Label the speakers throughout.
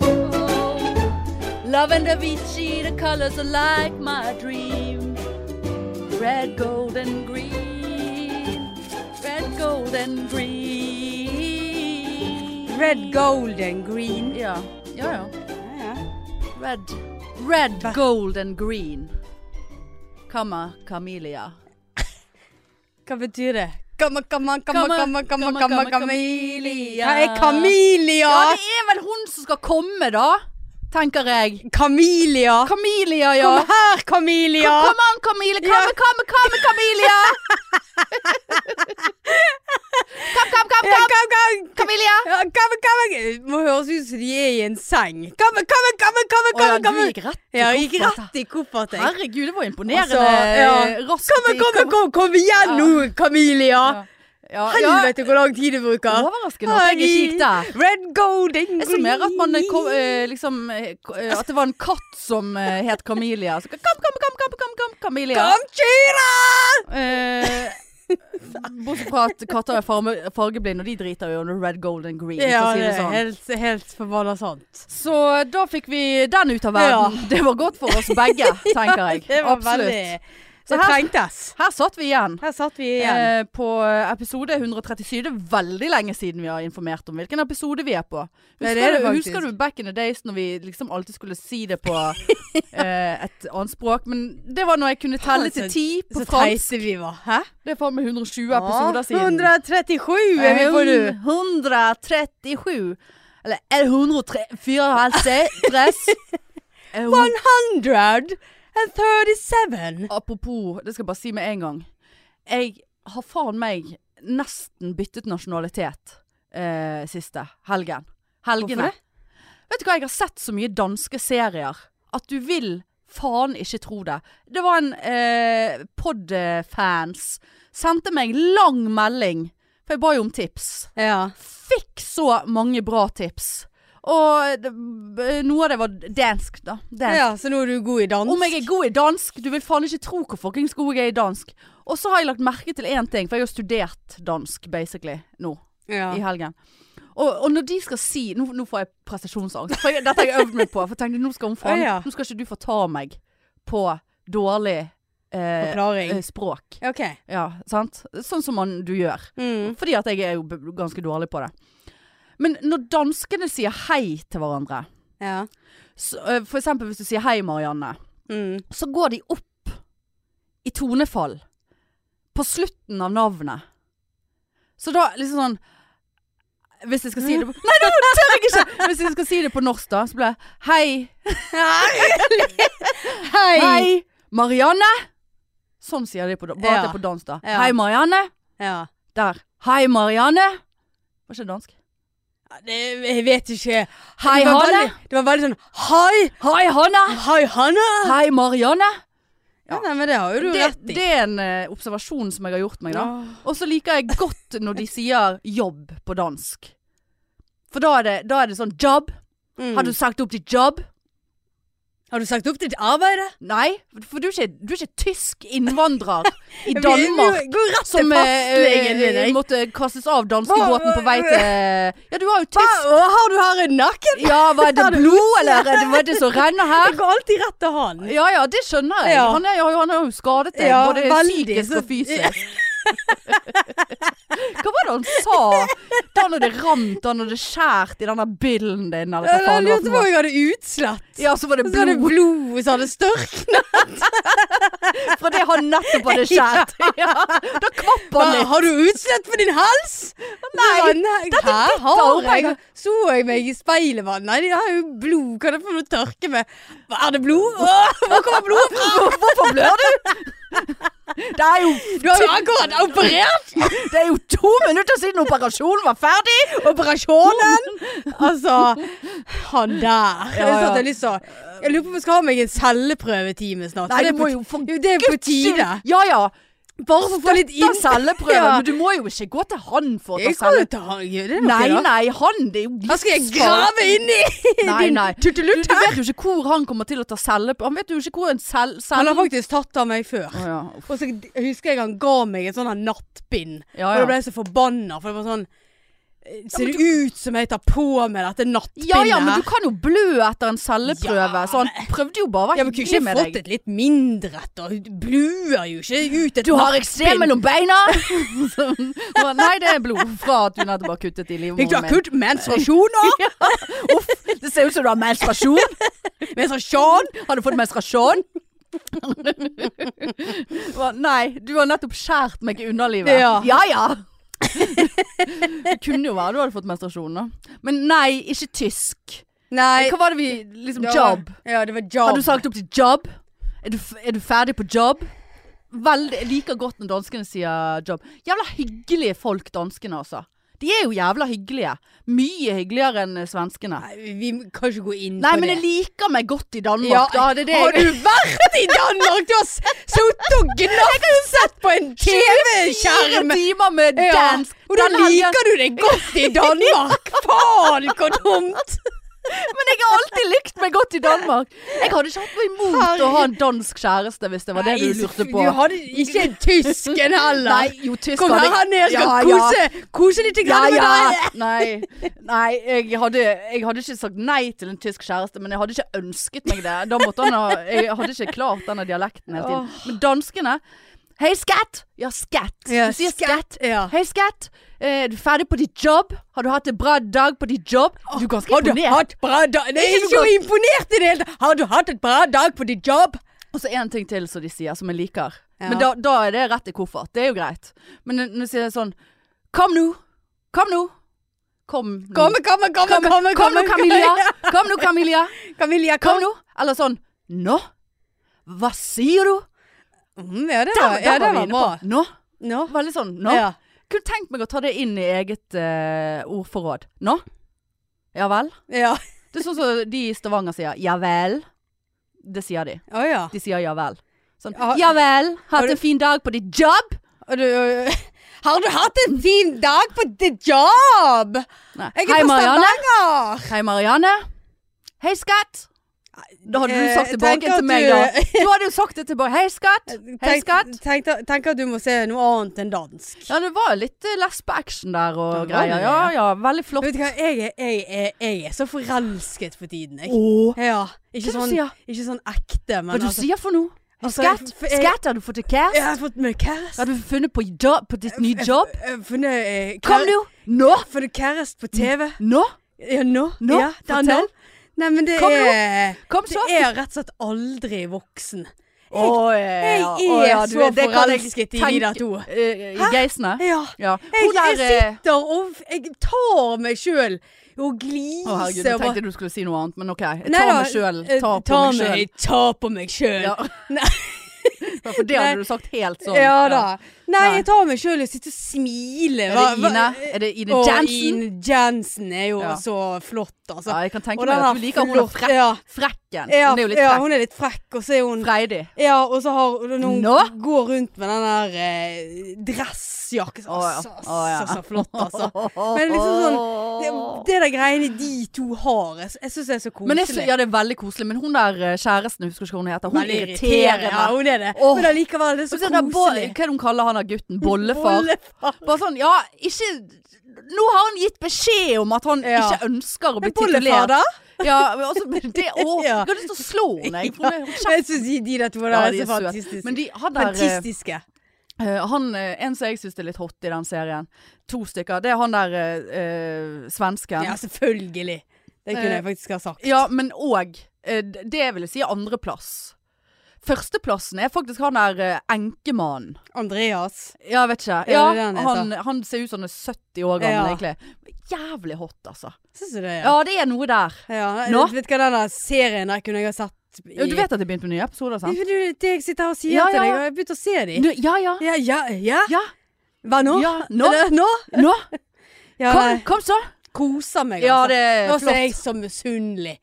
Speaker 1: Oh, Love and Avicii, the colors are like my dream. Red, gold, and green. Red, gold, and green.
Speaker 2: Red, gold and green.
Speaker 1: Ja, ja, ja.
Speaker 2: Ja, ja.
Speaker 1: Red. Red,
Speaker 2: Hva?
Speaker 1: gold, and green. Kamma, Camellia.
Speaker 2: Hva betyr det? Kamma, kamma, kamma,
Speaker 1: Kamma,
Speaker 2: kamma, kamma,
Speaker 1: kamma,
Speaker 2: kamma,
Speaker 1: kamma,
Speaker 2: kamelia.
Speaker 1: kamelia.
Speaker 2: Hva er kamelia?
Speaker 1: Ja, det er vel hun som skal komme, da. Tenker jeg.
Speaker 2: Kamelia.
Speaker 1: Camellia, ja.
Speaker 2: Kom her, kamelia.
Speaker 1: Kom an, Camille! Kom,
Speaker 2: Ja.
Speaker 1: kom, kom, Camille! kom, kom, kom,
Speaker 2: Ja,
Speaker 1: kom,
Speaker 2: kom, kom.
Speaker 1: Camille!
Speaker 2: Ja, Kamma, kamma. Det Må høres ut som de er i en seng. Kamma, kamma, kamma, kamma, kamma. kamma.
Speaker 1: rett
Speaker 2: Ja, jeg gikk rett altså. i kofferten. jeg.
Speaker 1: Herregud, det var imponerende
Speaker 2: Altså, ja.
Speaker 1: raskt.
Speaker 2: Kom, kom, kom, kom, kom igjen
Speaker 1: Ja.
Speaker 2: nå, kamelia.
Speaker 1: Ja. Ja, ja.
Speaker 2: Helvete hvor lang tid det bruker.
Speaker 1: Overraskende at jeg ikke gikk der.
Speaker 2: Red gold and green.
Speaker 1: Jeg så mer at man eh, kom, eh, liksom eh, ko- eh, At det var en katt som eh, het Camelia. Så kom, kom, kom, kom, kom, kom Camelia.
Speaker 2: Kom, Kira!
Speaker 1: Eh, Bortsett fra at katter er farme- fargeblinde, og de driter jo i the red, gold and green.
Speaker 2: Ja,
Speaker 1: for å si
Speaker 2: det
Speaker 1: det
Speaker 2: er
Speaker 1: sånn.
Speaker 2: helt, helt forbanna sant.
Speaker 1: Så da fikk vi den ut av verden. Det var godt for oss begge, tenker jeg.
Speaker 2: Det var
Speaker 1: Absolutt.
Speaker 2: veldig
Speaker 1: Så
Speaker 2: Det
Speaker 1: her-
Speaker 2: trengtes.
Speaker 1: Her satt vi igjen.
Speaker 2: Her satt vi igjen.
Speaker 1: Eh, på episode 137. Det er veldig lenge siden vi har informert om hvilken episode vi er på. Husker,
Speaker 2: Nei, det er det
Speaker 1: du,
Speaker 2: faktisk.
Speaker 1: husker du back in the days når vi liksom alltid skulle si det på eh, et annet språk? Men det var når jeg kunne telle
Speaker 2: Faen, så-
Speaker 1: til ti på
Speaker 2: så
Speaker 1: fransk.
Speaker 2: teite vi var. Hæ?
Speaker 1: Det er faen meg 120 episoder siden.
Speaker 2: 137 er vi på nå.
Speaker 1: 137. Eller er det 134?
Speaker 2: 137.
Speaker 1: Apropos, det skal jeg bare si med en gang. Jeg har faen meg nesten byttet nasjonalitet eh, siste helgen. Helgene.
Speaker 2: Hvorfor
Speaker 1: Vet du hva, jeg har sett så mye danske serier at du vil faen ikke tro det. Det var en eh, podfans sendte meg lang melding, for jeg ba jo om tips
Speaker 2: Ja.
Speaker 1: fikk så mange bra tips. Og det, b- noe av det var dansk, da. Dansk.
Speaker 2: ja, så nå er du god i dans.
Speaker 1: Om jeg er god i dansk? Du vil faen ikke tro hvor fuckings god jeg er i dansk. Og så har jeg lagt merke til én ting, for jeg har studert dansk basically nå
Speaker 2: Ja.
Speaker 1: i helgen. Og, og når de skal si Nå, nå får jeg prestasjonsangst. For jeg, dette har jeg øvd meg på. For jeg tenkte nå skal hun faen
Speaker 2: Å, ja.
Speaker 1: Nå skal ikke du få ta meg på dårlig eh,
Speaker 2: Forklaring.
Speaker 1: eh, språk.
Speaker 2: OK.
Speaker 1: Ja, sant? Sånn som man, du gjør.
Speaker 2: Mm.
Speaker 1: Fordi at jeg er jo b- ganske dårlig på det. Men når danskene sier hei til hverandre,
Speaker 2: Ja.
Speaker 1: så, øh, for eksempel hvis du sier hei Marianne,
Speaker 2: Mm.
Speaker 1: så går de opp i tonefall på slutten av navnet. Så da liksom sånn Hvis jeg skal si det på Nei, nå tør jeg ikke! Hvis jeg skal si det på norsk, da, så blir det hei,
Speaker 2: Hei.
Speaker 1: hei, Marianne. Sånn sier de på da- Bare at det er på dansk, da.
Speaker 2: Ja.
Speaker 1: Hei, Marianne.
Speaker 2: Ja.
Speaker 1: Der. Hei, Marianne. Var ikke det dansk?
Speaker 2: Det, jeg vet ikke.
Speaker 1: Hei,
Speaker 2: det, var
Speaker 1: Hanne.
Speaker 2: veldig, det var veldig sånn Hei!
Speaker 1: Hei, Hanne.
Speaker 2: Hei, Hanne!
Speaker 1: Hei, Marianne. Ja.
Speaker 2: Ah. Ja, nei, men det har jo du
Speaker 1: Det,
Speaker 2: rett i.
Speaker 1: det er en eh, observasjon som jeg har gjort meg, da.
Speaker 2: Åh.
Speaker 1: Og så liker jeg godt når de sier 'jobb' på dansk. For da er det, da er det sånn 'job'.
Speaker 2: Mm.
Speaker 1: Har du sagt opp til 'job'?
Speaker 2: har du sagt opp ditt arbeid?
Speaker 1: Nei, for du er ikke, du er ikke tysk innvandrer i
Speaker 2: Vi-
Speaker 1: Danmark.
Speaker 2: vi Går rett til
Speaker 1: Som
Speaker 2: fastlegen din.
Speaker 1: eh,
Speaker 2: jeg.
Speaker 1: måtte kastes av
Speaker 2: Hva-
Speaker 1: danskebåten på vei til Ja, du har jo tysk.
Speaker 2: Hva- Har du her en nakken?
Speaker 1: Ja, var det blod, eller var det som renner
Speaker 2: Det
Speaker 1: her?
Speaker 2: går alltid rett til han.
Speaker 1: Ja ja, det skjønner jeg.
Speaker 2: Ja.
Speaker 1: Han, er, jo- han har jo skadet deg,
Speaker 2: Ja,
Speaker 1: både
Speaker 2: veldig,
Speaker 1: psykisk
Speaker 2: så-
Speaker 1: og fysisk. Hva var det han sa? Da når det rant, da når det skjært i den der byllen din, eller hva
Speaker 2: Jeg
Speaker 1: faen det var
Speaker 2: lurte
Speaker 1: for
Speaker 2: på om
Speaker 1: noe.
Speaker 2: jeg hadde utslett.
Speaker 1: Ja, så var det
Speaker 2: Så hadde
Speaker 1: blod
Speaker 2: blod som hadde størkna.
Speaker 1: fra det han nettopp hadde skjært. Ja, da kvapp han litt.
Speaker 2: Har du utslett på din hals?
Speaker 1: Nei,
Speaker 2: dette
Speaker 1: ditt arbeid.
Speaker 2: Så jeg meg i speilet, hva? Nei, jeg har jo blod. Kan jeg få noe tørke med? Hva, Er det blod? Åh, Hvor kommer blodet fra?
Speaker 1: Hvorfor blør du? Det er, jo,
Speaker 2: Du har jo akkurat operert
Speaker 1: det er jo to minutter siden operasjonen var ferdig!
Speaker 2: operasjonen. Altså, han der.
Speaker 1: Ja,
Speaker 2: Jeg, satt,
Speaker 1: ja.
Speaker 2: jeg, lyst til å- jeg lurer på om jeg skal ha meg en celleprøvetime snart.
Speaker 1: Nei,
Speaker 2: det
Speaker 1: du
Speaker 2: er
Speaker 1: må
Speaker 2: på-
Speaker 1: jo for
Speaker 2: jo, det er på tide.
Speaker 1: Ja ja.
Speaker 2: Bare for å få litt
Speaker 1: Ta
Speaker 2: inn...
Speaker 1: celleprøve.
Speaker 2: Ja.
Speaker 1: Men du må jo ikke gå til han for å ta
Speaker 2: Jeg skal
Speaker 1: celleprøve.
Speaker 2: jo ta gjør det noe,
Speaker 1: Nei,
Speaker 2: da.
Speaker 1: nei, han det er jo
Speaker 2: Hva skal jeg
Speaker 1: livsfarlig.
Speaker 2: grave inn i
Speaker 1: Nei,
Speaker 2: din
Speaker 1: nei. Du,
Speaker 2: tuttelutt
Speaker 1: du
Speaker 2: her?
Speaker 1: vet jo ikke hvor han kommer til å ta celle på. Han vet jo ikke hvor en cell...
Speaker 2: Han
Speaker 1: cell
Speaker 2: har faktisk tatt av meg før.
Speaker 1: Å, ja. Uff.
Speaker 2: Og så husker jeg han ga meg et sånn her nattbind.
Speaker 1: Ja,
Speaker 2: Og da
Speaker 1: ja.
Speaker 2: ble jeg så forbanna, for det var sånn eh, Ser det ut som jeg tar på meg dette nattpinnet?
Speaker 1: Ja ja, men
Speaker 2: her?
Speaker 1: du kan jo blø etter en celleprøve,
Speaker 2: Ja,
Speaker 1: så han prøvde jo bare å
Speaker 2: Ja,
Speaker 1: være
Speaker 2: men kunne
Speaker 1: hyggelig
Speaker 2: ikke
Speaker 1: med
Speaker 2: fått
Speaker 1: deg.
Speaker 2: et litt mindre et, og hun bluer jo ikke ut et
Speaker 1: Du har
Speaker 2: nattbind.
Speaker 1: eksem mellom beina! Sånn. Og Nei, det er blod fra at du nettopp har kuttet i
Speaker 2: Fikk du
Speaker 1: livmoren min.
Speaker 2: akutt menstruasjon nå?
Speaker 1: Uff, det ser ut som du har menstruasjon!
Speaker 2: Menstruasjon?
Speaker 1: Har du fått menstruasjon? Hva, Nei, du har nettopp skjært meg i underlivet.
Speaker 2: Ja.
Speaker 1: ja. ja. det kunne jo være du hadde fått menstruasjon, da. Men nei, ikke tysk.
Speaker 2: Nei.
Speaker 1: Hva var det vi liksom
Speaker 2: det var-
Speaker 1: Job.
Speaker 2: Ja, det var job.
Speaker 1: Har du sagt opp til job? Er du, f- er du ferdig på job? Veldig, jeg liker godt når danskene sier job. Jævla hyggelige folk, danskene altså. De er jo jævla hyggelige. Mye hyggeligere enn eh, svenskene.
Speaker 2: Nei, vi kan ikke gå inn
Speaker 1: Nei,
Speaker 2: på
Speaker 1: men
Speaker 2: det.
Speaker 1: jeg liker meg godt i Danmark.
Speaker 2: Ja,
Speaker 1: da, det er det
Speaker 2: Har
Speaker 1: jeg-
Speaker 2: du vært i Danmark? Du har s- sittet og gnafset på en
Speaker 1: Fire
Speaker 2: TV-skjerm!
Speaker 1: timer med
Speaker 2: Ja,
Speaker 1: dansk.
Speaker 2: Og da
Speaker 1: Den helgen-
Speaker 2: liker du det godt i Danmark! Faen, så dumt!
Speaker 1: Men jeg har alltid likt meg godt i Danmark. Jeg hadde ikke hatt noe imot å ha en dansk kjæreste, hvis det var det du lurte på.
Speaker 2: Du hadde ikke tysken heller.
Speaker 1: Nei, jo, tysk
Speaker 2: Kom
Speaker 1: hadde
Speaker 2: her,
Speaker 1: jeg-
Speaker 2: han ned, skal
Speaker 1: Ja, ja.
Speaker 2: kose, kose litt
Speaker 1: Ja,
Speaker 2: grann med deg.
Speaker 1: ja. Nei, nei jeg, hadde, jeg hadde ikke sagt nei til en tysk kjæreste, men jeg hadde ikke ønsket meg det. Da måtte han ha, jeg hadde ikke klart denne dialekten hele tiden. Men danskene Hei, skatt! Ja, skatt.
Speaker 2: Ja,
Speaker 1: du sier
Speaker 2: skatt,
Speaker 1: skatt.
Speaker 2: ja.
Speaker 1: Hei, skatt. Eh, er du ferdig på ditt jobb? Har du hatt en bra dag på ditt jobb? Du er ganske
Speaker 2: Har du
Speaker 1: imponert.
Speaker 2: hatt bra dag? Det er
Speaker 1: Ikke
Speaker 2: ikke
Speaker 1: noe
Speaker 2: noe imponert i det hele tatt. Har du hatt et bra dag på ditt jobb?
Speaker 1: Og så en ting til som de sier, som jeg liker.
Speaker 2: Ja.
Speaker 1: Men da, da er det rett i koffert. Det er jo greit. Men når når de sier sånn Kom nå! Kom nå! Kom nå.
Speaker 2: Komme, komme, komme,
Speaker 1: Kom,
Speaker 2: komme.
Speaker 1: kom nå, Camilla! Kom nå, Camilla!
Speaker 2: Camilla,
Speaker 1: Kom
Speaker 2: kom.
Speaker 1: nå! Eller sånn Nå? Hva sier du?
Speaker 2: Mm, ja, det
Speaker 1: Der,
Speaker 2: var, ja,
Speaker 1: der
Speaker 2: det
Speaker 1: var vi
Speaker 2: var
Speaker 1: inne
Speaker 2: bra.
Speaker 1: på. Nå?
Speaker 2: Nå?
Speaker 1: Veldig sånn nå.
Speaker 2: Ja.
Speaker 1: Kunne tenkt meg å ta det inn i eget eh, ordforråd. Nå? Ja vel?
Speaker 2: Ja.
Speaker 1: Det er sånn som de i Stavanger sier. Ja vel? Det sier de.
Speaker 2: Å ja.
Speaker 1: De sier ja vel. Sånn.
Speaker 2: Ja.
Speaker 1: Ja vel?
Speaker 2: Har
Speaker 1: Hatt
Speaker 2: du-
Speaker 1: en fin dag på ditt job?
Speaker 2: Og du, har du hatt en fin dag på ditt job?
Speaker 1: Nei.
Speaker 2: Jeg er
Speaker 1: Hei,
Speaker 2: fra
Speaker 1: Marianne.
Speaker 2: Stavanger.
Speaker 1: Hei, Marianne. Hei, skatt. Da hadde du
Speaker 2: Eh,
Speaker 1: sagt tilbake
Speaker 2: tenker
Speaker 1: til meg,
Speaker 2: at
Speaker 1: da. Du hadde jo sagt det tilbake. Hei, skatt. Hei,
Speaker 2: Tenk,
Speaker 1: skatt.
Speaker 2: tenk, tenk at du må se noe annet enn dansk.
Speaker 1: Ja, det var litt eh, lesbe-action der og
Speaker 2: Det var
Speaker 1: greier.
Speaker 2: det,
Speaker 1: Ja,
Speaker 2: ja.
Speaker 1: ja. Veldig flott.
Speaker 2: Vet du hva, jeg er, jeg er, jeg er så forelsket for tiden, jeg.
Speaker 1: Åh.
Speaker 2: Ja, ikke
Speaker 1: Hva du
Speaker 2: sånn,
Speaker 1: sier?
Speaker 2: ikke sånn ekte, men
Speaker 1: Hva du sier for noe?
Speaker 2: altså,
Speaker 1: skatt?
Speaker 2: for jeg-
Speaker 1: skatt har du fått til cash?
Speaker 2: Jeg har fått meg kjæreste.
Speaker 1: Har du funnet på, jobb, på ditt nye jobb?
Speaker 2: Jeg har Funnet eh,
Speaker 1: Kom
Speaker 2: kjære-
Speaker 1: nå! Nå!
Speaker 2: Funnet kjæreste på TV.
Speaker 1: Nå!
Speaker 2: Ja, nå.
Speaker 1: Nå?
Speaker 2: Ja, det er nå.
Speaker 1: Fortell.
Speaker 2: Nei, men det
Speaker 1: Kom nå.
Speaker 2: er
Speaker 1: Kom så!
Speaker 2: Det er rett og slett aldri voksen.
Speaker 1: Å, ja.
Speaker 2: jeg
Speaker 1: Å,
Speaker 2: er
Speaker 1: ja, du
Speaker 2: så
Speaker 1: det kan jeg
Speaker 2: forelsket i de
Speaker 1: tenke-
Speaker 2: der to.
Speaker 1: eh, I Geisene?
Speaker 2: Ja.
Speaker 1: Ja.
Speaker 2: Jeg,
Speaker 1: Hun der
Speaker 2: jeg
Speaker 1: eh,
Speaker 2: sitter og jeg tar meg sjøl
Speaker 1: Å
Speaker 2: og
Speaker 1: herregud,
Speaker 2: gliser.
Speaker 1: jeg
Speaker 2: og bare-
Speaker 1: tenkte du skulle si noe annet, men OK. Jeg
Speaker 2: Nei
Speaker 1: tar
Speaker 2: da,
Speaker 1: meg sjøl.
Speaker 2: eh,
Speaker 1: Tar på
Speaker 2: ta
Speaker 1: meg sjøl.
Speaker 2: meg- Ta på meg sjøl.
Speaker 1: Ja.
Speaker 2: Ja.
Speaker 1: For det hadde du sagt helt sånn.
Speaker 2: da. Nei,
Speaker 1: Nei.
Speaker 2: jeg tar meg sjøl og sitter og smiler.
Speaker 1: Er
Speaker 2: Hva-
Speaker 1: det
Speaker 2: hva-
Speaker 1: Ine? Er det Ine
Speaker 2: Å,
Speaker 1: Jensen?
Speaker 2: Ine Jensen er jo
Speaker 1: Ja.
Speaker 2: så flott, altså.
Speaker 1: Ja, jeg kan tenke
Speaker 2: Og
Speaker 1: meg
Speaker 2: den
Speaker 1: at du
Speaker 2: der
Speaker 1: liker hun der
Speaker 2: flott-
Speaker 1: frekk,
Speaker 2: ja.
Speaker 1: frekken.
Speaker 2: Ja,
Speaker 1: Hun er jo litt
Speaker 2: ja,
Speaker 1: frekk.
Speaker 2: hun er litt frekk, og så er hun
Speaker 1: Freidig.
Speaker 2: Ja, og så har og når hun
Speaker 1: Nå?
Speaker 2: går rundt med den der eh, dressjakken. Så,
Speaker 1: Å, ja.
Speaker 2: så,
Speaker 1: Å, ja.
Speaker 2: så, så flott, altså. Men liksom Det, det der greiene de to har, jeg, jeg syns det er så koselig.
Speaker 1: Men jeg, sy- ja, det er veldig koselig. Men hun der eh, kjæresten, jeg husker ikke hva hun heter, hun
Speaker 2: Veldig
Speaker 1: irriterer
Speaker 2: Ja,
Speaker 1: meg.
Speaker 2: hun er det.
Speaker 1: Åh.
Speaker 2: Men allikevel, det er
Speaker 1: Og
Speaker 2: så
Speaker 1: så er det bo-
Speaker 2: koselig.
Speaker 1: Hva er det hun kaller han der gutten? Bollefar?
Speaker 2: Bollefar.
Speaker 1: Bare sånn, ja, ikke Nå har han gitt beskjed om at han
Speaker 2: Ja.
Speaker 1: ikke ønsker å bli
Speaker 2: Men bollefar,
Speaker 1: titulert.
Speaker 2: da?
Speaker 1: Ja, men altså, men det, å,
Speaker 2: Ja.
Speaker 1: Jeg har lyst til å slå henne, jeg. for hun er- hun
Speaker 2: Men jeg syns de, de der to der
Speaker 1: Ja,
Speaker 2: er
Speaker 1: de er
Speaker 2: så
Speaker 1: søte.
Speaker 2: fantastiske.
Speaker 1: Men de, han der eh,
Speaker 2: fantastiske.
Speaker 1: eh, han, eh, En som jeg syns er litt hot i den serien, to stykker, det er han der eh, eh, svensken.
Speaker 2: Ja, selvfølgelig. Det kunne
Speaker 1: Eh,
Speaker 2: jeg faktisk ha sagt.
Speaker 1: Ja, men òg Det vil jeg si er andreplass. Førsteplassen er faktisk han der eh, enkemannen.
Speaker 2: Andreas.
Speaker 1: Ja, jeg vet ikke.
Speaker 2: det
Speaker 1: Ja,
Speaker 2: det han
Speaker 1: han,
Speaker 2: heter?
Speaker 1: han, ser ut som han er 70 år gammel,
Speaker 2: Ja.
Speaker 1: egentlig. Jævlig hot, altså.
Speaker 2: Syns du det?
Speaker 1: Ja, det er noe der.
Speaker 2: Ja,
Speaker 1: Nå?
Speaker 2: Vet du hva den der serien der kunne jeg ha sett i
Speaker 1: Ja, Du vet at det begynte med nye episoder,
Speaker 2: Det
Speaker 1: sant?
Speaker 2: er jo det jeg sitter her og sier
Speaker 1: Ja,
Speaker 2: til
Speaker 1: ja.
Speaker 2: deg, og jeg har begynt å se dem.
Speaker 1: Nå, ja, ja.
Speaker 2: Ja, ja, ja.
Speaker 1: Ja,
Speaker 2: Hva nå?
Speaker 1: ja. Nå,
Speaker 2: Er det nå?
Speaker 1: nå.
Speaker 2: Ja,
Speaker 1: Kom,
Speaker 2: nei,
Speaker 1: kom så.
Speaker 2: koser meg,
Speaker 1: Ja,
Speaker 2: altså.
Speaker 1: det er
Speaker 2: Nå ser
Speaker 1: flott.
Speaker 2: jeg så misunnelig.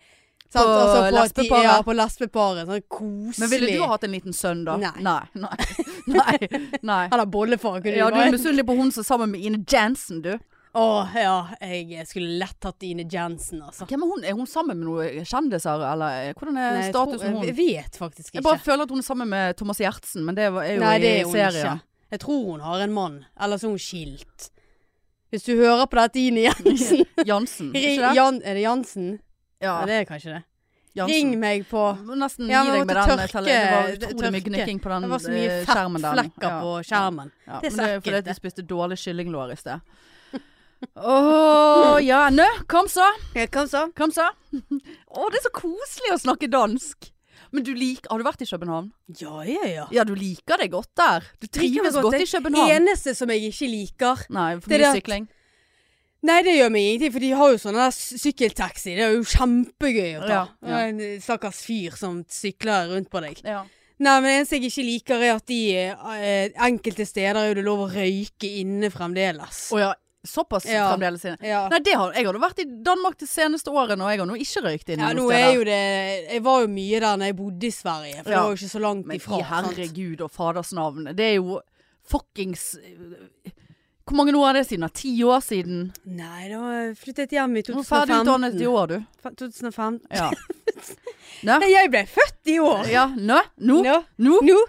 Speaker 1: På
Speaker 2: Sant? Altså, at de-
Speaker 1: lesbeparet.
Speaker 2: Ja, på lesbeparet. Sånn koselig.
Speaker 1: Men ville du ha hatt en liten sønn, da?
Speaker 2: Nei.
Speaker 1: Nei. Nei. Nei. Nei.
Speaker 2: Han har bollefar, kunne
Speaker 1: Ja,
Speaker 2: du
Speaker 1: du er
Speaker 2: bare
Speaker 1: misunnelig på hun som er sammen med Ine Jensen, du.
Speaker 2: Å, ja. Jeg skulle lett hatt Ine Jensen, altså.
Speaker 1: Hvem er hun? Er hun sammen med noen kjendiser, eller eh, hvordan er
Speaker 2: Nei, jeg tror-
Speaker 1: statusen
Speaker 2: Jeg
Speaker 1: hun?
Speaker 2: vet faktisk
Speaker 1: Jeg
Speaker 2: ikke.
Speaker 1: bare føler at hun er sammen med Thomas Gjertsen, men det er jo
Speaker 2: Nei, det
Speaker 1: i
Speaker 2: er hun
Speaker 1: serien.
Speaker 2: ikke. Jeg tror hun har en mann. Eller så er hun skilt. Hvis du hører på dette, Ine Jensen
Speaker 1: Jansen.
Speaker 2: Ring-
Speaker 1: Ikke det?
Speaker 2: Jan, Er det Jansen?
Speaker 1: Ja,
Speaker 2: Ja, det er kanskje det.
Speaker 1: Jansen.
Speaker 2: Ring meg på
Speaker 1: Må Nesten
Speaker 2: Ja,
Speaker 1: gi deg
Speaker 2: men
Speaker 1: med
Speaker 2: måtte
Speaker 1: den.
Speaker 2: tørke-
Speaker 1: tele- det var
Speaker 2: det-
Speaker 1: utrolig mye
Speaker 2: tørke.
Speaker 1: gnikking på den
Speaker 2: Det var så mye
Speaker 1: eh, skjermen der.
Speaker 2: fettflekker på skjermen.
Speaker 1: Ja,
Speaker 2: Det er
Speaker 1: men det er fordi
Speaker 2: så ekkelt,
Speaker 1: at du
Speaker 2: det.
Speaker 1: spiste dårlig kyllinglår i sted. Å ja, nå, kom så,
Speaker 2: Hva så?
Speaker 1: kom så. Å, det er så koselig å snakke dansk. Men du liker, har du vært i København?
Speaker 2: Ja, ja, ja.
Speaker 1: Ja, du liker det godt der. Du trives godt, i København.
Speaker 2: Eneste som jeg ikke liker
Speaker 1: Nei, for
Speaker 2: Det er
Speaker 1: mye
Speaker 2: det at-
Speaker 1: sykling.
Speaker 2: Nei, det gjør meg ingenting, for de har jo sånne der sy- sykkeltaxi. Det er jo kjempegøy å ta.
Speaker 1: Ja, ja.
Speaker 2: En stakkars fyr som sykler rundt på deg.
Speaker 1: Ja.
Speaker 2: Nei, men det eneste jeg ikke liker, er at de eh, enkelte steder er jo det lov å røyke inne fremdeles.
Speaker 1: Å ja, såpass
Speaker 2: Ja.
Speaker 1: fremdeles inne.
Speaker 2: Ja.
Speaker 1: Nei, det har, jeg hadde vært i Danmark de seneste årene, og jeg har nå ikke røykt inn
Speaker 2: Ja, nå er jo det Jeg var jo mye der når jeg bodde i Sverige, for
Speaker 1: Ja.
Speaker 2: det var jo ikke så langt
Speaker 1: Men
Speaker 2: ifra.
Speaker 1: i
Speaker 2: sant?
Speaker 1: herregud og faders navn. Det er jo fuckings eh, Hvor mange år er det siden? da? Ti år siden?
Speaker 2: Nei, da flyttet jeg hjem i
Speaker 1: Du var ferdig
Speaker 2: 2015.
Speaker 1: utdannet i år, du.
Speaker 2: Fa- 2015.
Speaker 1: Ja.
Speaker 2: Nei, jeg ble født i år!
Speaker 1: ja. Nå? Nå?
Speaker 2: Nå.
Speaker 1: Nå?
Speaker 2: Nå?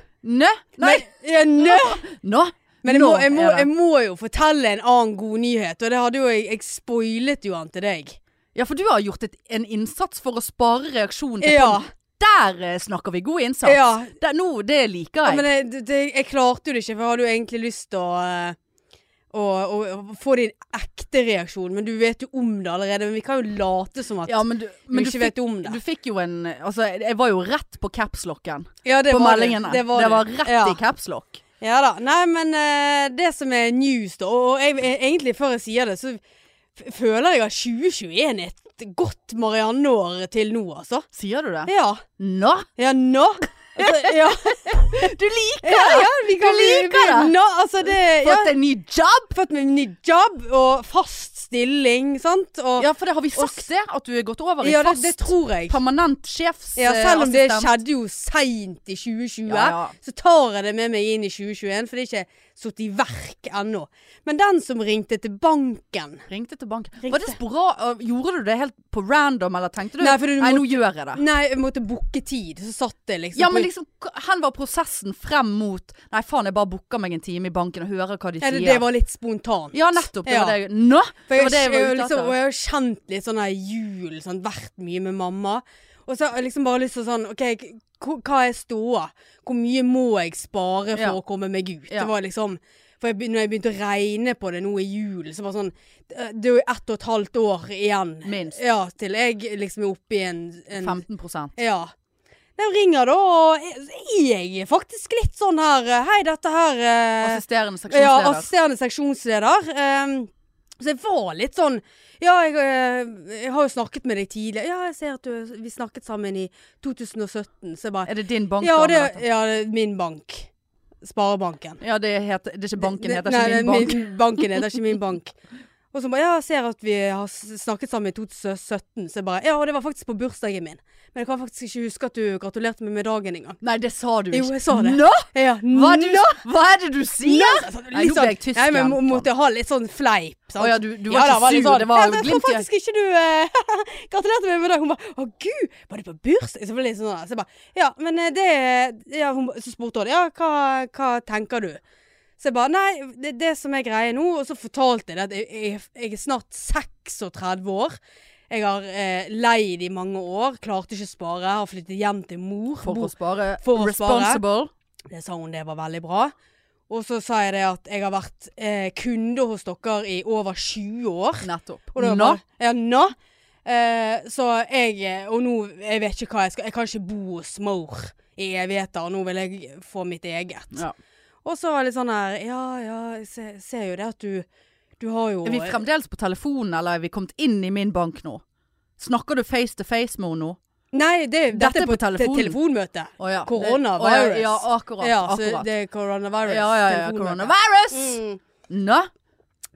Speaker 1: Nå? Nei!
Speaker 2: Men, ja, nå.
Speaker 1: Nå?
Speaker 2: Men jeg må,
Speaker 1: Nå
Speaker 2: jeg, må,
Speaker 1: er det.
Speaker 2: jeg må jo fortelle en annen god nyhet, og det hadde jo jeg Jeg spoilet jo han til deg.
Speaker 1: Ja, for du har gjort et, en innsats for å spare reaksjonen til
Speaker 2: Ja.
Speaker 1: folk. Der eh, snakker vi god innsats.
Speaker 2: Ja.
Speaker 1: Der, nå, det liker
Speaker 2: ja
Speaker 1: jeg.
Speaker 2: men jeg, det- det, jeg klarte jo det ikke, for jeg hadde jo egentlig lyst til å eh, å, å, å få din ekte reaksjon, men du vet jo om det allerede. Men vi kan jo late som at
Speaker 1: ja, men du, men
Speaker 2: du
Speaker 1: du
Speaker 2: ikke
Speaker 1: fikk,
Speaker 2: vet om det.
Speaker 1: du fikk jo en Altså, jeg var jo rett på capslocken
Speaker 2: ja, det
Speaker 1: på
Speaker 2: var du.
Speaker 1: meldingene.
Speaker 2: Det var, du.
Speaker 1: rett
Speaker 2: ja.
Speaker 1: i capslock.
Speaker 2: Ja da. Nei, men eh, det som er news, da, og og jeg, jeg, egentlig før jeg sier det, så f føler jeg at 2021 er et godt Marianne-år til nå, altså.
Speaker 1: Sier du det?
Speaker 2: Ja.
Speaker 1: Nå?
Speaker 2: Ja, nå. Altså, ja.
Speaker 1: Du liker
Speaker 2: ja, ja, vi kan
Speaker 1: Du
Speaker 2: bli-
Speaker 1: liker
Speaker 2: bli-
Speaker 1: det.
Speaker 2: Nå, altså det ja.
Speaker 1: fått en ny jobb!
Speaker 2: Fått meg ny jobb og fast stilling, sant? Og,
Speaker 1: Ja, for det har vi sagt det, at du er gått over i
Speaker 2: Ja, det,
Speaker 1: fast
Speaker 2: det tror jeg.
Speaker 1: permanent eh, sjefsassistent.
Speaker 2: Ja, selv om det skjedde jo seint i 2020,
Speaker 1: Ja, ja.
Speaker 2: så tar jeg det med meg inn i 2021, for det er ikke satt i verk ennå. Men den som ringte til banken
Speaker 1: Ringte til banken.
Speaker 2: Ringte.
Speaker 1: Var det spora, gjorde du det helt på random, eller tenkte du
Speaker 2: Nei, fordi du
Speaker 1: Nei,
Speaker 2: må- Mm.
Speaker 1: nå gjør jeg det.
Speaker 2: Nei, jeg måtte booke tid. Så satt det liksom
Speaker 1: Ja, men
Speaker 2: på-
Speaker 1: liksom, k- hen var prosessen frem mot Nei, faen, jeg bare booker meg en time i banken og hører hva de
Speaker 2: ja,
Speaker 1: sier.
Speaker 2: det, det var litt spontant.
Speaker 1: Ja, nettopp. Det
Speaker 2: Ja.
Speaker 1: var det jeg Nå!
Speaker 2: For
Speaker 1: Det
Speaker 2: jeg,
Speaker 1: var det jeg var
Speaker 2: jeg,
Speaker 1: ute
Speaker 2: liksom,
Speaker 1: etter.
Speaker 2: og jeg har kjent litt sånn her jul, sånn, vært mye med mamma. Og så har jeg liksom bare lyst til sånn OK, k- hva er ståa? Hvor mye må jeg spare for
Speaker 1: Ja.
Speaker 2: å komme meg ut?
Speaker 1: Ja.
Speaker 2: Det var liksom For jeg, be- når jeg begynte å regne på det nå i julen, så var det sånn eh, Det er jo ett og et halvt år igjen.
Speaker 1: Minst.
Speaker 2: Ja, til jeg liksom er oppe i en, en
Speaker 1: 15
Speaker 2: Ja. Nei, Jeg ringer da, og jeg er faktisk litt sånn her eh, Hei, dette her
Speaker 1: Altså,
Speaker 2: eh,
Speaker 1: Assisterende
Speaker 2: ja,
Speaker 1: seksjonsleder.
Speaker 2: assisterende seksjonsleder. Ehm, så jeg var litt sånn Ja, jeg, eh, jeg har jo snakket med deg tidligere. Ja, jeg ser at du, vi snakket sammen i 2017, så jeg bare
Speaker 1: er det din bank?
Speaker 2: Ja,
Speaker 1: da,
Speaker 2: det,
Speaker 1: dette?
Speaker 2: ja, det er min bank. Sparebanken.
Speaker 1: ja det, heter, det er ikke banken,
Speaker 2: Ne-
Speaker 1: det heter
Speaker 2: nei,
Speaker 1: ikke min bank.
Speaker 2: banken heter ikke min bank. Og så bare Ja, jeg ser at vi har s- snakket sammen i 2017, så jeg bare Ja, og det var faktisk på bursdagen min. Men jeg kan faktisk ikke huske at du gratulerte meg med dagen engang.
Speaker 1: Nei, det sa du ikke.
Speaker 2: Jo, jeg sa det.
Speaker 1: Nå!
Speaker 2: Ja,
Speaker 1: Hva er,
Speaker 2: nå-
Speaker 1: det du, hva er det du sier? Nei, nå ble jeg tysk
Speaker 2: Sånn, liksom. Nei, men
Speaker 1: igjen,
Speaker 2: må,
Speaker 1: Tom.
Speaker 2: måtte ha litt sånn fleip. sant?
Speaker 1: Å ja, du- du var
Speaker 2: da,
Speaker 1: ikke
Speaker 2: litt sånn,
Speaker 1: sur, det var glimt
Speaker 2: men
Speaker 1: i
Speaker 2: Jeg tror faktisk ikke du eh, gratulerte meg med det. Hun bare 'Å gud, var du på bursdag?' Så ble jeg litt sånn, så jeg bare 'Ja, men eh, det ja, hun, ba- Så spurte hun 'Ja, hva, hva tenker du?' Så jeg bare 'Nei, det, det som er greia nå' Og så fortalte jeg det at jeg, jeg, jeg er snart 36 år. Jeg har eh, leid i mange år, klarte ikke å spare, har flyttet hjem til mor.
Speaker 1: For
Speaker 2: bor-
Speaker 1: å spare
Speaker 2: For å
Speaker 1: responsible.
Speaker 2: det sa hun det var veldig bra. Og så sa jeg det at jeg har vært eh, kunde hos dere i over 20 år.
Speaker 1: Nettopp.
Speaker 2: Og da var
Speaker 1: Nå.
Speaker 2: bare- Ja, nå. Eh, så jeg eh, Og nå Jeg vet ikke hva jeg skal Jeg kan ikke bo hos mor i evigheter. Nå vil jeg få mitt eget.
Speaker 1: Ja.
Speaker 2: Og så var det litt sånn her Ja, ja, jeg ser, ser jo det at du Du har jo
Speaker 1: Er vi fremdeles på telefonen, eller er vi kommet inn i min bank nå? Snakker du face to face med henne nå?
Speaker 2: Nei, det, dette, er på,
Speaker 1: telefonen.
Speaker 2: te- telefonmøte.
Speaker 1: Å ja.
Speaker 2: Coronavirus.
Speaker 1: Å Ja, ja, akkurat.
Speaker 2: ja, så
Speaker 1: akkurat.
Speaker 2: det er coronavirus.
Speaker 1: ja, ja, ja.
Speaker 2: telefonmøte.
Speaker 1: Coronavirus!
Speaker 2: Mm.
Speaker 1: Nå?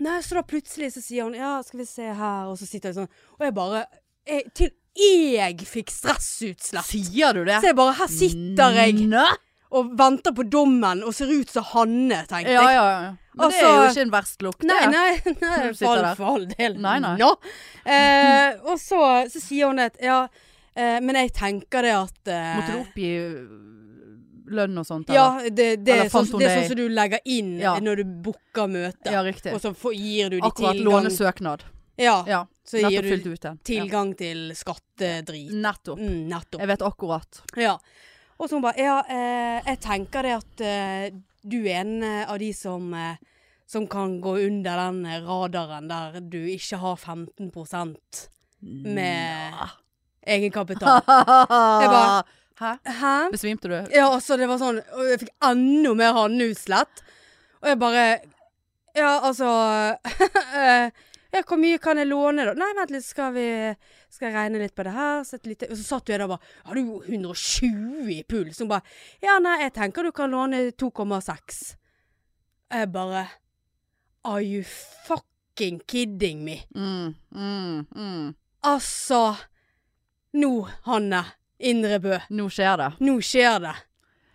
Speaker 2: Nei, så da plutselig så sier hun Ja, skal vi se her Og så sitter jeg sånn Og jeg bare jeg, Til jeg fikk stressutslett
Speaker 1: Sier du det?
Speaker 2: Så jeg bare Her sitter jeg
Speaker 1: Nå?
Speaker 2: Og venter på dommen Og ser ut som
Speaker 1: Ja,
Speaker 2: Hanne Tenkte jeg
Speaker 1: ja, ja. Men det er jo
Speaker 2: Altså-
Speaker 1: ikke en verst lukt,
Speaker 2: Nei,
Speaker 1: det.
Speaker 2: nei, nei
Speaker 1: Du sitter
Speaker 2: for,
Speaker 1: der.
Speaker 2: all- for all del.
Speaker 1: Nei, nei.
Speaker 2: Nå. Eh, og så, så sier hun det at Ja, eh, men jeg tenker det at eh,
Speaker 1: Måtte du oppgi øh, lønn og sånt?
Speaker 2: Ja, det, det,
Speaker 1: Eller
Speaker 2: er sånn,
Speaker 1: fant hun
Speaker 2: det er
Speaker 1: det
Speaker 2: sånn som du legger inn
Speaker 1: Ja.
Speaker 2: når du booker møte.
Speaker 1: eller? ja riktig.
Speaker 2: og så får, gir du de
Speaker 1: Akkurat
Speaker 2: tilgang
Speaker 1: lånesøknad.
Speaker 2: Ja,
Speaker 1: Ja,
Speaker 2: så gir
Speaker 1: nettopp fylt
Speaker 2: du
Speaker 1: ut den. Ja.
Speaker 2: tilgang til skattedrit.
Speaker 1: Nettopp.
Speaker 2: Mm, nettopp.
Speaker 1: Jeg vet akkurat.
Speaker 2: Ja. Og så hun bare Ja, eh, jeg tenker det at eh, du er en eh, av de som eh, som kan gå under den eh, radaren der du ikke har 15 med egenkapital. bare-
Speaker 1: Hæ?
Speaker 2: Hæ?
Speaker 1: Besvimte du?
Speaker 2: Ja, altså, det var sånn Og jeg fikk enda mer handleutslett. Og jeg bare Ja, altså eh, Ja, hvor mye kan jeg låne, da? Nei, vent litt, skal vi Skal jeg regne litt på det her? Så, et lite, og så satt jo jeg der og bare Har du jo 120 i puls? Hun bare Ja, nei, jeg tenker du kan låne 2,6. Jeg bare Are you fucking kidding me?
Speaker 1: Mm, mm, mm.
Speaker 2: Altså Nå, Hanne Indrebø.
Speaker 1: Nå skjer det.
Speaker 2: Nå skjer det.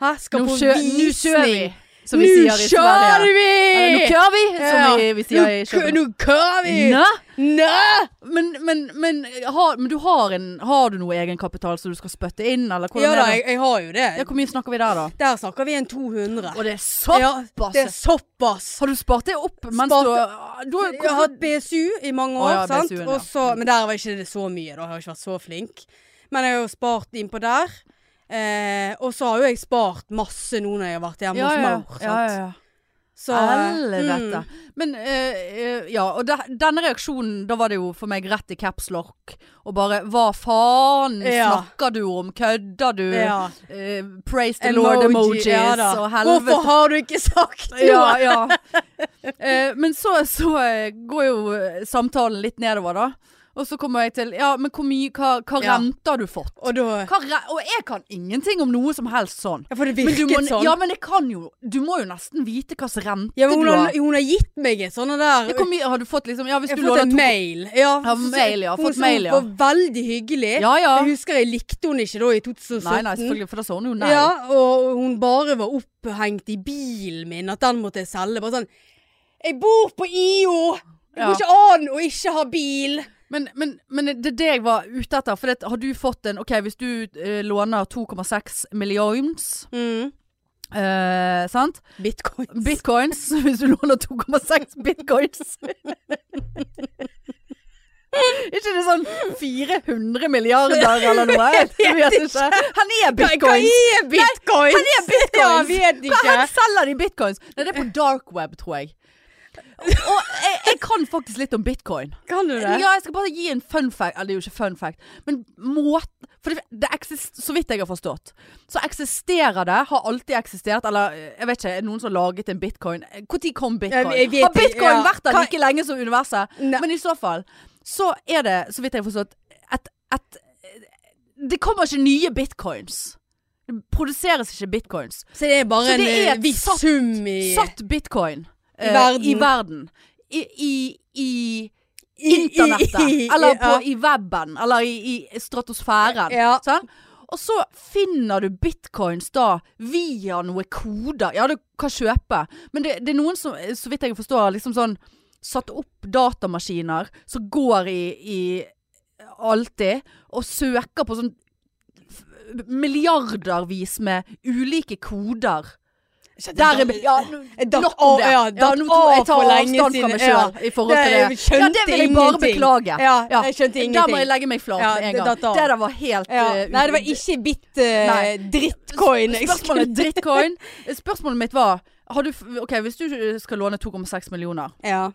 Speaker 2: Hæ? Skal
Speaker 1: Nå
Speaker 2: på
Speaker 1: kjø- nå
Speaker 2: visning.
Speaker 1: kjører vi, som vi
Speaker 2: Nå
Speaker 1: sier i
Speaker 2: kjører
Speaker 1: Sverige.
Speaker 2: vi!
Speaker 1: Eller, Nå kører vi,
Speaker 2: Ja.
Speaker 1: som vi, vi sier i
Speaker 2: Nå kø- Nå kører vi!
Speaker 1: Nå?
Speaker 2: Nå!
Speaker 1: Men, men, men, har, men du har, en, har du noe egenkapital som du skal spytte inn, eller hvordan
Speaker 2: Ja da,
Speaker 1: er
Speaker 2: jeg,
Speaker 1: det?
Speaker 2: jeg har jo det.
Speaker 1: Ja, hvor mye snakker vi der, da?
Speaker 2: Der snakker vi en 200.
Speaker 1: Og det er
Speaker 2: Ja,
Speaker 1: såpass!
Speaker 2: det er såpass.
Speaker 1: Har du spart det opp mens
Speaker 2: Spart-
Speaker 1: du Du har
Speaker 2: Jeg har hatt BSU i mange
Speaker 1: Å,
Speaker 2: år,
Speaker 1: ja,
Speaker 2: sant?
Speaker 1: BSU-en, ja.
Speaker 2: Og så- men der var ikke det så mye, da. Jeg har ikke vært så flink. Men jeg har jo spart innpå der. Eh, og så har jo jeg spart masse nå når jeg har vært hjemme
Speaker 1: ja,
Speaker 2: hos
Speaker 1: ja,
Speaker 2: mor. Sant?
Speaker 1: ja, ja, ja.
Speaker 2: Så,
Speaker 1: Helvete.
Speaker 2: mm,
Speaker 1: Men eh, eh, ja, og de, denne reaksjonen, da var det jo for meg rett i caps lock. Og bare hva faen
Speaker 2: Ja.
Speaker 1: snakker du om? Kødder du?
Speaker 2: ja.
Speaker 1: Eh, praise the lord emojis
Speaker 2: ja da.
Speaker 1: og helvete.
Speaker 2: Hvorfor har du ikke sagt noe?
Speaker 1: Ja, ja. Eh, men så, så eh, går jo eh, samtalen litt nedover, da. Og så kommer jeg til Ja, men hvor mye Hva, hva
Speaker 2: Ja.
Speaker 1: renter har du fått?
Speaker 2: Og da
Speaker 1: Hva, re- og jeg kan ingenting om noe som helst sånn.
Speaker 2: Ja, for det
Speaker 1: Men du
Speaker 2: virket
Speaker 1: må,
Speaker 2: sånn.
Speaker 1: Ja, men jeg kan jo Du må jo nesten vite hva slags rente
Speaker 2: Ja, men hun,
Speaker 1: du
Speaker 2: har,
Speaker 1: har.
Speaker 2: hun har gitt meg et sånt der
Speaker 1: Ja, Hvor mye har du fått, liksom? Ja, hvis
Speaker 2: Jeg
Speaker 1: du
Speaker 2: har fått
Speaker 1: låner
Speaker 2: en
Speaker 1: to
Speaker 2: mail. Ja,
Speaker 1: Ja, mail, ja.
Speaker 2: Hun
Speaker 1: Fått
Speaker 2: som
Speaker 1: mail, ja.
Speaker 2: var veldig hyggelig.
Speaker 1: Ja, ja.
Speaker 2: Jeg husker jeg likte hun ikke da i 2017.
Speaker 1: Nei, nei, selvfølgelig, for da sa hun jo nei.
Speaker 2: Ja, og hun bare var opphengt i bilen min, at den måtte jeg selge. Bare sånn Jeg bor på IO! Det
Speaker 1: Ja.
Speaker 2: går ikke an å ikke ha bil!
Speaker 1: Men, men, men det er det jeg var ute etter. For det, har du fått en OK, hvis du eh, låner 2,6 millions,
Speaker 2: Mm.
Speaker 1: eh, sant?
Speaker 2: Bitcoins.
Speaker 1: Bitcoins. Hvis du låner 2,6 bitcoins Ikke det sånn 400 milliarder eller noe? Jeg vet ikke. Han er
Speaker 2: Hva- Hva
Speaker 1: bitcoins.
Speaker 2: er bitcoins? Hva er bitcoins? Ja, jeg vet
Speaker 1: Hva
Speaker 2: ikke.
Speaker 1: han selger de bitcoins? Nei, det er på dark web, tror jeg. Og jeg, jeg kan faktisk litt om bitcoin.
Speaker 2: Kan du det?
Speaker 1: Ja, jeg skal bare gi en fun fact. Eller det er jo ikke fun fact, men måten For det, det eksist, så vidt jeg har forstått, så eksisterer det. Har alltid eksistert. Eller eh, jeg vet ikke, er det noen som har laget en bitcoin? Når kom bitcoin?
Speaker 2: Jeg- jeg vet
Speaker 1: har
Speaker 2: ikke,
Speaker 1: bitcoin
Speaker 2: ja.
Speaker 1: vært der
Speaker 2: Hva-
Speaker 1: like lenge som universet?
Speaker 2: Nei.
Speaker 1: Men i så fall, så er det, så vidt jeg har forstått, et, et Det kommer ikke nye bitcoins. Det produseres ikke bitcoins.
Speaker 2: Så det er bare
Speaker 1: Så det
Speaker 2: en
Speaker 1: er
Speaker 2: eh,
Speaker 1: et
Speaker 2: viss
Speaker 1: satt-
Speaker 2: sum i
Speaker 1: Satt bitcoin
Speaker 2: I
Speaker 1: eh,
Speaker 2: verden.
Speaker 1: i, verden. I, i, i
Speaker 2: i- i-
Speaker 1: internettet.
Speaker 2: i-
Speaker 1: Eller på,
Speaker 2: ja.
Speaker 1: i weben. Eller i, i stratosfæren.
Speaker 2: Ja.
Speaker 1: sant? Og så finner du bitcoins da via noe koder. Ja, du kan kjøpe. Men det, det er noen som, eh, så vidt jeg forstår, liksom sånn Satt opp datamaskiner som går i, i alltid, og søker på sånn f- milliardervis med ulike koder.
Speaker 2: Shit,
Speaker 1: Der er
Speaker 2: jeg
Speaker 1: bi- ja,
Speaker 2: datt-
Speaker 1: nå-
Speaker 2: jeg Eh, datt
Speaker 1: Nok om
Speaker 2: av-
Speaker 1: det.
Speaker 2: Ja,
Speaker 1: Ja,
Speaker 2: datt
Speaker 1: nå tror jeg
Speaker 2: av
Speaker 1: jeg tar
Speaker 2: for lenge
Speaker 1: avstand fra meg
Speaker 2: siden.
Speaker 1: sjøl i forhold til det.
Speaker 2: Jeg skjønte
Speaker 1: Ja, det vil jeg bare
Speaker 2: ingenting.
Speaker 1: beklage.
Speaker 2: Ja,
Speaker 1: Ja,
Speaker 2: jeg skjønte
Speaker 1: Der må jeg
Speaker 2: ingenting.
Speaker 1: legge meg flat
Speaker 2: Ja,
Speaker 1: med en
Speaker 2: det
Speaker 1: gang.
Speaker 2: datt av.
Speaker 1: Det der var helt
Speaker 2: Ja.
Speaker 1: eh,
Speaker 2: Nei, det var ikke bitt eh,
Speaker 1: Nei.
Speaker 2: drittcoin. jeg skulle-
Speaker 1: Spørsmålet drittcoin. Spørsmålet mitt var har du, f- Ok, hvis du skal låne 2,6 millioner
Speaker 2: Ja.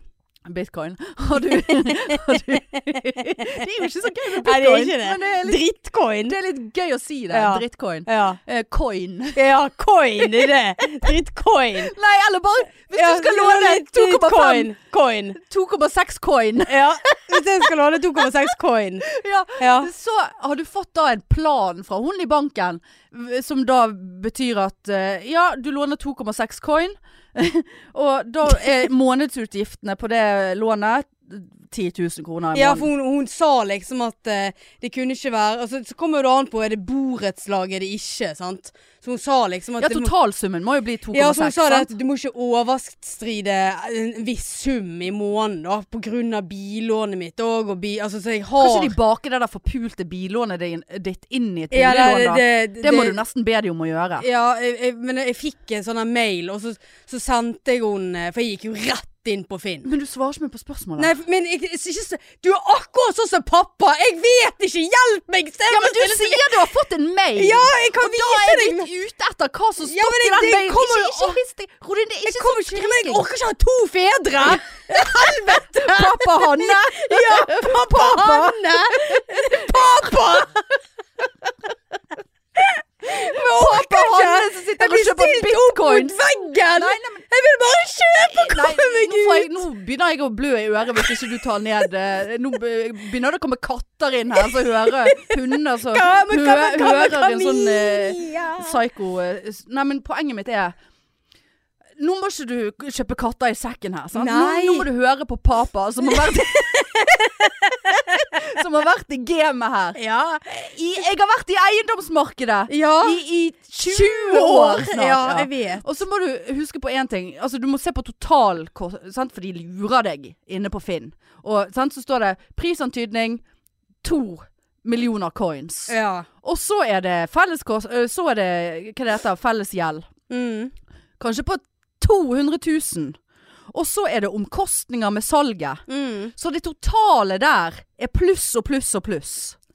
Speaker 2: bitcoin.
Speaker 1: bitcoin har du, har du Det er jo ikke så gøy med
Speaker 2: Nei, det er
Speaker 1: bitcoin.
Speaker 2: ikke det.
Speaker 1: Men det er litt,
Speaker 2: Drittcoin.
Speaker 1: det er litt gøy å si det.
Speaker 2: Ja.
Speaker 1: Drittcoin.
Speaker 2: Ja.
Speaker 1: Eh, coin.
Speaker 2: ja, coin det er det. Drittcoin.
Speaker 1: Nei, eller bare Hvis
Speaker 2: Ja,
Speaker 1: du skal
Speaker 2: litt
Speaker 1: låne
Speaker 2: coin. Coin.
Speaker 1: 2,6 coin
Speaker 2: Ja. Hvis jeg skal låne 2,6 coin.
Speaker 1: ja,
Speaker 2: Ja.
Speaker 1: Så har du fått da en plan fra hun i banken, v- som da betyr at eh, ja, du låner 2,6 coin, og da er månedsutgiftene på det lånet 10 000 kroner i
Speaker 2: Ja,
Speaker 1: måneden.
Speaker 2: for hun, hun sa liksom at eh, det kunne ikke være altså, Så kommer jo det an på er det borettslag, er det ikke, sant. Så hun sa liksom at
Speaker 1: Ja,
Speaker 2: det må-
Speaker 1: totalsummen må jo bli 2,6.
Speaker 2: ja, så hun sa det
Speaker 1: sant?
Speaker 2: at du må ikke overstride en viss sum i måneden, da, på grunn av billånet mitt òg, og bi... Altså, så jeg har
Speaker 1: Kanskje de baker det der forpulte billånet din- ditt inn i et
Speaker 2: Ja,
Speaker 1: billån,
Speaker 2: det,
Speaker 1: da.
Speaker 2: det,
Speaker 1: Det, må du nesten be de om å gjøre.
Speaker 2: Ja, jeg, jeg, men jeg fikk en sånn her mail, og så, så sendte jeg henne For jeg gikk jo rett inn på Finn.
Speaker 1: Men du svarer ikke meg på spørsmålet.
Speaker 2: Nei, men jeg, jeg, ikke, så- du er akkurat sånn som pappa! Jeg vet ikke! Hjelp meg! Se,
Speaker 1: ja, men du
Speaker 2: jeg-
Speaker 1: sier du har fått en mail!
Speaker 2: Ja, jeg kan
Speaker 1: Da
Speaker 2: vise
Speaker 1: er
Speaker 2: deg!
Speaker 1: jeg litt ute etter hva som står
Speaker 2: Ja, men
Speaker 1: i
Speaker 2: det-
Speaker 1: den
Speaker 2: det
Speaker 1: mailen.
Speaker 2: kommer
Speaker 1: Ikke,
Speaker 2: jo-
Speaker 1: ikke rist deg. Rodin, det er
Speaker 2: Jeg
Speaker 1: ikke
Speaker 2: kommer
Speaker 1: sånn
Speaker 2: ikke, men jeg
Speaker 1: skriking.
Speaker 2: orker ikke ha to fedre!
Speaker 1: Pappa Hanne!
Speaker 2: Ja, pappa Hanne! Pappa! Men jeg orker
Speaker 1: Pappa
Speaker 2: ikke!
Speaker 1: Hanne som sitter
Speaker 2: Jeg
Speaker 1: og
Speaker 2: blir
Speaker 1: kjøper
Speaker 2: stilt opp
Speaker 1: bitcoin!
Speaker 2: mot veggen!
Speaker 1: Nei, nei, men-
Speaker 2: Jeg vil bare kjøpe
Speaker 1: Nei,
Speaker 2: og komme meg
Speaker 1: nå, får jeg,
Speaker 2: ut!
Speaker 1: nå begynner jeg å blø i øret hvis ikke du tar ned eh, Nå be- begynner det å komme katter inn her, så hører hunder så
Speaker 2: Hva- men hva-
Speaker 1: hø-
Speaker 2: hva- hva-
Speaker 1: hører en sånn eh,
Speaker 2: Camilla?
Speaker 1: psycho eh, s- Nei, men poenget mitt er Nå må ikke du k- kjøpe katter i sekken her, sant? Nå,
Speaker 2: Nei.
Speaker 1: nå må du høre på papa som har vært Som har vært i gamet her.
Speaker 2: Ja.
Speaker 1: I, jeg har vært i eiendomsmarkedet
Speaker 2: ja.
Speaker 1: i, i 20 år snart.
Speaker 2: Ja, jeg vet.
Speaker 1: Og så må du huske på én ting. Altså, du må se på totalkost, sant? for de lurer deg inne på Finn. Og sant? så står det prisantydning to millioner coins.
Speaker 2: Ja.
Speaker 1: Og så er det felleskost ø, Så er det hva det heter, fellesgjeld.
Speaker 2: Mm.
Speaker 1: Kanskje på 200 000. Og så er det omkostninger med salget.
Speaker 2: Mm.
Speaker 1: Så det totale der er pluss og pluss og pluss.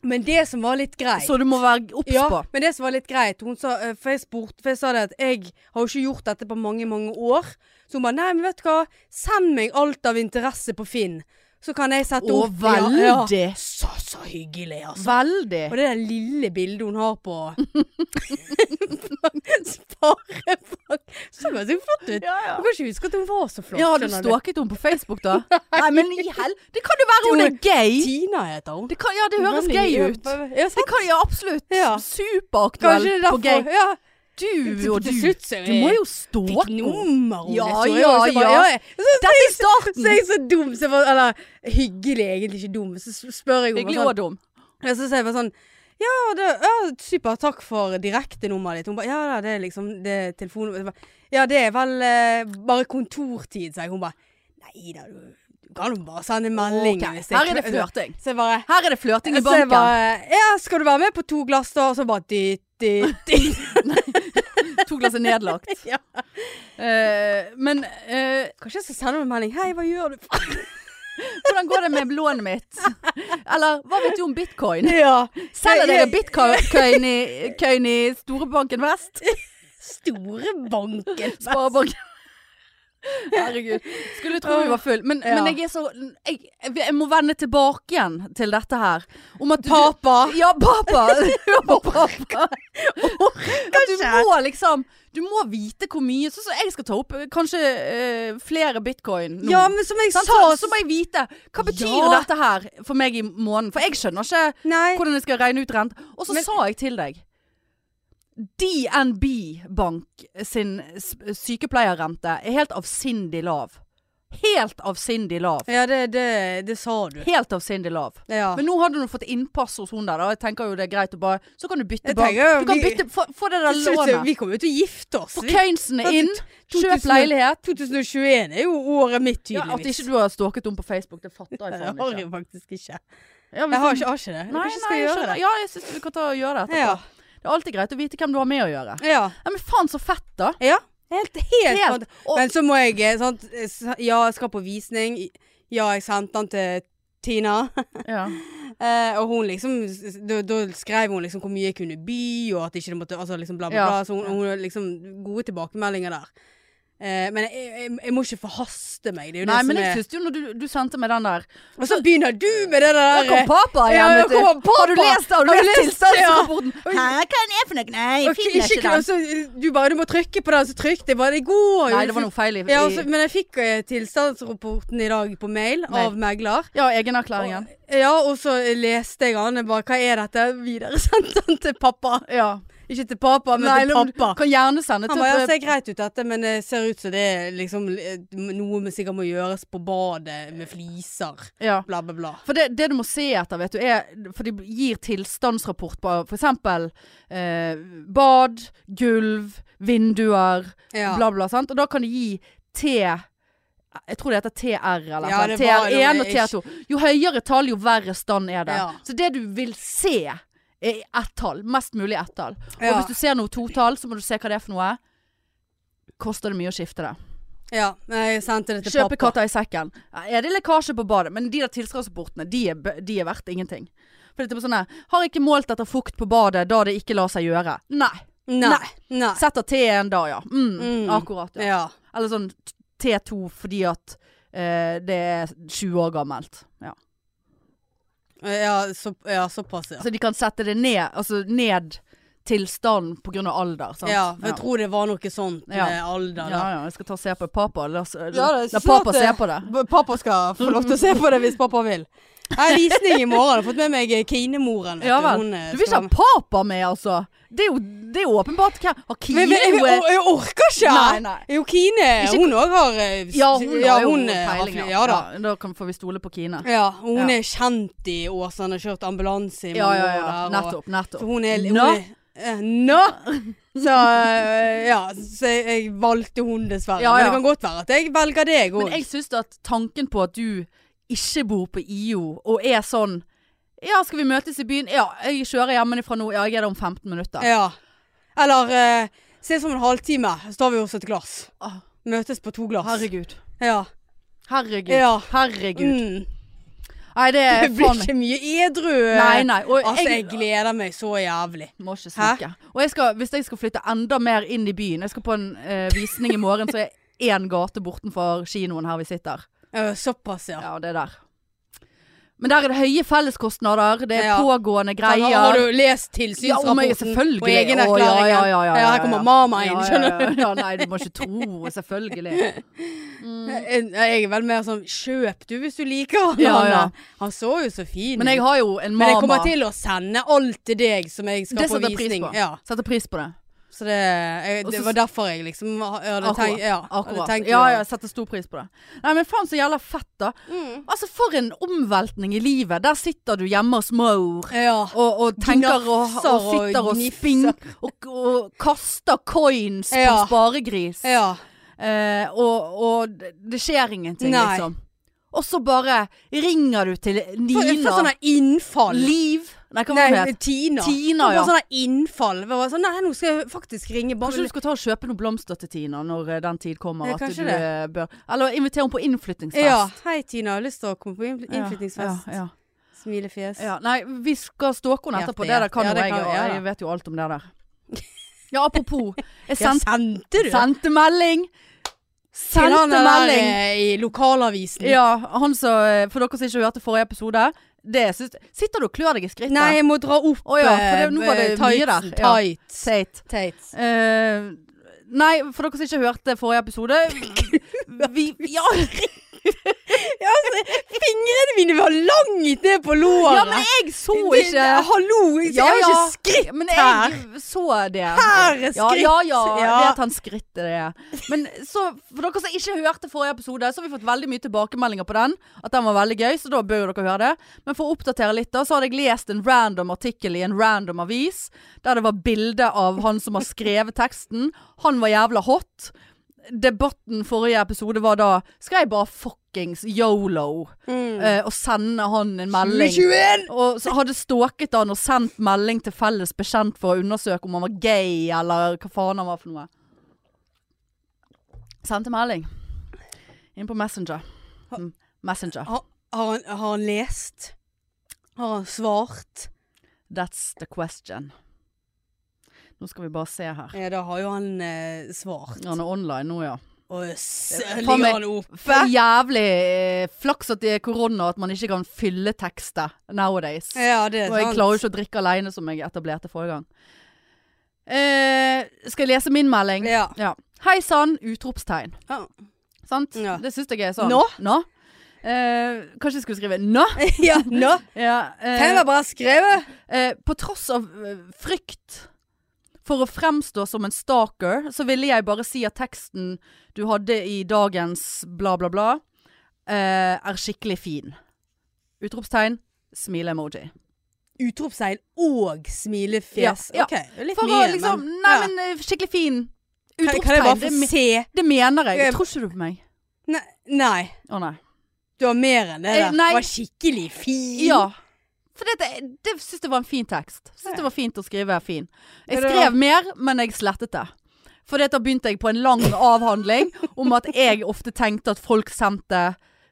Speaker 2: Men det som var litt greit
Speaker 1: Så du må være obs på.
Speaker 2: Ja, men det som var litt greit hun sa, eh, For jeg spurte, for jeg sa det at jeg har jo ikke gjort dette på mange, mange år. Så hun ba nei, men vet du hva, send meg alt av interesse på Finn. Så kan jeg sette
Speaker 1: Å,
Speaker 2: opp
Speaker 1: veldig.
Speaker 2: Så, så hyggelig, altså.
Speaker 1: Veldig.
Speaker 2: Og det der lille bildet hun har på Sparebank. Så ganske flott ut.
Speaker 1: Ja, ja.
Speaker 2: Jeg kan ikke huske at hun var så flott.
Speaker 1: Ja, har du
Speaker 2: skjønner
Speaker 1: stalket henne på Facebook, da? Nei, men i hel... Det kan jo være hun
Speaker 2: Du-
Speaker 1: er gay!
Speaker 2: Tina heter hun.
Speaker 1: Det kan, ja, det høres gay ut.
Speaker 2: Ja,
Speaker 1: Det
Speaker 2: sant?
Speaker 1: kan ja, absolutt.
Speaker 2: Ja.
Speaker 1: Superaktuell
Speaker 2: Kanskje det er
Speaker 1: på gay.
Speaker 2: derfor. Ja.
Speaker 1: Du
Speaker 2: Til-
Speaker 1: og du.
Speaker 2: til slutt så er
Speaker 1: Du må
Speaker 2: jeg-
Speaker 1: jo stalke
Speaker 2: Fikk
Speaker 1: henne.
Speaker 2: nummer om
Speaker 1: Ja,
Speaker 2: det, så jeg
Speaker 1: ja,
Speaker 2: var så bare,
Speaker 1: ja.
Speaker 2: ja. Så,
Speaker 1: Dette er starten.
Speaker 2: så er jeg så dum, så jeg bare, eller hyggelig, egentlig ikke dum. Så s- spør jeg henne
Speaker 1: Hyggelig
Speaker 2: bare
Speaker 1: og dum.
Speaker 2: sånn, ja, så sier jeg bare sånn ja, det, ja, super, takk for direktenummeret ditt. Hun bare, ja, da, det er liksom det er telefonnummeret. Jeg ba, Ja, det er vel eh, bare kontortid, sier jeg. Hun bare, nei da, du, du kan jo bare sende melding.
Speaker 1: Ok,
Speaker 2: hvis
Speaker 1: Her er det
Speaker 2: kve-
Speaker 1: flørting.
Speaker 2: Så jeg bare,
Speaker 1: Her er det flørting i
Speaker 2: så jeg
Speaker 1: banken.
Speaker 2: bare, ja, skal du være med på to glass da? Og så bare, dytt, dytt, dytt.
Speaker 1: To glass er nedlagt.
Speaker 2: Ja.
Speaker 1: Eh, men eh,
Speaker 2: Kanskje jeg skal sende meg en melding, hei, hva gjør du?
Speaker 1: hvordan går det med lånet mitt? Eller hva vet du om bitcoin?
Speaker 2: Ja.
Speaker 1: Selger dere
Speaker 2: Jeg-
Speaker 1: bitcoin i, køyen i Storebanken Vest?
Speaker 2: Store banken.
Speaker 1: Sparebank. Herregud. Skulle tro vi var full. Men,
Speaker 2: Ja.
Speaker 1: men jeg er så jeg, jeg må vende tilbake igjen til dette her. Om at du-
Speaker 2: Papa.
Speaker 1: Ja, papa. Hør på pappa. At du
Speaker 2: ikke.
Speaker 1: må liksom Du må vite hvor mye Sånn som jeg skal ta opp eh, kanskje eh, flere bitcoin nå.
Speaker 2: Ja, men som jeg
Speaker 1: Sant?
Speaker 2: sa
Speaker 1: så, så må jeg vite hva betyr
Speaker 2: Ja.
Speaker 1: dette her for meg i måneden. For jeg skjønner ikke
Speaker 2: Nei.
Speaker 1: hvordan jeg skal regne ut rent. Og så
Speaker 2: Men-
Speaker 1: sa jeg til deg DNB Bank sin s- sykepleierrente er helt avsindig lav. Helt avsindig lav.
Speaker 2: Ja, det, det, det sa du.
Speaker 1: Helt avsindig lav.
Speaker 2: Ja.
Speaker 1: Men nå hadde du fått innpass hos hun der, da. Jeg tenker jo det er greit å bare Så kan du bytte
Speaker 2: Jeg
Speaker 1: bank.
Speaker 2: tenker jo
Speaker 1: Du kan
Speaker 2: vi-
Speaker 1: bytte, få, få det der
Speaker 2: Til slutt,
Speaker 1: lånet.
Speaker 2: vi kommer jo til å gifte oss.
Speaker 1: Få
Speaker 2: Vi-
Speaker 1: Køynsene
Speaker 2: Altså,
Speaker 1: inn. Kjøp
Speaker 2: 2000
Speaker 1: leilighet.
Speaker 2: 2021 er jo året mitt,
Speaker 1: Ja, at
Speaker 2: tydeligvis.
Speaker 1: ikke du har stalket henne på Facebook, det fatter jeg
Speaker 2: Jeg
Speaker 1: faen
Speaker 2: har
Speaker 1: ikke.
Speaker 2: jo faktisk ikke.
Speaker 1: Ja, hvis
Speaker 2: Jeg har
Speaker 1: du-
Speaker 2: ikke, har ikke det. Jeg
Speaker 1: Nei,
Speaker 2: kanskje
Speaker 1: nei,
Speaker 2: skal
Speaker 1: jeg
Speaker 2: gjøre
Speaker 1: skjønner.
Speaker 2: det.
Speaker 1: Ja, jeg syns vi kan ta og gjøre det etterpå. Det er alltid greit å vite hvem du har med å gjøre.
Speaker 2: Ja.
Speaker 1: Ja, men faen så fett da
Speaker 2: ja. Helt, helt,
Speaker 1: Helt. Og,
Speaker 2: Men så må jeg eh, sant, eh, s- Ja, jeg skal på visning. Ja, jeg sendte den til Tina.
Speaker 1: ja.
Speaker 2: Eh, og hun liksom s- da, da skrev hun liksom hvor mye jeg kunne by, og at ikke det måtte Altså liksom bla, bla,
Speaker 1: Ja.
Speaker 2: bla. Så hun, hun har liksom gode tilbakemeldinger der. Eh, men jeg, jeg, jeg må ikke forhaste meg. Det er jo
Speaker 1: Nei,
Speaker 2: det som
Speaker 1: men jeg
Speaker 2: er
Speaker 1: syns jo når du, du sendte meg den der
Speaker 2: Og så begynner du med det
Speaker 1: Da
Speaker 2: der
Speaker 1: kom
Speaker 2: eh,
Speaker 1: pappa
Speaker 2: ja,
Speaker 1: igjen,
Speaker 2: ja,
Speaker 1: vet du.
Speaker 2: kom pappa.
Speaker 1: Har du lest det? Har du
Speaker 2: Har du
Speaker 1: lest
Speaker 2: lest det?
Speaker 1: tilstandsrapporten?
Speaker 2: Ja.
Speaker 1: Hæ, hva er det for noe? Nei,
Speaker 2: og ikke, og så, eh, Du bare du må trykke på den, så trykte jeg bare. Det går jo.
Speaker 1: Nei, det var noe feil i, i
Speaker 2: ja, og så- Men jeg fikk eh, tilstandsrapporten i dag på mail
Speaker 1: Mail.
Speaker 2: av megler.
Speaker 1: ja egenerklæringen.
Speaker 2: Og, ja, og så leste jeg den. Jeg bare Hva er dette? Videresendte den til pappa.
Speaker 1: Ja.
Speaker 2: Ikke til pappa, men
Speaker 1: Nei,
Speaker 2: til
Speaker 1: men-
Speaker 2: pappa.
Speaker 1: Kan gjerne sende
Speaker 2: Han bare,
Speaker 1: til
Speaker 2: ja, ser greit ut dette, men det ser ut som det er liksom eh, noe vi sikkert må gjøres på badet med fliser.
Speaker 1: ja.
Speaker 2: Bla, bla, bla.
Speaker 1: For det, det du må se etter, vet du, er For de gir tilstandsrapport på f.eks. Eh, bad, gulv, vinduer,
Speaker 2: Ja.
Speaker 1: bla, bla. Sant? Og da kan de gi T Jeg tror det heter TR, eller
Speaker 2: Ja,
Speaker 1: noe.
Speaker 2: det var- det var
Speaker 1: TR1 og TR2. Jo høyere tall, jo verre stand er det.
Speaker 2: Ja.
Speaker 1: Så det du vil se, er ett tall. Mest mulig ett tall. Og
Speaker 2: Ja.
Speaker 1: hvis du ser noe totall, så må du se hva det er for noe. Koster det mye å skifte det?
Speaker 2: ja. Jeg sendte det til
Speaker 1: Kjøpe
Speaker 2: pappa.
Speaker 1: katta i sekken. Ja, Er det lekkasje på badet? Men de der tilstandsrapportene, de er, b- de er verdt ingenting. For det er sånn her, Har ikke målt etter fukt på badet da det ikke lar seg gjøre. Nei.
Speaker 2: Nei. Nei.
Speaker 1: Setter T1 da, ja. Mm,
Speaker 2: Mm.
Speaker 1: Akkurat. Ja.
Speaker 2: Ja.
Speaker 1: Eller sånn T2 fordi at eh, det er 20 år gammelt. Ja.
Speaker 2: Ja, så, ja, såpass, ja.
Speaker 1: Så de kan sette det ned, altså ned til stand pga. alder. Sant?
Speaker 2: Ja, for jeg tror det var noe sånt med
Speaker 1: Ja. ja,
Speaker 2: alder. Da.
Speaker 1: ja, jeg skal ta og se på det. Pappa, la, oss-
Speaker 2: da,
Speaker 1: la
Speaker 2: snart
Speaker 1: pappa
Speaker 2: det.
Speaker 1: se på det.
Speaker 2: B- Pappa skal få lov til å se på det hvis pappa vil. Jeg har visning i morgen. Jeg har fått med meg eh, Kine-moren. vet
Speaker 1: Ja vel.
Speaker 2: Hun, eh,
Speaker 1: Du vil ikke
Speaker 2: skal-
Speaker 1: ha papa med, altså? Det er jo, det er jo åpenbart hvem Har Kine
Speaker 2: Men- men- jeg,
Speaker 1: jo
Speaker 2: jeg, jeg orker ikke!
Speaker 1: Nei, nei.
Speaker 2: Jo, Kine
Speaker 1: Ikke-
Speaker 2: hun òg har eh, s-
Speaker 1: Ja, hun har jo
Speaker 2: eh, har
Speaker 1: peiling.
Speaker 2: fly- Ja da.
Speaker 1: da kan, får vi stole på Kine.
Speaker 2: Ja, og hun
Speaker 1: Ja.
Speaker 2: er kjent i Åsane, har kjørt ambulanse i mange
Speaker 1: Ja, ja, ja.
Speaker 2: år der. og-
Speaker 1: Nettopp. nettopp.
Speaker 2: Så hun er hun
Speaker 1: Nå?
Speaker 2: er- eh, Nå! Så eh, ja, så jeg, jeg valgte hun dessverre.
Speaker 1: Ja,
Speaker 2: Men
Speaker 1: ja.
Speaker 2: det kan godt være at jeg velger deg
Speaker 1: Men
Speaker 2: òg.
Speaker 1: jeg syns at tanken på at du ikke bor på IO, og er sånn Ja, skal vi møtes i byen? Ja, jeg kjører hjemmefra nå. Ja, jeg er der om 15 minutter.
Speaker 2: Ja. Eller eh, ses om en halvtime, så tar vi oss et glass.
Speaker 1: Åh,
Speaker 2: Møtes på to glass.
Speaker 1: herregud.
Speaker 2: Ja.
Speaker 1: Herregud.
Speaker 2: Ja.
Speaker 1: Herregud.
Speaker 2: Mm.
Speaker 1: Nei, det er
Speaker 2: Det blir
Speaker 1: Eh, faen meg
Speaker 2: ikke mye edru.
Speaker 1: Nei, nei. Og
Speaker 2: Altså, jeg gleder meg så jævlig.
Speaker 1: Må ikke snakke. Og jeg skal, hvis jeg skal flytte enda mer inn i byen Jeg skal på en eh, visning i morgen, så er én gate bortenfor kinoen her vi sitter.
Speaker 2: Eh, såpass, ja.
Speaker 1: Ja, det er der. Men der er det høye felleskostnader, det er
Speaker 2: Ja.
Speaker 1: pågående
Speaker 2: Har,
Speaker 1: greier.
Speaker 2: har du lest
Speaker 1: ja, om jeg
Speaker 2: tilsynsrapporten
Speaker 1: selvfølgelig
Speaker 2: og egenerklæringen?
Speaker 1: Å, ja, ja, ja, ja,
Speaker 2: her kommer mama inn, skjønner du.
Speaker 1: du. Ja, ja, nei, du må ikke tro. Selvfølgelig.
Speaker 2: Jeg- Jeg er vel mer sånn Kjøp du hvis du liker han.
Speaker 1: Ja,
Speaker 2: Anna.
Speaker 1: ja.
Speaker 2: Han så jo så fin ut.
Speaker 1: Men jeg har jo en
Speaker 2: Men jeg
Speaker 1: mama.
Speaker 2: kommer til å sende alt til deg som jeg skal
Speaker 1: det
Speaker 2: på
Speaker 1: setter jeg pris
Speaker 2: visning.
Speaker 1: på.
Speaker 2: Ja.
Speaker 1: Setter pris på det.
Speaker 2: Så det, jeg,
Speaker 1: Og
Speaker 2: det
Speaker 1: så-
Speaker 2: var derfor jeg liksom ha- jeg hadde
Speaker 1: Akkurat.
Speaker 2: tenkt Ja, hadde
Speaker 1: Akkurat.
Speaker 2: tenkt
Speaker 1: Ja,
Speaker 2: å-
Speaker 1: ja, jeg setter stor pris på det. Nei, men faen så jævla fett, da.
Speaker 2: Mm.
Speaker 1: Altså, for en omveltning i livet. Der sitter du hjemme hos mor.
Speaker 2: ja.
Speaker 1: Og, og tenker og,
Speaker 2: Gnafser
Speaker 1: og
Speaker 2: og
Speaker 1: sitter og
Speaker 2: gnifser.
Speaker 1: spinker og, og kaster coins på
Speaker 2: Ja.
Speaker 1: sparegris.
Speaker 2: ja.
Speaker 1: Eh, og, og det- det skjer ingenting,
Speaker 2: Nei.
Speaker 1: liksom. Og så bare ringer du til
Speaker 2: For,
Speaker 1: Nina.
Speaker 2: for sånne innfall.
Speaker 1: Liv Nei, hva var det hun
Speaker 2: Nei,
Speaker 1: het?
Speaker 2: Tina.
Speaker 1: Tina,
Speaker 2: For
Speaker 1: ja.
Speaker 2: sånne innfall. Det var sånn, nei, nå skal jeg faktisk ringe
Speaker 1: Kanskje du
Speaker 2: barn...
Speaker 1: skal ta og kjøpe noen blomster til Tina når eh, den tid kommer.
Speaker 2: Ja,
Speaker 1: at du
Speaker 2: kanskje det.
Speaker 1: eh, bør Eller inviter henne på innflyttingsfest.
Speaker 2: Ja. Hei, Tina. Jeg har lyst til å komme på innfly-
Speaker 1: Ja,
Speaker 2: innflyttingsfest.
Speaker 1: Ja, ja,
Speaker 2: Smilefjes.
Speaker 1: ja. Nei, vi skal stalke henne etterpå. Det
Speaker 2: Hjerte,
Speaker 1: der
Speaker 2: hjerte.
Speaker 1: kan
Speaker 2: Ja,
Speaker 1: jo
Speaker 2: det
Speaker 1: jeg,
Speaker 2: kan vi,
Speaker 1: og
Speaker 2: ja, da.
Speaker 1: jeg vet jo alt om det der. Ja, apropos. Jeg
Speaker 2: Ja,
Speaker 1: sendte,
Speaker 2: sendte du?
Speaker 1: sendte melding.
Speaker 2: Til han
Speaker 1: Sendte
Speaker 2: der
Speaker 1: melding.
Speaker 2: eh, i lokalavisen.
Speaker 1: Ja, han som For dere som ikke hørte forrige episode. Det syns Sitter du og klør deg i skrittet?
Speaker 2: Nei, jeg må dra opp
Speaker 1: Å ja, for det- nå var det
Speaker 2: eh,
Speaker 1: mye der.
Speaker 2: tightsen,
Speaker 1: Ja.
Speaker 2: Tights.
Speaker 1: Teit.
Speaker 2: Tights.
Speaker 1: Eh, nei, for dere som ikke hørte forrige episode Vi Ja,
Speaker 2: Fingrene mine var langt ned på låret.
Speaker 1: ja men jeg så
Speaker 2: Det-
Speaker 1: ikke
Speaker 2: det- Hallo, jeg
Speaker 1: Ja,
Speaker 2: har
Speaker 1: ja.
Speaker 2: ikke skritt
Speaker 1: Men
Speaker 2: her.
Speaker 1: jeg så det.
Speaker 2: Her er
Speaker 1: Ja,
Speaker 2: skritt.
Speaker 1: ja, ja. Jeg
Speaker 2: Ja.
Speaker 1: vet han skrittet det er. Men så, for dere som ikke hørte forrige episode, så har vi fått veldig mye tilbakemeldinger på den. At den var veldig gøy, så da bør jo dere høre det. Men for å oppdatere litt, da, så hadde jeg lest en random artikkel i en random avis. Der det var bilde av han som har skrevet teksten. Han var jævla hot. Debatten forrige episode var da Skal jeg bare fuckings yolo
Speaker 2: Mm.
Speaker 1: eh, og sende han en melding?
Speaker 2: 21!
Speaker 1: Og så hadde stalket han og sendt melding til felles bekjent for å undersøke om han var gay, eller hva faen han var for noe. Sendte melding. Inn på Messenger. Mm, Messenger.
Speaker 2: Har, har, han, har han lest? Har han svart?
Speaker 1: That's the question. Nå skal vi bare se her.
Speaker 2: Ja, da har jo han eh, svart.
Speaker 1: Han er online nå, ja.
Speaker 2: Og så
Speaker 1: Faen
Speaker 2: ligger
Speaker 1: meg-
Speaker 2: han oppe.
Speaker 1: For jævlig eh, flaks at det er korona, at man ikke kan fylle tekster nowadays.
Speaker 2: Ja, det er
Speaker 1: Og jeg
Speaker 2: sant.
Speaker 1: klarer jo ikke å drikke alene, som jeg etablerte forrige gang. Eh, skal jeg lese min melding?
Speaker 2: Ja.
Speaker 1: Ja. Hei sann! Utropstegn.
Speaker 2: Ja.
Speaker 1: Sant?
Speaker 2: Ja.
Speaker 1: Det syns jeg er sånn.
Speaker 2: Nå?
Speaker 1: Eh, kanskje jeg skulle skrive nå?
Speaker 2: ja, nå.
Speaker 1: Ja,
Speaker 2: Kan jeg
Speaker 1: eh,
Speaker 2: være bare skrevet?
Speaker 1: eh, på tross av eh, frykt For å fremstå som en stalker, så ville jeg bare si at teksten du hadde i dagens bla, bla, bla, eh, er skikkelig fin. Utropstegn, smile-emoji.
Speaker 2: Utropstegn og smilefjes.
Speaker 1: Ja, ja.
Speaker 2: OK. det er Litt
Speaker 1: For
Speaker 2: mye,
Speaker 1: å liksom Nei,
Speaker 2: ja.
Speaker 1: men eh, skikkelig fin.
Speaker 2: Kan, kan jeg
Speaker 1: Utropstegn.
Speaker 2: bare
Speaker 1: Det,
Speaker 2: få
Speaker 1: me-
Speaker 2: se?
Speaker 1: det mener jeg.
Speaker 2: Jeg-
Speaker 1: Tror ikke du på meg?
Speaker 2: Nei, nei.
Speaker 1: Å nei.
Speaker 2: Du har mer enn det
Speaker 1: Eh,
Speaker 2: der.
Speaker 1: nei.
Speaker 2: Du var skikkelig fin.
Speaker 1: Ja. For dette, det syns jeg var en fin tekst. Syns det var fint å skrive fin. Jeg
Speaker 2: Ja, det
Speaker 1: skrev mer, men jeg slettet det. For da begynte jeg på en lang avhandling om at jeg ofte tenkte at folk sendte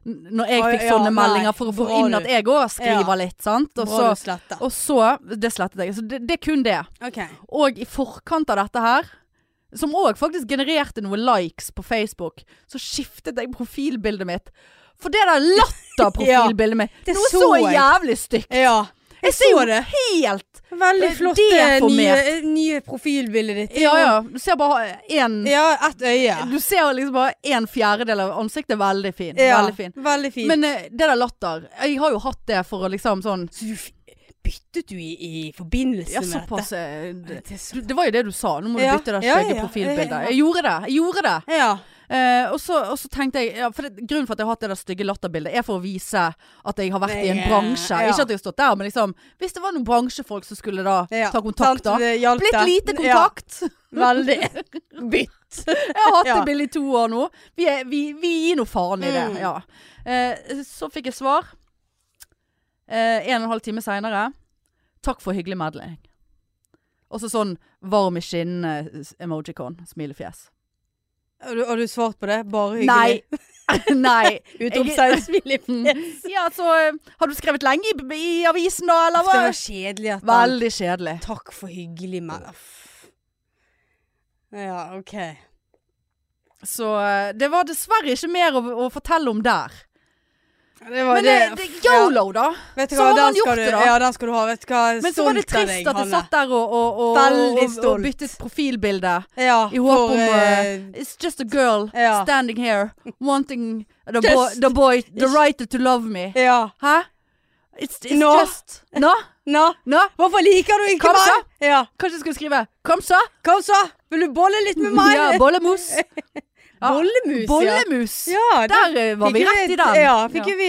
Speaker 1: n- Når jeg
Speaker 2: Å,
Speaker 1: fikk
Speaker 2: ja,
Speaker 1: sånne
Speaker 2: nei.
Speaker 1: meldinger for å få
Speaker 2: Bra
Speaker 1: inn
Speaker 2: du.
Speaker 1: at jeg òg
Speaker 2: Ja.
Speaker 1: skriver litt, sant. Og
Speaker 2: Bra
Speaker 1: altså, så,
Speaker 2: du sletta.
Speaker 1: og så Det slettet jeg. Så det, det er kun det.
Speaker 2: OK.
Speaker 1: Og i forkant av dette her, som òg faktisk genererte noen likes på Facebook, så skiftet jeg profilbildet mitt. For det der latter-profilbildet mitt,
Speaker 2: Det
Speaker 1: noe
Speaker 2: så
Speaker 1: så
Speaker 2: jeg.
Speaker 1: jævlig stygt.
Speaker 2: Ja.
Speaker 1: Jeg
Speaker 2: så
Speaker 1: ser jo
Speaker 2: det.
Speaker 1: helt
Speaker 2: Veldig
Speaker 1: Eh,
Speaker 2: flott
Speaker 1: det
Speaker 2: eh, nye,
Speaker 1: formert.
Speaker 2: eh, nye profilbildet ditt.
Speaker 1: Ja ja. Du ser bare én
Speaker 2: Ja, ett øye.
Speaker 1: Du ser liksom bare en fjerdedel av ansiktet. Veldig fin.
Speaker 2: Ja,
Speaker 1: Veldig fin.
Speaker 2: Veldig fint.
Speaker 1: Men eh, det der latter Jeg har jo hatt det for å liksom sånn
Speaker 2: Så du f- byttet du i, i forbindelse
Speaker 1: Ja,
Speaker 2: med
Speaker 1: såpass eh, det-
Speaker 2: dette? Det er så-
Speaker 1: du, Det var jo det du sa. Nå må du
Speaker 2: Ja,
Speaker 1: bytte det
Speaker 2: ja,
Speaker 1: stygge
Speaker 2: ja, ja.
Speaker 1: profilbildet. Jeg gjorde det. Jeg gjorde det.
Speaker 2: Ja.
Speaker 1: Eh, og, så, og så tenkte jeg ja, for det, Grunnen for at jeg har hatt det der stygge latterbildet, er for å vise at jeg har vært i en
Speaker 2: Det er-
Speaker 1: bransje.
Speaker 2: ja.
Speaker 1: Ikke at jeg har stått der, men liksom Hvis det var noen bransjefolk som skulle da
Speaker 2: ja.
Speaker 1: ta kontakt,
Speaker 2: Sant,
Speaker 1: da.
Speaker 2: det hjalp
Speaker 1: Blitt
Speaker 2: det.
Speaker 1: lite kontakt.
Speaker 2: Ja, veldig. Bytt.
Speaker 1: Jeg har hatt
Speaker 2: Ja.
Speaker 1: det bildet i to år nå. Vi, er, vi, vi gir noe faen i det.
Speaker 2: Mm.
Speaker 1: Ja. Eh, så fikk jeg svar. Eh, en og en halv time seinere. Takk for hyggelig melding. Og så sånn varm i skinnene-emojicon. Smilefjes.
Speaker 2: Har du, har du svart på det? Bare
Speaker 1: Nei.
Speaker 2: hyggelig?
Speaker 1: Nei.
Speaker 2: Utropstegn, smil i fjes.
Speaker 1: Ja, altså, har du skrevet lenge i, i avisen da, eller?
Speaker 2: Skal det
Speaker 1: hva?
Speaker 2: være kjedelig at han-
Speaker 1: Veldig kjedelig.
Speaker 2: Takk for hyggelig melding. Ja, OK.
Speaker 1: Så eh, det var dessverre ikke mer å, å fortelle om der.
Speaker 2: Det var
Speaker 1: Men eh, det,
Speaker 2: Ja.
Speaker 1: YOLO, da.
Speaker 2: Vet du
Speaker 1: så
Speaker 2: hva,
Speaker 1: har
Speaker 2: den
Speaker 1: man
Speaker 2: skal
Speaker 1: gjort
Speaker 2: du,
Speaker 1: det, da.
Speaker 2: Ja, den skal du ha. Vet du hva,
Speaker 1: Men så var det
Speaker 2: Stolt av
Speaker 1: trist
Speaker 2: deg,
Speaker 1: at jeg
Speaker 2: Hanne.
Speaker 1: satt der og, og, og,
Speaker 2: Veldig
Speaker 1: og, og
Speaker 2: stolt.
Speaker 1: byttet profilbilde.
Speaker 2: ja,
Speaker 1: i håp
Speaker 2: for,
Speaker 1: om,
Speaker 2: eh,
Speaker 1: It's just a girl
Speaker 2: Ja.
Speaker 1: standing here wanting the,
Speaker 2: Just-
Speaker 1: boy, the boy, the writer to love me.
Speaker 2: Ja.
Speaker 1: Hæ? It's, it's
Speaker 2: Nå.
Speaker 1: just Nå?
Speaker 2: Nå,
Speaker 1: Nå?
Speaker 2: hvorfor liker du ikke
Speaker 1: Kom så.
Speaker 2: meg? Ja.
Speaker 1: Kanskje jeg skulle skrive 'Kom så'?
Speaker 2: Kom så, vil du bolle litt med meg?
Speaker 1: Ja, bollemus. Ja,
Speaker 2: Bollemus, ja.
Speaker 1: Bollemus.
Speaker 2: Ja, det
Speaker 1: Der eh, var
Speaker 2: Fikk
Speaker 1: vi
Speaker 2: jo
Speaker 1: rett
Speaker 2: vi-
Speaker 1: i den.
Speaker 2: Ja, fikk jo vi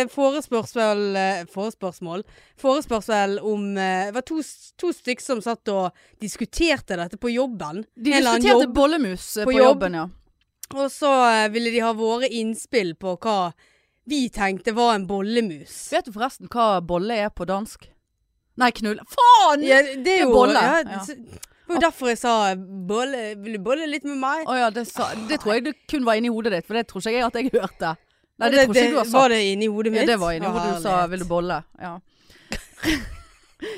Speaker 2: eh, forespørsel eh, Forespørsmål Forespørsel om eh, Det var to, to stykker som satt og diskuterte dette på jobben.
Speaker 1: De
Speaker 2: En eller annen
Speaker 1: diskuterte
Speaker 2: jobb.
Speaker 1: bollemus eh,
Speaker 2: På
Speaker 1: på
Speaker 2: jobb.
Speaker 1: jobben, ja.
Speaker 2: Og så eh, ville de ha våre innspill på hva vi tenkte var en bollemus.
Speaker 1: Vet du forresten hva bolle er på dansk? Nei, knulle Faen!
Speaker 2: Ja, det er jo
Speaker 1: bolle,
Speaker 2: Ja,
Speaker 1: ja.
Speaker 2: så- Det var jo derfor jeg sa bolle, Vil du bolle litt med meg?
Speaker 1: Å ja, det, sa, det tror jeg det kun var inni hodet ditt, for det tror ikke jeg at jeg hørte. Nei, det, tror ikke du har sagt.
Speaker 2: Var det inni hodet mitt?
Speaker 1: Ja, det var inni
Speaker 2: Å,
Speaker 1: hodet du sa
Speaker 2: herlighet.
Speaker 1: 'vil du bolle'? Ja.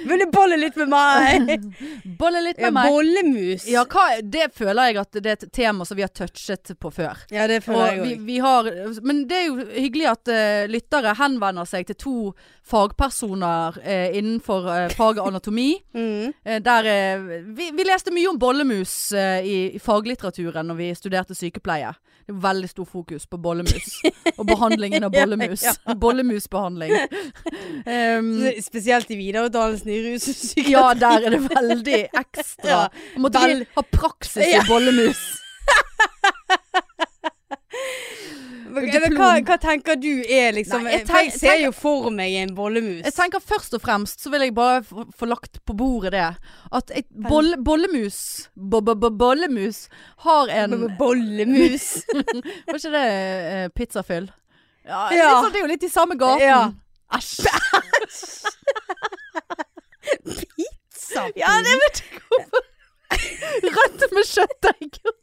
Speaker 2: Vil du bolle litt med meg?
Speaker 1: Bolle litt
Speaker 2: Ja,
Speaker 1: med meg.
Speaker 2: bollemus.
Speaker 1: Ja, hva, det føler jeg at det er et tema som vi har touchet på før.
Speaker 2: Ja, det føler
Speaker 1: Og
Speaker 2: jeg
Speaker 1: vi,
Speaker 2: òg.
Speaker 1: vi har, men det er jo hyggelig at eh, lyttere henvender seg til to fagpersoner eh, innenfor eh, faget anatomi.
Speaker 2: Mm.
Speaker 1: Eh, der, eh, vi, vi leste mye om bollemus eh, i, i faglitteraturen når vi studerte sykepleie. Det er veldig stor fokus på bollemus og behandlingen av bollemus. Bollemusbehandling. Um,
Speaker 2: Så Spesielt i videreutdannelsen i rus og psykiatri.
Speaker 1: ja, der er det veldig ekstra.
Speaker 2: Ja,
Speaker 1: Måtte
Speaker 2: vel-
Speaker 1: vi ha praksis i
Speaker 2: Ja.
Speaker 1: bollemus?
Speaker 2: Men
Speaker 1: diplom.
Speaker 2: hva, hva tenker du er liksom
Speaker 1: Nei, jeg
Speaker 2: For jeg
Speaker 1: tenk-
Speaker 2: ser
Speaker 1: tenker-
Speaker 2: jo for meg en bollemus.
Speaker 1: Jeg tenker først og fremst så vil jeg bare få- få lagt på bordet det at et boll, bollemus bo, bo, bo, Bollemus har en
Speaker 2: B- b- Bollemus.
Speaker 1: Var ikke det eh, pizzafyll? Ja,
Speaker 2: Ja.
Speaker 1: litt sånn, det er jo litt i samme gaten.
Speaker 2: Ja.
Speaker 1: Æsj.
Speaker 2: Pizza.
Speaker 1: Ja, det vet jeg hvorfor. Rett med kjøttdeig.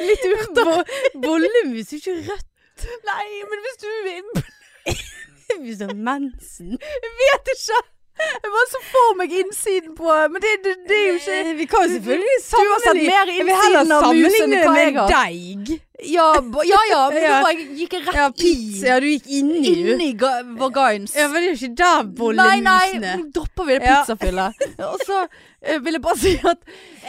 Speaker 1: Litt urter.
Speaker 2: bollemus er jo ikke rødt
Speaker 1: Nei, men hvis du Jeg
Speaker 2: hvis du har mensen.
Speaker 1: vet ikke. Jeg bare så for meg innsiden på Men det, det, det er jo ikke
Speaker 2: Eh, Vi kan jo selvfølgelig
Speaker 1: Du har sett mer
Speaker 2: Jeg vil heller
Speaker 1: innsiden av mus enn
Speaker 2: sammenligne det
Speaker 1: hva jeg
Speaker 2: med
Speaker 1: har.
Speaker 2: deig.
Speaker 1: Ja, bo- ja, ja, men
Speaker 2: Ja.
Speaker 1: nå var jeg- gikk jeg
Speaker 2: Ja,
Speaker 1: rett
Speaker 2: pizza. Ja, du gikk
Speaker 1: i
Speaker 2: inni jo.
Speaker 1: Inni ga- vagines.
Speaker 2: Ja, men det er jo ikke der
Speaker 1: Nei, nei,
Speaker 2: bollemusene
Speaker 1: nå dropper vi det
Speaker 2: Ja.
Speaker 1: pizzafyllet. Og så eh, vil jeg bare si at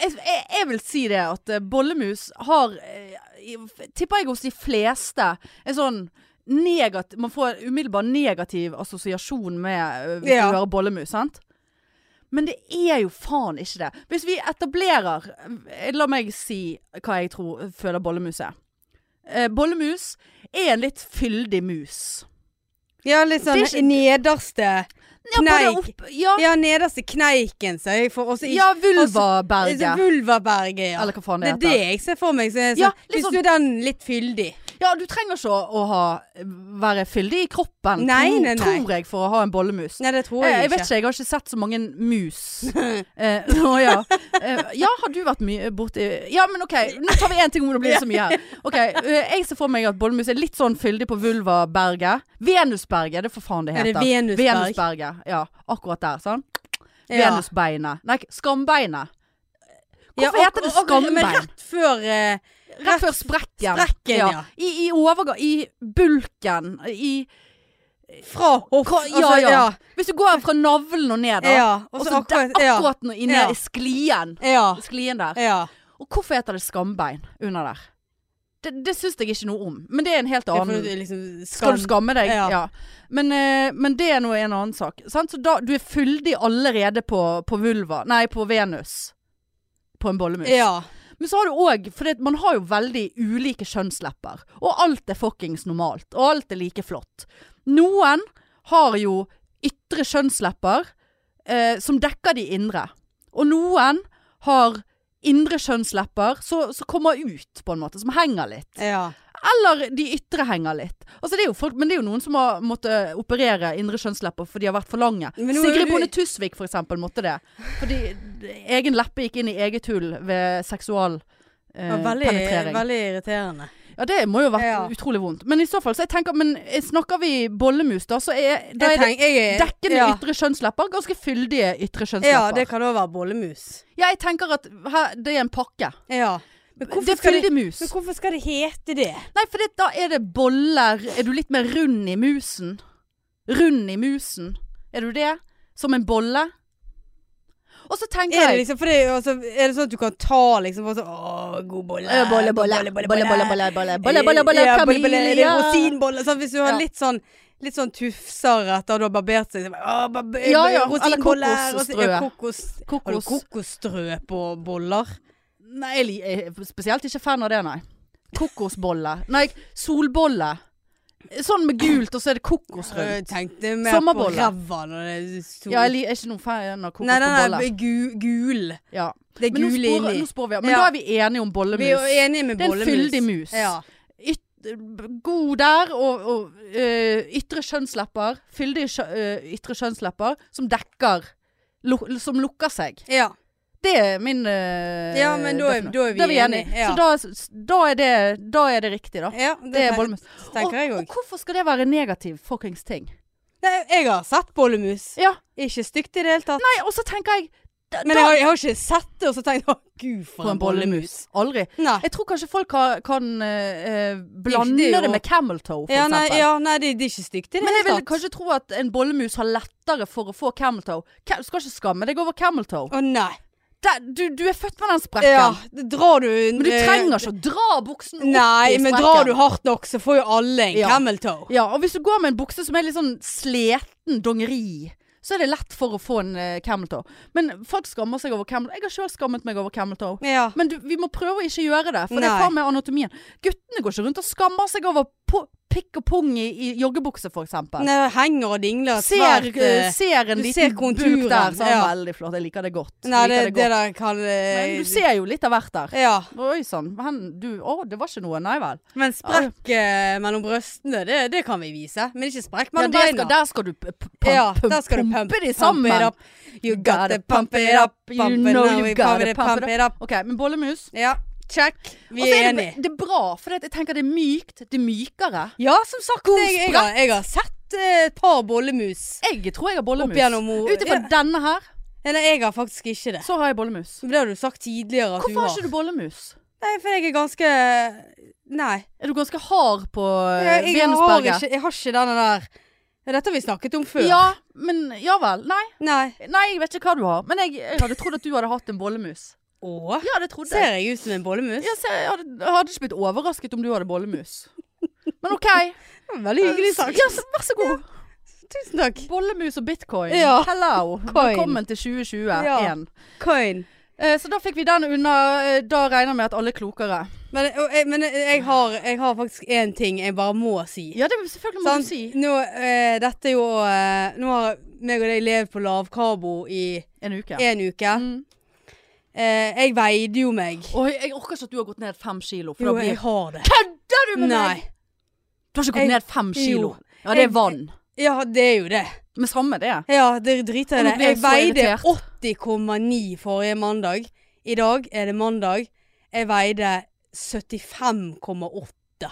Speaker 1: jeg, jeg, jeg vil si det at eh, bollemus har eh, i- Tipper jeg hos de fleste en sånn negat, Man får en umiddelbar negativ assosiasjon med eh, hvis
Speaker 2: Ja.
Speaker 1: du hører bollemus, sant? Men det er jo faen ikke det. Hvis vi etablerer eh, La meg si hva jeg tror føler bollemus er. Eh, bollemus er en litt fyldig mus.
Speaker 2: Ja, litt sånn
Speaker 1: Det er ikke-
Speaker 2: nederste
Speaker 1: Ja, både
Speaker 2: Kneik.
Speaker 1: opp- Ja,
Speaker 2: Ja, nederste kneiken, så jeg får også ikke
Speaker 1: ja
Speaker 2: Altså,
Speaker 1: vulvaberget.
Speaker 2: Vulvaberget, ja.
Speaker 1: Eller hva faen
Speaker 2: det
Speaker 1: det
Speaker 2: er det
Speaker 1: heter.
Speaker 2: jeg ser for meg. Så, så,
Speaker 1: Ja, litt
Speaker 2: hvis
Speaker 1: sånn-
Speaker 2: du er den litt fyldig.
Speaker 1: Ja, du trenger ikke å, å ha, være fyldig i kroppen,
Speaker 2: Nei,
Speaker 1: tro-
Speaker 2: nei, nei.
Speaker 1: tror jeg, for å ha en bollemus.
Speaker 2: Nei, det tror
Speaker 1: Eh,
Speaker 2: jeg,
Speaker 1: jeg vet
Speaker 2: ikke.
Speaker 1: ikke, jeg har ikke sett så mange mus. eh, å ja. Eh, ja, har du vært mye borti Ja, men OK, nå tar vi én ting om det blir så mye her. Ok, eh, Jeg ser for meg at bollemus er litt sånn fyldig på vulvaberget. Venusberget, det er for faen det
Speaker 2: Er det
Speaker 1: heter.
Speaker 2: Venusberg?
Speaker 1: Venusberget, ja. Akkurat der, sånn.
Speaker 2: Ja.
Speaker 1: Venusbeinet. Nei, skambeinet.
Speaker 2: Ja,
Speaker 1: Hvorfor heter det
Speaker 2: og- og- Men
Speaker 1: skambein?
Speaker 2: rett før eh,
Speaker 1: Rett før sprekken.
Speaker 2: Sprekken, ja.
Speaker 1: I, i overgang I bulken. I
Speaker 2: Fra hoff...
Speaker 1: Hva- ja,
Speaker 2: altså,
Speaker 1: ja. Hvis du går fra navlen og ned, da.
Speaker 2: Ja.
Speaker 1: Og
Speaker 2: og
Speaker 1: så
Speaker 2: så
Speaker 1: akkurat,
Speaker 2: ja.
Speaker 1: akkurat nå, inne
Speaker 2: Ja.
Speaker 1: i sklien.
Speaker 2: Ja.
Speaker 1: Sklien der.
Speaker 2: ja.
Speaker 1: Og hvorfor heter det skambein under der? Det, det syns jeg ikke noe om, men det er en helt
Speaker 2: Det er fordi
Speaker 1: annen
Speaker 2: du liksom
Speaker 1: Skal du skamme deg? Ja.
Speaker 2: Ja.
Speaker 1: Men, eh, men det er nå en annen sak. Sant? Så da, du er fyldig allerede på, på vulva Nei, på Venus. På en bollemus.
Speaker 2: Ja.
Speaker 1: Men så har du òg For det, man har jo veldig ulike kjønnslepper. Og alt er fuckings normalt. Og alt er like flott. Noen har jo ytre kjønnslepper eh, som dekker de indre. Og noen har indre kjønnslepper som som kommer ut, på en måte. Som henger litt.
Speaker 2: Ja.
Speaker 1: Eller de ytre henger litt. Altså, det er jo folk, men det er jo noen som har måttet operere indre kjønnslepper fordi de har vært for lange.
Speaker 2: Men nå er
Speaker 1: Sigrid
Speaker 2: du-
Speaker 1: Bonde Tusvik for eksempel måtte det. Fordi egen leppe gikk inn i eget hull ved seksual eh,
Speaker 2: Det var veldig,
Speaker 1: penetrering.
Speaker 2: veldig irriterende.
Speaker 1: Ja, det må jo ha vært
Speaker 2: Ja.
Speaker 1: utrolig vondt. Men i så fall, så jeg tenker Men eh, snakker vi bollemus, da, så er, da
Speaker 2: Jeg
Speaker 1: er det
Speaker 2: tenk- jeg er-
Speaker 1: dekkende
Speaker 2: ja.
Speaker 1: ytre kjønnslepper. Ganske fyldige ytre
Speaker 2: Ja,
Speaker 1: kjønnslepper.
Speaker 2: det kan også være bollemus.
Speaker 1: Ja, jeg tenker at her, det er en pakke.
Speaker 2: Ja. Men
Speaker 1: Det
Speaker 2: hvorfor,
Speaker 1: er
Speaker 2: skal det,
Speaker 1: fyldig mus.
Speaker 2: men hvorfor skal det hete det?
Speaker 1: Nei, for det, da er det boller Er du litt mer rund i musen? Rund i musen. Er du det? Som en bolle? Og så tenker
Speaker 2: Er det,
Speaker 1: jeg
Speaker 2: liksom, for det, er jo altså, er det sånn at du kan ta liksom bare sånn Å, god bolle.
Speaker 1: «Ø, Bolle, bolle, bolle, bolle, bolle, bolle, bolle, bolle, bolle, bolle,
Speaker 2: Ja, bolle, bolle, det
Speaker 1: Camilla.
Speaker 2: er Rosinbolle. Sånn, hvis du har
Speaker 1: Ja.
Speaker 2: litt sånn Litt sånn tufsere etter at du har barbert seg. så bare, Å, barbe-
Speaker 1: Ja, ja, eller
Speaker 2: Rosinbolle. rosin-
Speaker 1: kokosstrø.
Speaker 2: ja, Kokos, har du
Speaker 1: Kokos.
Speaker 2: kokosstrø på boller?
Speaker 1: Nei, jeg li- jeg er spesielt ikke fan av det, nei. Kokosbolle. Nei, solbolle. Sånn med gult, og så er det kokos rundt.
Speaker 2: Jeg tenkte mer
Speaker 1: Sommerbolle.
Speaker 2: på ræva når det er Øh, sol.
Speaker 1: Ja, jeg li- er ikke noen fan av kokos
Speaker 2: Nei, den
Speaker 1: på
Speaker 2: er
Speaker 1: bolle.
Speaker 2: gu, gul.
Speaker 1: Ja.
Speaker 2: Det er
Speaker 1: Men nå
Speaker 2: gul
Speaker 1: spor,
Speaker 2: inni.
Speaker 1: nå spor vi av. Men
Speaker 2: Ja.
Speaker 1: da er vi enige om bollemus.
Speaker 2: Vi er jo enige med
Speaker 1: Det er en
Speaker 2: bollemus.
Speaker 1: fyldig mus.
Speaker 2: Ja.
Speaker 1: yt, god der, og, og ø, ytre kjønnslepper, fyldige kjø, ø, eh, ytre kjønnslepper, som dekker lu, Som lukker seg.
Speaker 2: ja.
Speaker 1: Det er min ø,
Speaker 2: Ja, men da er-
Speaker 1: definisjon.
Speaker 2: da er vi
Speaker 1: enige.
Speaker 2: enige, ja.
Speaker 1: Så da, s- da, er det, da er det riktig, da.
Speaker 2: ja
Speaker 1: Det er
Speaker 2: tenk-
Speaker 1: bollemus. Og,
Speaker 2: Tenker jeg
Speaker 1: og
Speaker 2: òg.
Speaker 1: hvorfor skal det være negativ fuckings ting?
Speaker 2: Jeg har sett bollemus.
Speaker 1: Ja.
Speaker 2: Ikke stygt i det hele tatt.
Speaker 1: Nei, og så tenker jeg da,
Speaker 2: Men jeg har, jeg har ikke sett det og så tenkt 'å gud,
Speaker 1: da-
Speaker 2: for en bollemus'.
Speaker 1: Aldri.
Speaker 2: Nei.
Speaker 1: Jeg tror kanskje folk har, kan ø, ø, blande
Speaker 2: det er
Speaker 1: det,
Speaker 2: jo-
Speaker 1: med camel toe, for
Speaker 2: Ja, nei,
Speaker 1: eksempel.
Speaker 2: ja, nei det, det er ikke stygt i det
Speaker 1: Men jeg
Speaker 2: hele
Speaker 1: vil
Speaker 2: tatt.
Speaker 1: kanskje tro at en bollemus har lettere for å få camel toe. Ka- Du skal ikke skamme deg over camel toe.
Speaker 2: Å nei.
Speaker 1: Der, du, du er født med den sprekken.
Speaker 2: Ja, det- drar du
Speaker 1: Men du
Speaker 2: eh,
Speaker 1: trenger ikke å dra buksen opp i
Speaker 2: Nei,
Speaker 1: sprekken.
Speaker 2: men drar du hardt nok, så får jo alle en
Speaker 1: Ja.
Speaker 2: camel toe.
Speaker 1: Ja, og hvis du går med en bukse som er litt sånn sleten dongeri, så er det lett for å få en eh, camel toe. Men folk skammer seg over camel Jeg har sjøl skammet meg over camel toe.
Speaker 2: Ja.
Speaker 1: Men du, vi må prøve å ikke gjøre det, for det
Speaker 2: Nei.
Speaker 1: er faen meg anatomien. Guttene går ikke rundt og skammer seg over po- pikk og pung i, i joggebukse, for eksempel.
Speaker 2: Nei, det henger og dingler
Speaker 1: ser,
Speaker 2: svært
Speaker 1: eh,
Speaker 2: eh,
Speaker 1: ser en
Speaker 2: du
Speaker 1: liten
Speaker 2: ser
Speaker 1: buk
Speaker 2: konturen,
Speaker 1: der, så er han
Speaker 2: ja.
Speaker 1: veldig flott. Jeg liker det godt.
Speaker 2: Nei,
Speaker 1: liker
Speaker 2: det,
Speaker 1: det, godt.
Speaker 2: det der kan eh,
Speaker 1: Men du ser jo litt av hvert der.
Speaker 2: Ja.
Speaker 1: Oi sann. hen- du- Å, det var ikke noe. Nei vel.
Speaker 2: Men sprekk eh, mellom brøstene, det, det kan vi vise. Men ikke sprekk
Speaker 1: Ja,
Speaker 2: mellom
Speaker 1: der, skal,
Speaker 2: beina.
Speaker 1: der skal du p- p- pump,
Speaker 2: Ja,
Speaker 1: pump-
Speaker 2: der skal du pump-
Speaker 1: pumpe de
Speaker 2: pump
Speaker 1: sammen.
Speaker 2: it up. You gotta pump it up.
Speaker 1: You
Speaker 2: Pump it
Speaker 1: know
Speaker 2: now,
Speaker 1: you
Speaker 2: we
Speaker 1: gotta
Speaker 2: pump it,
Speaker 1: pump it
Speaker 2: pump it up.
Speaker 1: OK, men bollemus
Speaker 2: Ja, check. Vi
Speaker 1: Og så
Speaker 2: er
Speaker 1: er det,
Speaker 2: enige.
Speaker 1: det er bra, for det at jeg tenker det er mykt. Det er mykere.
Speaker 2: Ja, som sagt. Jeg, jeg, har, jeg har sett eh, et par bollemus.
Speaker 1: Jeg tror jeg har bollemus.
Speaker 2: Opp gjennom ho-
Speaker 1: Ut ifra
Speaker 2: Ja.
Speaker 1: denne her,
Speaker 2: Eller jeg har faktisk ikke det.
Speaker 1: så har jeg bollemus.
Speaker 2: Det har du sagt tidligere at
Speaker 1: Hvorfor har ikke
Speaker 2: du har.
Speaker 1: du bollemus?
Speaker 2: Nei, for jeg er ganske Nei.
Speaker 1: Er du ganske hard på eh,
Speaker 2: Jeg, jeg, har,
Speaker 1: Venusberget?
Speaker 2: ikke, jeg har ikke denne der Ja, Dette har vi snakket om før.
Speaker 1: Ja, men ja vel. Nei.
Speaker 2: Nei.
Speaker 1: Nei, jeg vet ikke hva du har, men jeg, jeg hadde trodd at du hadde hatt en bollemus.
Speaker 2: Å?
Speaker 1: Ja, det trodde jeg.
Speaker 2: Ser jeg ut som en bollemus?
Speaker 1: Ja, se, jeg, hadde, jeg hadde ikke blitt overrasket om du hadde bollemus. Men OK.
Speaker 2: Veldig hyggelig sagt.
Speaker 1: Ja, så, vær så god.
Speaker 2: Tusen takk.
Speaker 1: Bollemus og bitcoin.
Speaker 2: Ja.
Speaker 1: Hello.
Speaker 2: Coin.
Speaker 1: Velkommen til 2021.
Speaker 2: Ja. Coin.
Speaker 1: Eh, så da fikk vi den unna. eh, Da regner jeg med at alle er klokere.
Speaker 2: Men, og, jeg, men eh, jeg, har, jeg har faktisk én ting jeg bare må si.
Speaker 1: Ja, det er selvfølgelig må
Speaker 2: Sant?
Speaker 1: du si.
Speaker 2: Nå, eh, dette er jo eh, Nå har meg og deg levd på lavkarbo i
Speaker 1: En uke.
Speaker 2: én uke.
Speaker 1: Mm.
Speaker 2: Eh, jeg veide jo meg.
Speaker 1: Oi, jeg orker ikke at du har gått ned fem kilo. For
Speaker 2: Jo,
Speaker 1: da blir
Speaker 2: jeg har det.
Speaker 1: Kødder du med meg?!
Speaker 2: Nei.
Speaker 1: Du har ikke gått
Speaker 2: Jeg-
Speaker 1: ned fem kilo.
Speaker 2: Jo.
Speaker 1: Ja, det er
Speaker 2: Jeg-
Speaker 1: vann.
Speaker 2: Ja, det er jo det.
Speaker 1: Men samme det.
Speaker 2: Ja, det driter
Speaker 1: Og
Speaker 2: jeg
Speaker 1: nå
Speaker 2: i. det.
Speaker 1: blir jeg
Speaker 2: Jeg
Speaker 1: så
Speaker 2: veide
Speaker 1: irritert.
Speaker 2: 80,9 forrige mandag. I dag er det mandag. Jeg veide 75,8.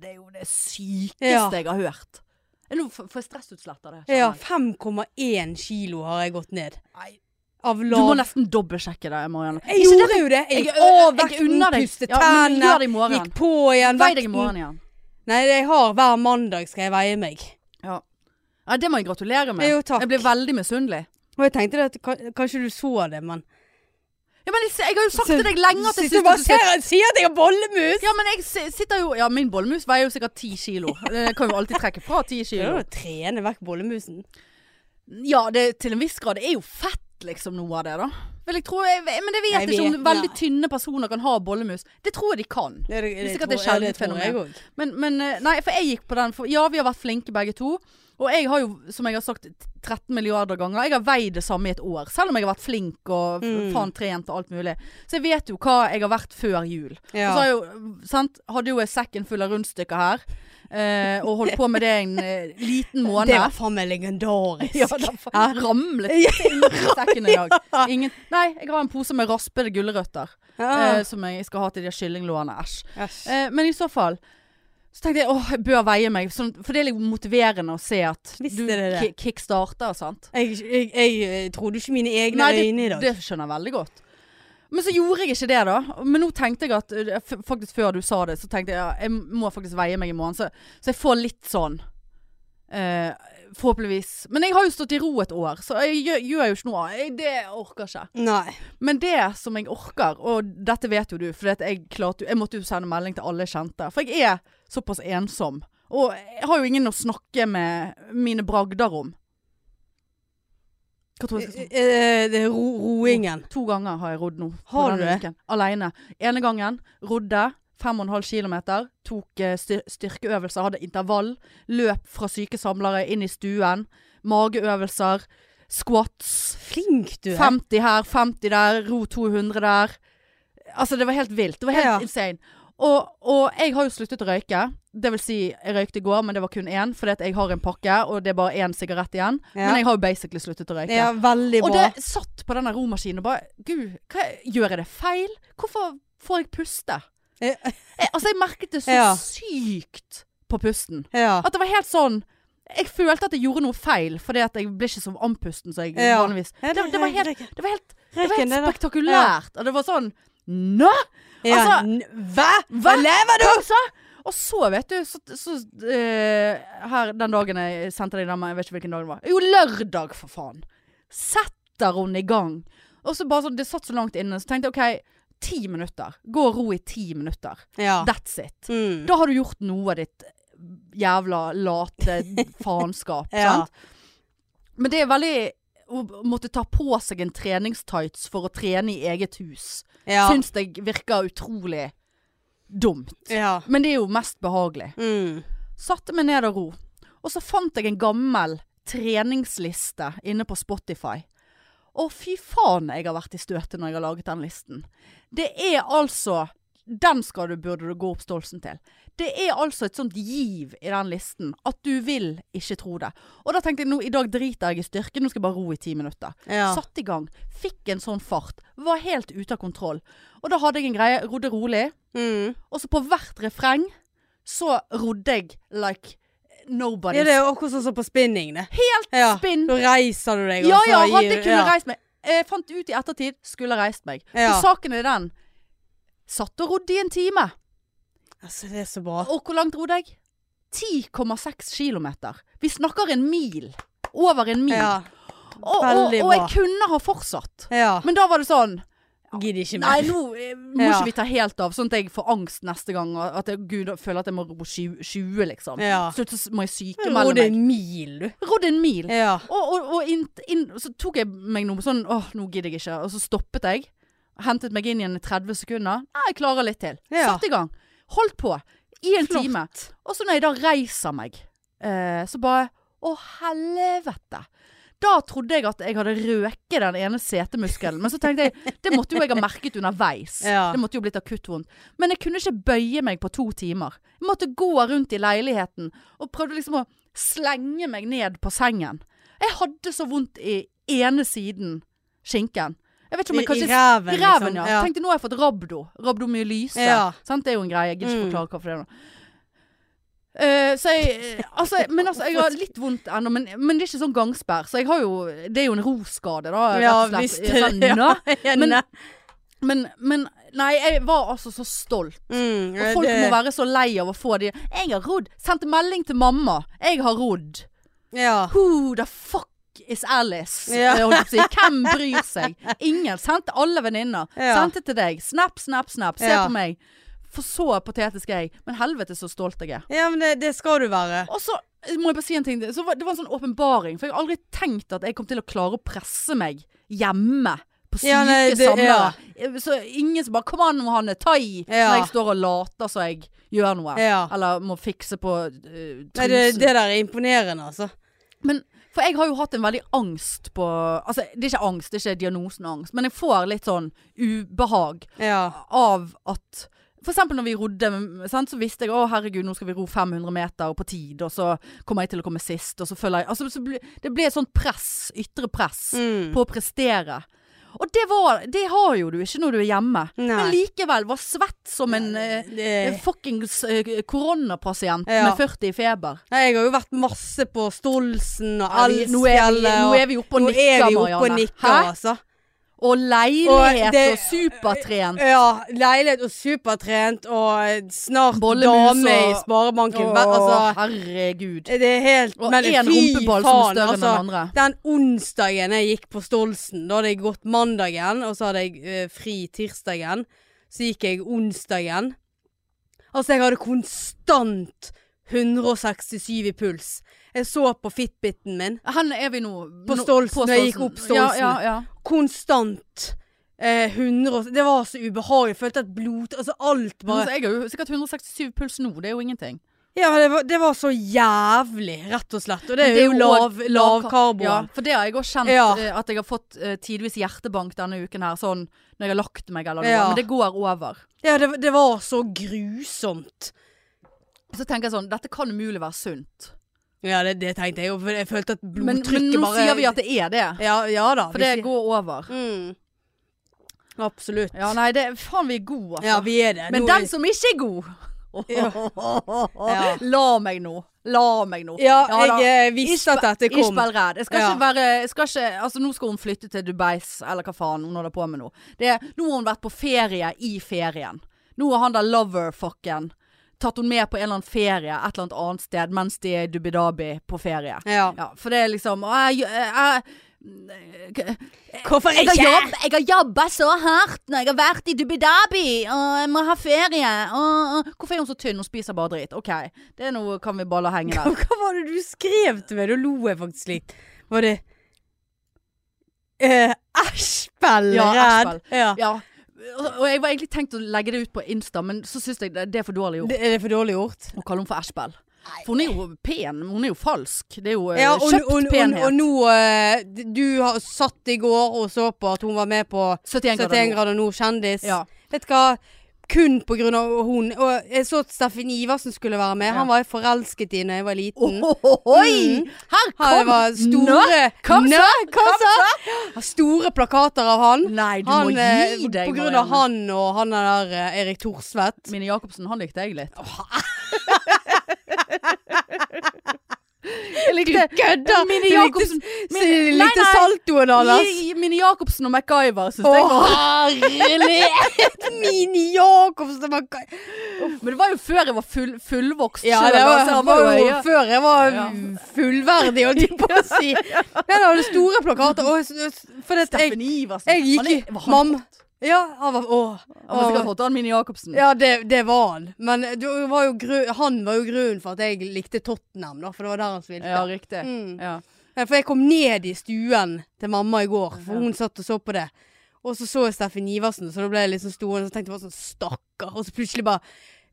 Speaker 1: Det er jo det sykeste
Speaker 2: Ja.
Speaker 1: jeg har hørt. Jeg nå f- får jeg stressutslett av det.
Speaker 2: Ja,
Speaker 1: kjenner jeg.
Speaker 2: 5,1 kilo har jeg gått ned.
Speaker 1: Nei.
Speaker 2: Av
Speaker 1: Du må
Speaker 2: lav
Speaker 1: nesten dobbeltsjekke det, Marianne.
Speaker 2: Jeg
Speaker 1: Ikke det-
Speaker 2: gjorde jo det. Jeg gikk av
Speaker 1: jeg
Speaker 2: vekten,
Speaker 1: unner deg.
Speaker 2: pustet
Speaker 1: Ja, men
Speaker 2: tennene,
Speaker 1: gjør det i morgen.
Speaker 2: gikk på igjen
Speaker 1: Vei deg i
Speaker 2: vekten.
Speaker 1: morgen igjen.
Speaker 2: Nei, det jeg har hver mandag skal jeg veie meg.
Speaker 1: Ja. ja, det må jeg gratulere med.
Speaker 2: Jo, takk.
Speaker 1: Jeg blir veldig misunnelig.
Speaker 2: Og jeg tenkte det at ka- kanskje du så det, men
Speaker 1: Ja, men jeg, jeg har jo sagt
Speaker 2: Så-
Speaker 1: til deg lenge at jeg
Speaker 2: Så
Speaker 1: syns
Speaker 2: bare
Speaker 1: at du skal
Speaker 2: ser jeg sier at jeg har bollemus!
Speaker 1: Ja, men jeg si- sitter jo Ja, min bollemus veier jo sikkert ti kilo. Eh, Jeg kan jo alltid trekke fra ti
Speaker 2: Det er
Speaker 1: kilo.
Speaker 2: jo å trene vekk bollemusen.
Speaker 1: Ja, det, til en viss grad. Det er jo fett, liksom, noe av det, da. Vil jeg tro, jeg, men jeg vet,
Speaker 2: Jeg
Speaker 1: ikke om
Speaker 2: vet,
Speaker 1: veldig
Speaker 2: nei.
Speaker 1: tynne personer kan ha bollemus. Det tror jeg de kan.
Speaker 2: Det,
Speaker 1: er sikkert et sjeldent fenomen.
Speaker 2: òg.
Speaker 1: Men, men eh, nei, for jeg gikk på den for, Ja, vi har vært flinke begge to. Og jeg har jo, som jeg har sagt 13 milliarder ganger, jeg har veid det samme i et år. Selv om jeg har vært flink og f-
Speaker 2: Mm.
Speaker 1: faen trent og alt mulig. Så jeg vet jo hva jeg har vært før jul. Og så har jeg jo, sant, hadde jo jeg sekken full av rundstykker her. eh, og holdt på med det en eh, liten måned.
Speaker 2: Det var faen meg legendarisk.
Speaker 1: ja, da fa- ramlet
Speaker 2: Ja,
Speaker 1: ting i sekken i dag. Ingen, nei, jeg har en pose med raspede gulrøtter
Speaker 2: Ah,
Speaker 1: eh, som jeg skal ha til de kyllinglårene. Æsj.
Speaker 2: æsj.
Speaker 1: Eh, men i så fall så tenkte jeg åh, jeg bør veie meg, sånn, for det er litt motiverende å se at
Speaker 2: Visst
Speaker 1: du
Speaker 2: er det det.
Speaker 1: ki- kickstarter og sånt.
Speaker 2: jeg, jeg, jeg eh, trodde ikke mine egne øyne i dag.
Speaker 1: det skjønner jeg veldig godt. Men så gjorde jeg ikke det, da. Men nå tenkte jeg at eh, f- Faktisk før du sa det, så tenkte jeg ja, jeg må faktisk veie meg i morgen. Så, så jeg får litt sånn. eh, forhåpentligvis. Men jeg har jo stått i ro et år, så jeg gjør, gjør jo ikke noe. Jeg, det orker ikke.
Speaker 2: Nei.
Speaker 1: Men det som jeg orker, og dette vet jo du, for jeg, klarte, jo- jeg måtte jo sende melding til alle jeg kjente. For jeg er såpass ensom. Og jeg har jo ingen å snakke med mine bragder om. Hva tror jeg jeg skal si?
Speaker 2: Eh, det er ro, roingen.
Speaker 1: To ganger har jeg rodd nå. på
Speaker 2: Har
Speaker 1: denne
Speaker 2: du det?
Speaker 1: uken, Alene. Ene gangen rodde 5,5 km. Tok eh, styr styrkeøvelser, hadde intervall. Løp fra syke samlere inn i stuen. Mageøvelser. Squats.
Speaker 2: Flink du er.
Speaker 1: 50 her, 50 der, ro 200 der. Altså, det var helt vilt. Det var helt
Speaker 2: Ja.
Speaker 1: insane. Og, og jeg har jo sluttet å røyke. Det vil si, jeg røykte i går, men det var kun én, fordi at jeg har en pakke, og det er bare én sigarett igjen.
Speaker 2: Ja.
Speaker 1: Men jeg har jo basically sluttet å røyke.
Speaker 2: Ja, veldig
Speaker 1: og
Speaker 2: bra.
Speaker 1: det satt på denne romaskinen og bare Gud, hva, gjør jeg det feil? Hvorfor får jeg puste?
Speaker 2: Ja.
Speaker 1: Jeg, altså, jeg merket det så
Speaker 2: Ja.
Speaker 1: sykt på pusten.
Speaker 2: ja.
Speaker 1: At det var helt sånn Jeg følte at jeg gjorde noe feil, fordi at jeg ble ikke så andpusten som jeg
Speaker 2: Ja.
Speaker 1: vanligvis
Speaker 2: Ja,
Speaker 1: det, det, var helt,
Speaker 2: rekken,
Speaker 1: det var helt det var
Speaker 2: rekken,
Speaker 1: helt
Speaker 2: det der.
Speaker 1: spektakulært. Og det var sånn Nå!
Speaker 2: Ja.
Speaker 1: altså,
Speaker 2: n- hva?
Speaker 1: hva?
Speaker 2: lever du?
Speaker 1: Altså! Og så, vet du, så, så eh, Her den dagen jeg sendte deg den, men jeg vet ikke hvilken dag det var. Jo, lørdag, for faen! Setter hun i gang. Og så bare sånn Det satt så langt inne, så tenkte jeg OK, ti minutter. Gå og ro i ti minutter.
Speaker 2: Ja.
Speaker 1: That's it.
Speaker 2: Mm.
Speaker 1: Da har du gjort noe av ditt jævla late faenskap.
Speaker 2: Ja.
Speaker 1: sant? Men det er veldig Å måtte ta på seg en treningstights for å trene i eget hus,
Speaker 2: Ja.
Speaker 1: syns jeg virker utrolig dumt.
Speaker 2: ja.
Speaker 1: Men det er jo mest behagelig.
Speaker 2: Mm.
Speaker 1: Satte meg ned og ro. Og så fant jeg en gammel treningsliste inne på Spotify. Å, fy faen, jeg har vært i støtet når jeg har laget den listen. Det er altså Den skal du, burde du gå opp stolsen til. Det er altså et sånt giv i den listen at du vil ikke tro det. Og da tenkte jeg nå, i dag driter jeg i styrke, nå skal jeg bare ro i ti minutter.
Speaker 2: ja.
Speaker 1: Satt i gang, fikk en sånn fart. Var helt ute av kontroll. Og da hadde jeg en greie, rodde rolig.
Speaker 2: Mm.
Speaker 1: Og så på hvert refreng så rodde jeg like
Speaker 2: ja,
Speaker 1: nobody's
Speaker 2: det er akkurat sånn som på spinning, det.
Speaker 1: Helt
Speaker 2: Ja.
Speaker 1: spinn.
Speaker 2: Da reiser du deg,
Speaker 1: Ja
Speaker 2: og så
Speaker 1: ja, hadde
Speaker 2: gir
Speaker 1: jeg
Speaker 2: du-
Speaker 1: kunnet
Speaker 2: ja.
Speaker 1: reist meg. Jeg fant ut i ettertid, skulle reist meg.
Speaker 2: Ja.
Speaker 1: For saken er den. Satt og rodde i en time.
Speaker 2: Altså, det er så bra.
Speaker 1: Og hvor langt rodde jeg? 10,6 kilometer. Vi snakker en mil. Over en mil.
Speaker 2: Ja.
Speaker 1: og, og,
Speaker 2: veldig
Speaker 1: og jeg
Speaker 2: bra.
Speaker 1: kunne ha fortsatt.
Speaker 2: Ja.
Speaker 1: Men da var det sånn
Speaker 2: Gidder ikke
Speaker 1: Nei,
Speaker 2: mer.
Speaker 1: nå eh, må
Speaker 2: Ja.
Speaker 1: ikke vi ta helt av, sånn at jeg får angst neste gang. Og at jeg Gud, jeg føler at jeg må ro 20, 20 liksom.
Speaker 2: Ja.
Speaker 1: Slutt, så må jeg
Speaker 2: Ro
Speaker 1: sykemelde
Speaker 2: deg
Speaker 1: meg.
Speaker 2: en mil, du.
Speaker 1: Rodd en mil.
Speaker 2: Ja.
Speaker 1: Og, og, og inn, inn, så tok jeg meg noe sånn Åh, nå gidder jeg ikke. Og så stoppet jeg. Hentet meg inn igjen i 30 sekunder. Nei, jeg klarer litt til.
Speaker 2: Ja.
Speaker 1: Satt i gang. Holdt på i en
Speaker 2: Flott.
Speaker 1: time. Og så når jeg da reiser meg, eh, så bare Å, helvete. Da trodde jeg at jeg hadde røket den ene setemuskelen. Men så tenkte jeg det måtte jo jeg ha merket underveis.
Speaker 2: Ja.
Speaker 1: Det måtte jo blitt akuttvondt. Men jeg kunne ikke bøye meg på to timer. Jeg måtte gå rundt i leiligheten og prøvde liksom å slenge meg ned på sengen. Jeg hadde så vondt i ene siden skinken. Jeg vet ikke om jeg
Speaker 2: I, I
Speaker 1: kanskje
Speaker 2: ræven,
Speaker 1: i ræven, ja.
Speaker 2: liksom. Ja.
Speaker 1: Tenkte nå har jeg fått rabdo. Rabdomyolyse.
Speaker 2: Ja.
Speaker 1: Sant? Det er jo en greie. Jeg gidder ikke
Speaker 2: Mm.
Speaker 1: forklare hva for det er. nå. Eh, så jeg, eh, altså, men altså, jeg har litt vondt ennå, men, men det er ikke sånn gangsperr. Så jeg har jo Det er jo en roskade, da.
Speaker 2: Ja,
Speaker 1: rett og slett.
Speaker 2: visst er det,
Speaker 1: Sånn,
Speaker 2: ja.
Speaker 1: Men-
Speaker 2: Nei.
Speaker 1: Men, men Nei, jeg var altså så stolt.
Speaker 2: Mm,
Speaker 1: Og folk må
Speaker 2: det-
Speaker 1: være så lei av å få de 'Jeg har rodd'. Sendte melding til mamma. 'Jeg har rodd'.
Speaker 2: Ja.
Speaker 1: Who the fuck is Alice?
Speaker 2: Ja.
Speaker 1: Eh, holdt jeg på å si. Hvem bryr seg? Ingen. Sendte alle venninner.
Speaker 2: Ja.
Speaker 1: Sendte til deg. Snap, snap, snap. Se
Speaker 2: Ja.
Speaker 1: på meg. For så patetisk er jeg. Men helvete så stolt jeg er.
Speaker 2: ja, men det, det skal du være.
Speaker 1: Og så må jeg bare si en ting. Så var, det var en sånn åpenbaring. For jeg har aldri tenkt at jeg kom til å klare å presse meg hjemme. På syke
Speaker 2: Ja, nei, det-
Speaker 1: samlere. Så ingen som bare 'Kom an, Hanne, ta i!'
Speaker 2: Ja.
Speaker 1: Når jeg står og later så jeg gjør noe.
Speaker 2: Ja.
Speaker 1: Eller må fikse på eh, trusen.
Speaker 2: Nei, det, det der er imponerende, altså.
Speaker 1: Men for jeg har jo hatt en veldig angst på Altså, det er ikke angst, det er ikke diagnosen angst, men jeg får litt sånn ubehag
Speaker 2: Ja.
Speaker 1: av at for eksempel når vi rodde, sant, så visste jeg å herregud, nå skal vi ro 500 meter på tid, og så kommer jeg til å komme sist, og så føler jeg altså, så ble, Det ble et sånt press, ytre press,
Speaker 2: Mm.
Speaker 1: på å prestere. Og det, var, det har jo du ikke når du er hjemme.
Speaker 2: Nei.
Speaker 1: Men likevel var svett som en eh,
Speaker 2: Det-
Speaker 1: fuckings eh, koronapasient
Speaker 2: Ja.
Speaker 1: med 40 i feber.
Speaker 2: Nei, jeg har jo vært masse på Stolsen og
Speaker 1: Ja, vi- nå, er vi,
Speaker 2: Alsfjellet.
Speaker 1: nå
Speaker 2: og-
Speaker 1: er vi oppe og
Speaker 2: nå
Speaker 1: nikker,
Speaker 2: er vi oppe og
Speaker 1: Marianne.
Speaker 2: nikker,
Speaker 1: Hæ?
Speaker 2: altså.
Speaker 1: Og leilighet og,
Speaker 2: Og det-
Speaker 1: supertrent.
Speaker 2: Ja, leilighet og supertrent og snart
Speaker 1: Bollemus
Speaker 2: dame
Speaker 1: og-
Speaker 2: i Sparebanken. Vel,
Speaker 1: Å,
Speaker 2: Altså,
Speaker 1: herregud.
Speaker 2: det er helt
Speaker 1: Og
Speaker 2: men
Speaker 1: én
Speaker 2: fy
Speaker 1: rumpeball som er
Speaker 2: faen,
Speaker 1: større enn
Speaker 2: altså.
Speaker 1: den andre.
Speaker 2: Den onsdagen jeg gikk på Stolsen, da hadde jeg gått mandagen, og så hadde jeg eh, fri tirsdagen. Så gikk jeg onsdagen. Altså, jeg hadde konstant 167 i puls. Jeg så på Fitbiten min.
Speaker 1: Hen er vi nå?
Speaker 2: På
Speaker 1: Nå-
Speaker 2: Stolsen, når jeg gikk opp
Speaker 1: Ja,
Speaker 2: Stolsen.
Speaker 1: ja, ja.
Speaker 2: Konstant. Eh, 100, og- det var så ubehagelig. Jeg følte at blod Altså, alt bare
Speaker 1: Altså, jeg har jo sikkert 167 puls nå, det er jo ingenting.
Speaker 2: Ja, men det var, det var så jævlig, rett og slett. Og det
Speaker 1: Men
Speaker 2: er, jo lav,
Speaker 1: også-
Speaker 2: lavkarbo.
Speaker 1: Ja, for det har jeg òg kjent,
Speaker 2: Ja.
Speaker 1: eh, at jeg har fått eh, tidvis hjertebank denne uken her, sånn når jeg har lagt meg eller noe.
Speaker 2: Ja.
Speaker 1: Men det går over.
Speaker 2: Ja, det, det var så grusomt.
Speaker 1: Så tenker jeg sånn, dette kan umulig være sunt.
Speaker 2: Ja, det, det tenkte jeg jo, for jeg følte at
Speaker 1: Men,
Speaker 2: blodtrykket
Speaker 1: men nå
Speaker 2: bare
Speaker 1: sier vi at det er det.
Speaker 2: ja, ja da.
Speaker 1: For
Speaker 2: vi
Speaker 1: det
Speaker 2: sier-
Speaker 1: går over.
Speaker 2: mm. Absolutt.
Speaker 1: Ja, nei, det Faen, vi er gode, altså.
Speaker 2: Ja, vi er det.
Speaker 1: Men
Speaker 2: Nå
Speaker 1: den
Speaker 2: er-
Speaker 1: som ikke er god
Speaker 2: Ja.
Speaker 1: La meg nå. La meg nå.
Speaker 2: Ja,
Speaker 1: da.
Speaker 2: jeg eh, visste at dette
Speaker 1: Ikke
Speaker 2: kom.
Speaker 1: vær redd. Jeg skal
Speaker 2: Ja.
Speaker 1: ikke være jeg skal ikke, Altså, nå skal hun flytte til Dubais, eller hva faen hun holder på med nå. Det, er- nå har hun vært på ferie i ferien. Nå har han der loverfucken tatt hun med på en eller annen ferie et eller annet annet sted mens de er i Dubidabi på ferie.
Speaker 2: Ja.
Speaker 1: Ja, for det er liksom «Å, jeg, jeg, jeg,
Speaker 2: Hvorfor
Speaker 1: jeg,
Speaker 2: ikke?
Speaker 1: har jobb, jeg har jobba så hardt når jeg har vært i Dubidabi, og jeg må ha ferie. Og, og, hvorfor er hun så tynn? Hun spiser bare dritt. OK, det er noe kan vi bare la henge
Speaker 2: Hva,
Speaker 1: der.
Speaker 2: hva var det du skrev til meg? Da lo jeg faktisk litt. Var det eh, Ashbell
Speaker 1: Ja,
Speaker 2: redd? Ja.
Speaker 1: Ja. Og og jeg var egentlig tenkt å legge det ut på Insta, men så syns jeg det, det er for dårlig gjort
Speaker 2: Det, er det for dårlig gjort?
Speaker 1: å kalle henne for Ashbell. For hun er jo pen, men hun er jo falsk. Det er jo eh,
Speaker 2: Ja, og,
Speaker 1: kjøpt
Speaker 2: og, og,
Speaker 1: penhet.
Speaker 2: og nå eh, Du har satt i går og så på at hun var med på
Speaker 1: 71 grader
Speaker 2: 71
Speaker 1: nord.
Speaker 2: grader nord, kjendis.
Speaker 1: Ja.
Speaker 2: Vet du hva? Kun på grunn av hun. Og jeg så at Steffen Iversen skulle være med.
Speaker 1: Ja.
Speaker 2: Han var jeg forelsket i da jeg var liten.
Speaker 1: Ohohoi! Her
Speaker 2: Han
Speaker 1: kom
Speaker 2: Mm. var
Speaker 1: Nå!
Speaker 2: store
Speaker 1: kom
Speaker 2: Nå, kom så! Store plakater av han.
Speaker 1: Nei, du
Speaker 2: han
Speaker 1: må
Speaker 2: eh,
Speaker 1: gi deg,
Speaker 2: på grunn av
Speaker 1: Marianne.
Speaker 2: han og han der eh, Erik Thorsvedt.
Speaker 1: Mine Jacobsen, han likte jeg litt. jeg likte
Speaker 2: Kødder!
Speaker 1: Mine
Speaker 2: Du likte-
Speaker 1: Jacobsen
Speaker 2: så du
Speaker 1: Mine-
Speaker 2: likte
Speaker 1: Nei,
Speaker 2: saltoen
Speaker 1: nei,
Speaker 2: hans.
Speaker 1: gi- Mine Jacobsen og MacGyver syns
Speaker 2: Å,
Speaker 1: jeg var
Speaker 2: herlighet! Mini Jacobsen var gøy.
Speaker 1: Men det var jo før jeg var full, fullvokst.
Speaker 2: Ja,
Speaker 1: selv,
Speaker 2: det var,
Speaker 1: altså, han
Speaker 2: var
Speaker 1: var jo-
Speaker 2: jo før jeg var
Speaker 1: Ja.
Speaker 2: fullverdig, holdt jeg på å si. Men jeg hadde store plakater. Og, s- s- for det at jeg,
Speaker 1: Steffen Iversen.
Speaker 2: jeg gikk
Speaker 1: Han er-
Speaker 2: i
Speaker 1: var han
Speaker 2: Mam.
Speaker 1: hot?
Speaker 2: Ja, han var Åh.
Speaker 1: Han har
Speaker 2: Åh.
Speaker 1: sikkert fått han Mini Jacobsen.
Speaker 2: Ja, det, det var han. Men det var jo gru, han var jo grunnen for at jeg likte Tottenham, da, for det var der han spilte.
Speaker 1: Ja, riktig.
Speaker 2: Mm.
Speaker 1: Ja.
Speaker 2: Nei, For jeg kom ned i stuen til mamma i går, for
Speaker 1: Ja.
Speaker 2: hun satt og så på det. Og så så jeg Steffen Iversen, så da ble jeg liksom stående og tenkte jeg bare sånn Stakkar. Og så plutselig bare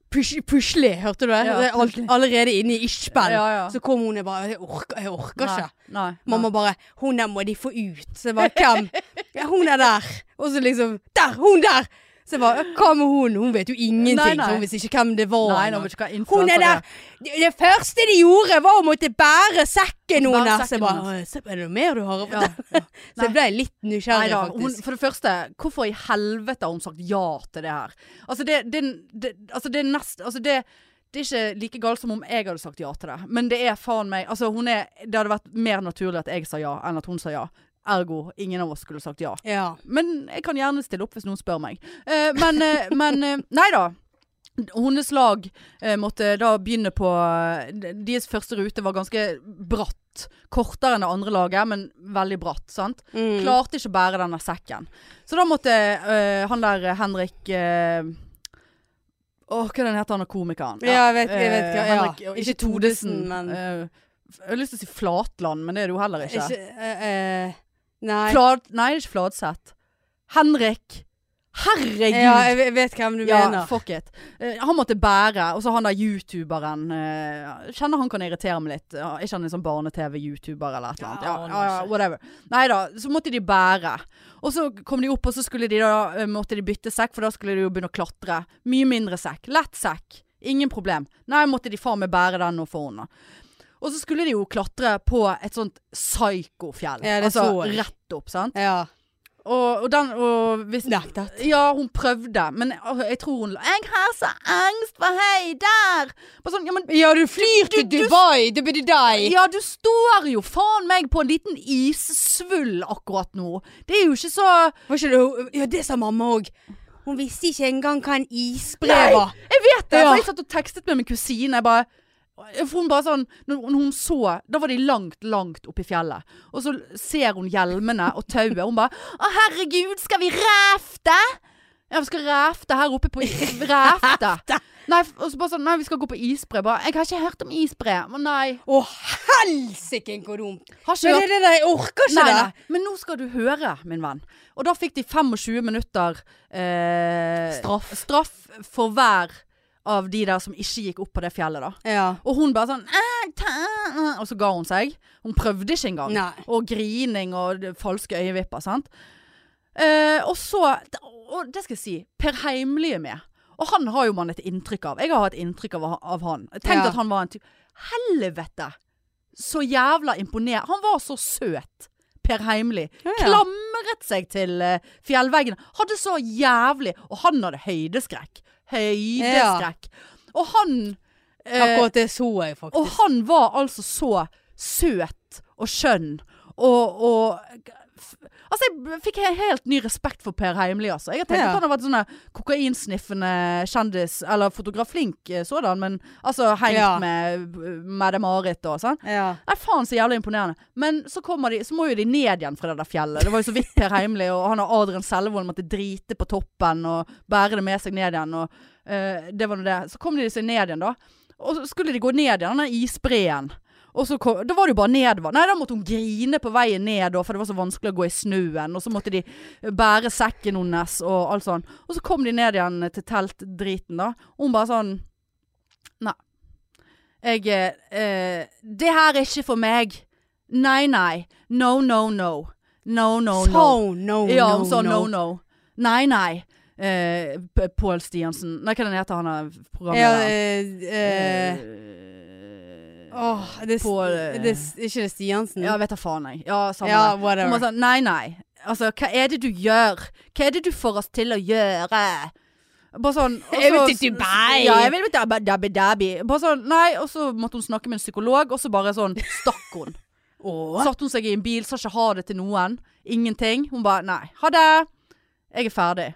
Speaker 2: Push- Plutselig, hørte du det?
Speaker 1: Ja,
Speaker 2: Det er alt,
Speaker 1: plutselig.
Speaker 2: allerede inne i Ishbel.
Speaker 1: Ja, ja.
Speaker 2: Så kom hun og bare Jeg orker, jeg orker
Speaker 1: Nei,
Speaker 2: ikke.
Speaker 1: Nei.
Speaker 2: Mamma bare 'Hun der må de få ut'. Så jeg bare 'Hvem?' ja, 'Hun er der'. Og så liksom 'Der! Hun der!' Så jeg bare 'Hva med hun?' Hun vet jo ingenting.
Speaker 1: Nei, nei.
Speaker 2: Så hun visste ikke hvem det var.
Speaker 1: Nei, nå
Speaker 2: engang.
Speaker 1: vet ikke hva
Speaker 2: Hun
Speaker 1: influencer
Speaker 2: er der! Det, det første de gjorde, var å måtte bære sekken
Speaker 1: Bære
Speaker 2: hennes. Så jeg
Speaker 1: sekken
Speaker 2: bare «Å, se, Er det noe mer du har å
Speaker 1: Ja.
Speaker 2: fortelle? Så jeg ble litt nysgjerrig,
Speaker 1: Neida, hun,
Speaker 2: faktisk.
Speaker 1: for det første, hvorfor i helvete har hun sagt ja til det her? Altså det, det, det, altså det er nest... Altså det, det er ikke like galt som om jeg hadde sagt ja til det. Men det er faen meg altså hun er, Det hadde vært mer naturlig at jeg sa ja, enn at hun sa ja. Ergo ingen av oss skulle sagt ja.
Speaker 2: Ja.
Speaker 1: Men jeg kan gjerne stille opp hvis noen spør meg. Eh, men eh, men eh, nei da. Hennes lag eh, måtte da begynne på eh, Deres første rute var ganske bratt. Kortere enn det andre laget, men veldig bratt. sant?
Speaker 2: Mm.
Speaker 1: Klarte ikke å bære denne sekken. Så da måtte eh, han der eh, Henrik eh, Åh, hva er det han heter han er komikeren?
Speaker 2: Ja, jeg vet, jeg vet hva.
Speaker 1: Eh,
Speaker 2: Ja.
Speaker 1: Henrik, ikke Todesen, men
Speaker 2: men
Speaker 1: Jeg har lyst til å si Flatland, men det er det jo heller ikke.
Speaker 2: ikke, eh, eh, Nei.
Speaker 1: Flad, nei, det er ikke Fladseth. Henrik! Herregud!
Speaker 2: Ja, jeg ve- vet hvem du
Speaker 1: Ja,
Speaker 2: mener.
Speaker 1: fuck it. Eh, han måtte bære, og så han der youtuberen eh, Kjenner han kan irritere meg litt. Ja, ikke han en sånn barne-TV-youtuber eller et eller annet.
Speaker 2: Ja,
Speaker 1: Ja,
Speaker 2: han
Speaker 1: ja, ja,
Speaker 2: er ikke-
Speaker 1: whatever. Nei da, så måtte de bære. Og så kom de opp, og så skulle de da, eh, måtte de bytte sekk, for da skulle de jo begynne å klatre. Mye mindre sekk. Lett sekk. Ingen problem. Nei, måtte de faen meg bære den nå for henne. Og så skulle de jo klatre på et sånt psyko-fjell.
Speaker 2: Ja, det
Speaker 1: altså
Speaker 2: så jeg.
Speaker 1: rett opp, sant?
Speaker 2: Ja.
Speaker 1: Og, og den og hvis,
Speaker 2: Nektet.
Speaker 1: Ja, hun prøvde, men jeg, jeg tror hun 'Jeg har så angst for høy der!' Bare sånn, ja, men
Speaker 2: Ja, du flyr til
Speaker 1: du-
Speaker 2: Dubai! Det blir deg!
Speaker 1: ja, du står jo faen meg på en liten issvull akkurat nå. Det er jo ikke så
Speaker 2: Var ikke det Ja, det sa mamma òg. Hun visste ikke engang hva en isbre
Speaker 1: Nei!
Speaker 2: var.
Speaker 1: Jeg vet det!
Speaker 2: Ja.
Speaker 1: For jeg satt og tekstet med min kusine. Jeg bare for hun bare sånn, når hun- når hun så Da var de langt, langt oppi fjellet. Og så ser hun hjelmene og tauet. Hun bare 'Å, herregud, skal vi ræfte?' Ja, vi skal ræfte her oppe på Ræfte. Nei, f- og så bare sånn Nei, vi skal gå på isbre. Bare 'Jeg har ikke hørt om isbre'. Men nei.
Speaker 2: Å, helsike, hvor dumt.
Speaker 1: Har ikke
Speaker 2: Men
Speaker 1: hørt
Speaker 2: det, er det der, jeg orker ikke
Speaker 1: Nei,
Speaker 2: det.
Speaker 1: nei, men nå skal du høre, min venn. Og da fikk de 25 minutter eh,
Speaker 2: Straff.
Speaker 1: for hver av de der som ikke gikk opp på det fjellet, da.
Speaker 2: Ja.
Speaker 1: Og hun bare sånn "Æ, ta, æ," Og så ga hun seg. Hun prøvde ikke engang.
Speaker 2: Nei.
Speaker 1: Og grining og d- falske øyevipper, sant. Eh, og så Og det skal jeg si, Per Heimly er med. Og han har jo man et inntrykk av. Jeg har hatt inntrykk av, av han. Jeg tenkte
Speaker 2: Ja.
Speaker 1: at han var en type Helvete! Så jævla imponert. Han var så søt. Per Heimly.
Speaker 2: Ja, ja.
Speaker 1: Klamret seg til eh, fjellveggene. Hadde så jævlig Og han hadde høydeskrekk. Høydeskrekk. Og han eh,
Speaker 2: Akkurat det så jeg
Speaker 1: og
Speaker 2: faktisk.
Speaker 1: han var altså så søt og skjønn og, og f- Altså, jeg b- fikk he- helt ny respekt for Per Heimly, altså. Jeg har tenkt
Speaker 2: Ja.
Speaker 1: at han har vært sånn der kokainsniffende kjendis, eller fotograf flink eh, sådan, men altså hengt
Speaker 2: Ja.
Speaker 1: med b- Mette-Marit og sånn.
Speaker 2: Ja.
Speaker 1: Nei, faen så jævlig imponerende. Men så, kommer de, så må jo de ned igjen fra det der fjellet. Det var jo så vidt Per Heimly og han og Adrian Selvold måtte drite på toppen og bære det med seg ned igjen. Og, eh, det var nå det. Så kom de seg ned igjen, da. Og så skulle de gå ned igjen, den der isbreen. Og så kom, da var det jo bare nedover. Nei, da måtte hun grine på veien ned, da, for det var så vanskelig å gå i snøen. Og så måtte de bære sekken hennes og alt sånn. Og så kom de ned igjen til teltdriten, da. Og hun bare sånn jeg eh, Det her er ikke for meg. Nei, nei. No, no, no. No, no,
Speaker 2: Sa
Speaker 1: no.
Speaker 2: hun no,
Speaker 1: ja,
Speaker 2: Oh, no,
Speaker 1: hun sa no,
Speaker 2: no.
Speaker 1: no. Nei, nei. Eh, P- Pål Stiansen Nei, hva er det han heter han er
Speaker 2: Ja,
Speaker 1: programlederen?
Speaker 2: eh, eh, åh, det, er s-
Speaker 1: På, eh,
Speaker 2: det, er s- ikke det Stiansen?
Speaker 1: ja, vet da faen, jeg. Ja, samme
Speaker 2: Ja,
Speaker 1: det. Hun
Speaker 2: whatever.
Speaker 1: var sånn, nei, nei. Altså, hva er det du gjør? Hva er det du får oss til å gjøre? Bare sånn og
Speaker 2: Jeg
Speaker 1: så-
Speaker 2: vil til Dubai.
Speaker 1: Ja, jeg vil til Dubai, Dubai, Dubai. Bare sånn, nei, og så måtte hun snakke med en psykolog, og så bare sånn stakk hun.
Speaker 2: Åh.
Speaker 1: Satt hun seg i en bil, sa ikke ha det til noen. Ingenting. Hun bare nei. Ha det. Jeg er ferdig.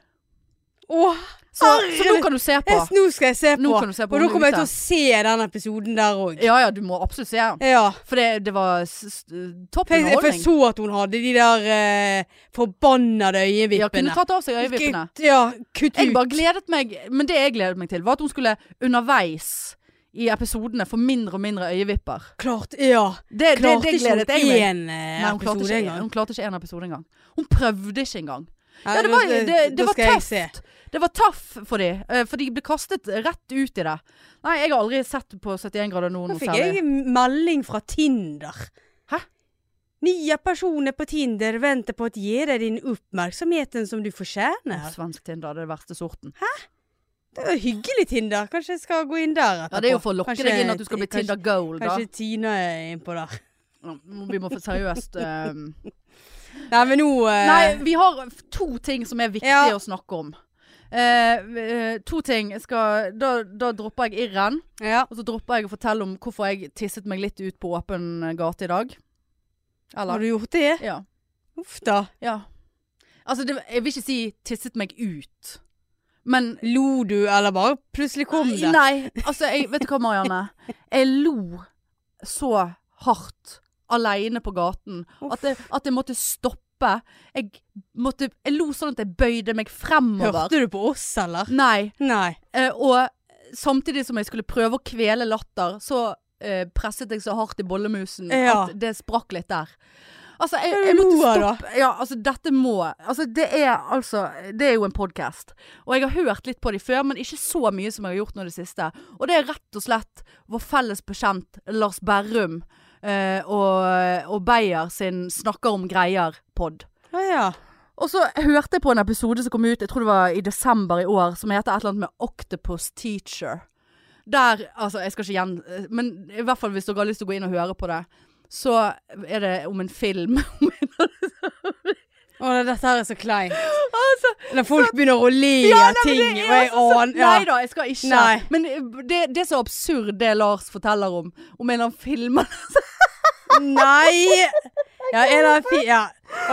Speaker 2: Åh,
Speaker 1: Så, så nå kan du se på.
Speaker 2: Jeg- Nå skal jeg se på.
Speaker 1: Nå kan du se på
Speaker 2: og da
Speaker 1: Hun
Speaker 2: kommer
Speaker 1: ute.
Speaker 2: jeg til å se den episoden der òg.
Speaker 1: Ja ja, du må absolutt se den.
Speaker 2: Ja.
Speaker 1: For det, det var s- s- topp
Speaker 2: For jeg, for jeg
Speaker 1: underholdning.
Speaker 2: så at hun hadde de der eh, forbannede
Speaker 1: Ja, kunne
Speaker 2: øyevippene.
Speaker 1: tatt av seg øyevippene.
Speaker 2: Kutt- Ja, kutt ut.
Speaker 1: Jeg bare gledet meg Men det jeg gledet meg til, var at hun skulle underveis i episodene få mindre og mindre øyevipper.
Speaker 2: Klart, ja.
Speaker 1: Det, det,
Speaker 2: Klarte
Speaker 1: det gledet
Speaker 2: ikke
Speaker 1: jeg meg
Speaker 2: én
Speaker 1: Nei,
Speaker 2: eh,
Speaker 1: hun klarte,
Speaker 2: episode
Speaker 1: ikke,
Speaker 2: engang.
Speaker 1: hun klarte ikke en episode engang. Hun prøvde ikke engang.
Speaker 2: Nei,
Speaker 1: Ja, det
Speaker 2: da-
Speaker 1: var, det,
Speaker 2: da- da
Speaker 1: det var
Speaker 2: skal jeg se.
Speaker 1: tøft. Det var tøff for de, eh, for de ble kastet rett ut i det. Nei, jeg har aldri sett på 71 grader nord
Speaker 2: Nå
Speaker 1: noe
Speaker 2: fikk
Speaker 1: særlig.
Speaker 2: jeg melding fra Tinder.
Speaker 1: Hæ?
Speaker 2: Nye personer på Tinder venter på å gi deg den oppmerksomheten som du
Speaker 1: Åh,
Speaker 2: fortjener.
Speaker 1: Svensk Tinder, det er den verste sorten.
Speaker 2: Det var hyggelig, Tinder. Kanskje jeg skal gå inn der etterpå.
Speaker 1: Ja, det er jo for å lokke
Speaker 2: Kanskje-
Speaker 1: deg inn at du skal bli
Speaker 2: kanskje-
Speaker 1: Tinder Gold, da.
Speaker 2: Kanskje Tina er innpå der.
Speaker 1: Ja, nå- Vi må få seriøst eh,
Speaker 2: Nei, men nå eh,
Speaker 1: Nei, vi har to ting som er viktige
Speaker 2: Ja.
Speaker 1: å snakke om. Eh, eh, to ting. Jeg Skal, da, da dropper jeg irren.
Speaker 2: Ja.
Speaker 1: Og så dropper jeg å fortelle om hvorfor jeg tisset meg litt ut på åpen gate i dag.
Speaker 2: Har
Speaker 1: Eller
Speaker 2: du gjort det?
Speaker 1: Ja.
Speaker 2: Uff da.
Speaker 1: ja. Altså, det, jeg vil ikke si tisset meg ut. Men
Speaker 2: Lo du, eller bare plutselig kom det?
Speaker 1: Nei, altså, jeg, vet du hva, Marianne? Jeg lo så hardt aleine på gaten at jeg, at jeg måtte stoppe. Jeg, måtte, jeg lo sånn at jeg bøyde meg fremover.
Speaker 2: Hørte du på oss, eller?
Speaker 1: Nei.
Speaker 2: Nei.
Speaker 1: Eh, og samtidig som jeg skulle prøve å kvele latter, så eh, presset jeg så hardt i bollemusen
Speaker 2: Ja.
Speaker 1: at det sprakk litt der. Altså, jeg,
Speaker 2: Hva
Speaker 1: jeg
Speaker 2: lo
Speaker 1: måtte
Speaker 2: av da?
Speaker 1: stoppe. Ja, altså, dette må Altså, det er altså Det er jo en podkast. Og jeg har hørt litt på de før, men ikke så mye som jeg har gjort nå i det siste. Og det er rett og slett vår felles bekjent Lars Berrum eh, og, og Beyer sin 'Snakker om greier'-pod.
Speaker 2: Ja, ja.
Speaker 1: Og så hørte jeg på en episode som kom ut, jeg tror det var i desember i år, som heter et eller annet med Octopus Teacher. Der, altså jeg skal ikke gjen... Men i hvert fall hvis dere har lyst til å gå inn og høre på det, så er det om en film.
Speaker 2: Å, det- dette her er så kleint.
Speaker 1: Altså,
Speaker 2: Når folk begynner å le av ting, og jeg aner ja.
Speaker 1: Nei da, jeg skal ikke.
Speaker 2: Nei.
Speaker 1: Men eh, det, det er så absurd det Lars forteller om. Om en eller annen film.
Speaker 2: Nei! Ja, en av fi... Ja.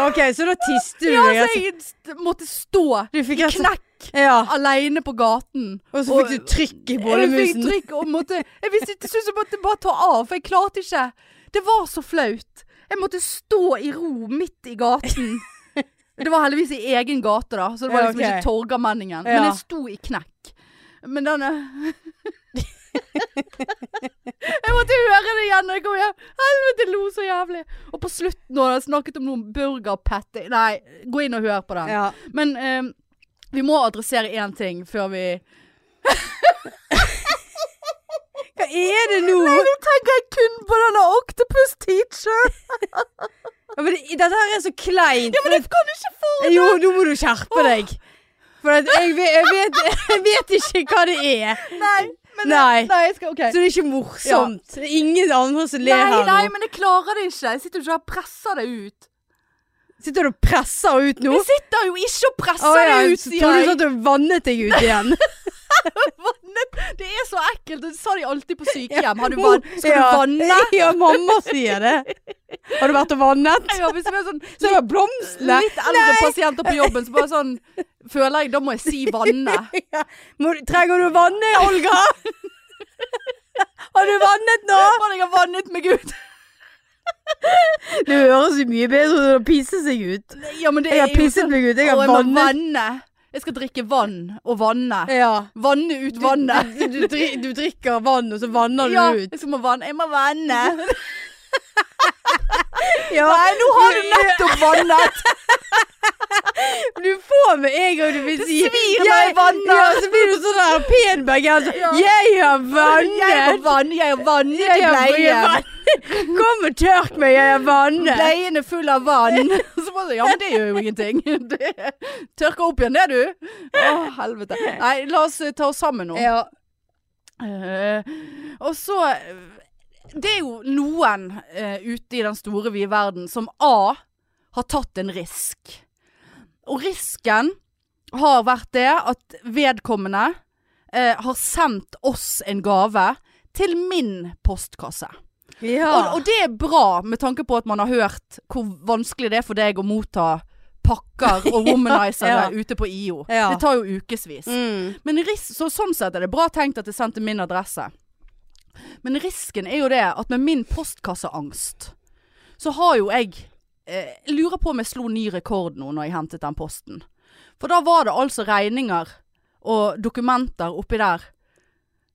Speaker 2: OK, så da tiste du.
Speaker 1: Ja,
Speaker 2: deg,
Speaker 1: altså,
Speaker 2: altså.
Speaker 1: jeg st- måtte stå
Speaker 2: Du fikk altså
Speaker 1: knekk
Speaker 2: Ja.
Speaker 1: aleine på gaten.
Speaker 2: Og så fikk du trykk i bollemusen.
Speaker 1: Jeg fikk trykk og måtte Jeg visste ikke, syntes jeg måtte bare ta av, for jeg klarte ikke. Det var så flaut. Jeg måtte stå i ro midt i gaten. Det var heldigvis i egen gate, da, så det var
Speaker 2: Ja,
Speaker 1: liksom
Speaker 2: ok.
Speaker 1: ikke Torgallmenningen.
Speaker 2: Ja.
Speaker 1: Men jeg sto i knekk. Men den eh, Jeg måtte høre det igjen når jeg kom hjem. Helvete, jeg lo så jævlig. Og på slutten, når jeg snakket om noen burgerpatty Nei, gå inn og hør på den.
Speaker 2: Ja.
Speaker 1: Men eh, vi må adressere én ting før vi
Speaker 2: Hva er det nå?
Speaker 1: Nå tenker jeg kun på denne Octopus Teacher.
Speaker 2: Ja, men det, dette her er så kleint.
Speaker 1: Men jeg kan ikke få
Speaker 2: Jo, nå må du skjerpe deg. For at jeg, ve- jeg, vet, jeg vet ikke hva det er.
Speaker 1: Nei. eh,
Speaker 2: Nei.
Speaker 1: nei jeg skal, ok.
Speaker 2: Så det er ikke morsomt. Det er ingen andre som ler
Speaker 1: Nei,
Speaker 2: her
Speaker 1: nei,
Speaker 2: nå.
Speaker 1: men jeg klarer det ikke. Jeg sitter jo ikke og presser det ut.
Speaker 2: Sitter du og presser ut nå?
Speaker 1: Jeg sitter jo ikke og presser
Speaker 2: Å, ja,
Speaker 1: det ut,
Speaker 2: så
Speaker 1: sier
Speaker 2: Tror du
Speaker 1: jeg.
Speaker 2: sånn at du vannet deg ut igjen?
Speaker 1: Vannet. Det er så ekkelt. Det sa de alltid på sykehjem. Har du
Speaker 2: Mor-
Speaker 1: vann? Skal
Speaker 2: ja.
Speaker 1: du vanne?
Speaker 2: Ja, mamma sier det. Har du vært og vannet?
Speaker 1: Ja, hvis vi er sånn
Speaker 2: Så det var blomstene.
Speaker 1: litt eldre pasienter på jobben, så bare sånn Føler jeg da må jeg si vanne.
Speaker 2: Ja. Må, du- trenger du å vanne, Olga? Har du vannet nå?
Speaker 1: Faen, jeg har vannet meg ut.
Speaker 2: Det høres jo mye bedre ut enn å pisse seg ut.
Speaker 1: Ja, men det
Speaker 2: Jeg
Speaker 1: er
Speaker 2: har
Speaker 1: jo
Speaker 2: pisset
Speaker 1: sånn
Speaker 2: meg ut. Jeg
Speaker 1: Å,
Speaker 2: har
Speaker 1: jeg må
Speaker 2: vannet.
Speaker 1: vanne. Jeg skal drikke vann og vanne.
Speaker 2: Ja.
Speaker 1: Vanne ut vannet.
Speaker 2: Du, du, dri- du drikker vann, og så vanner du
Speaker 1: Ja,
Speaker 2: ut.
Speaker 1: jeg skal må vanne. Jeg må vanne.
Speaker 2: Ja.
Speaker 1: Nei, nå har du nettopp vannet.
Speaker 2: Du får med en gang du vil
Speaker 1: Det
Speaker 2: si
Speaker 1: svir når
Speaker 2: «Jeg-
Speaker 1: jeg vanner».
Speaker 2: Ja, så blir du sånn der pen bergenser.
Speaker 1: Ja.
Speaker 2: Jeg har
Speaker 1: Jeg må
Speaker 2: vannet.
Speaker 1: vanne, jeg har vannet i bleien.
Speaker 2: vannet. Kom og tørk meg, jeg har vannet.
Speaker 1: Bleien er full av vann. Så bare, ja, men det gjør jo ingenting. Det tørker opp igjen, det du. Å, helvete. Nei, la oss eh, ta oss sammen nå.
Speaker 2: Ja.
Speaker 1: Eh, og så eh, Det er jo noen eh, ute i den store vide verden som A har tatt en risk. Og risken har vært det at vedkommende eh, har sendt oss en gave til min postkasse.
Speaker 2: ja.
Speaker 1: Og, og det er bra med tanke på at man har hørt hvor vanskelig det er for deg å motta pakker og womanizere
Speaker 2: Ja.
Speaker 1: ute på IO.
Speaker 2: Ja.
Speaker 1: Det tar jo ukevis.
Speaker 2: Mm.
Speaker 1: Men ris så, sånn sett er det bra tenkt at jeg sendte min adresse. Men risken er jo det at med min postkasseangst, så har jo jeg eh, jeg Lurer på om jeg slo ny rekord nå når jeg hentet den posten. For da var det altså regninger og dokumenter oppi der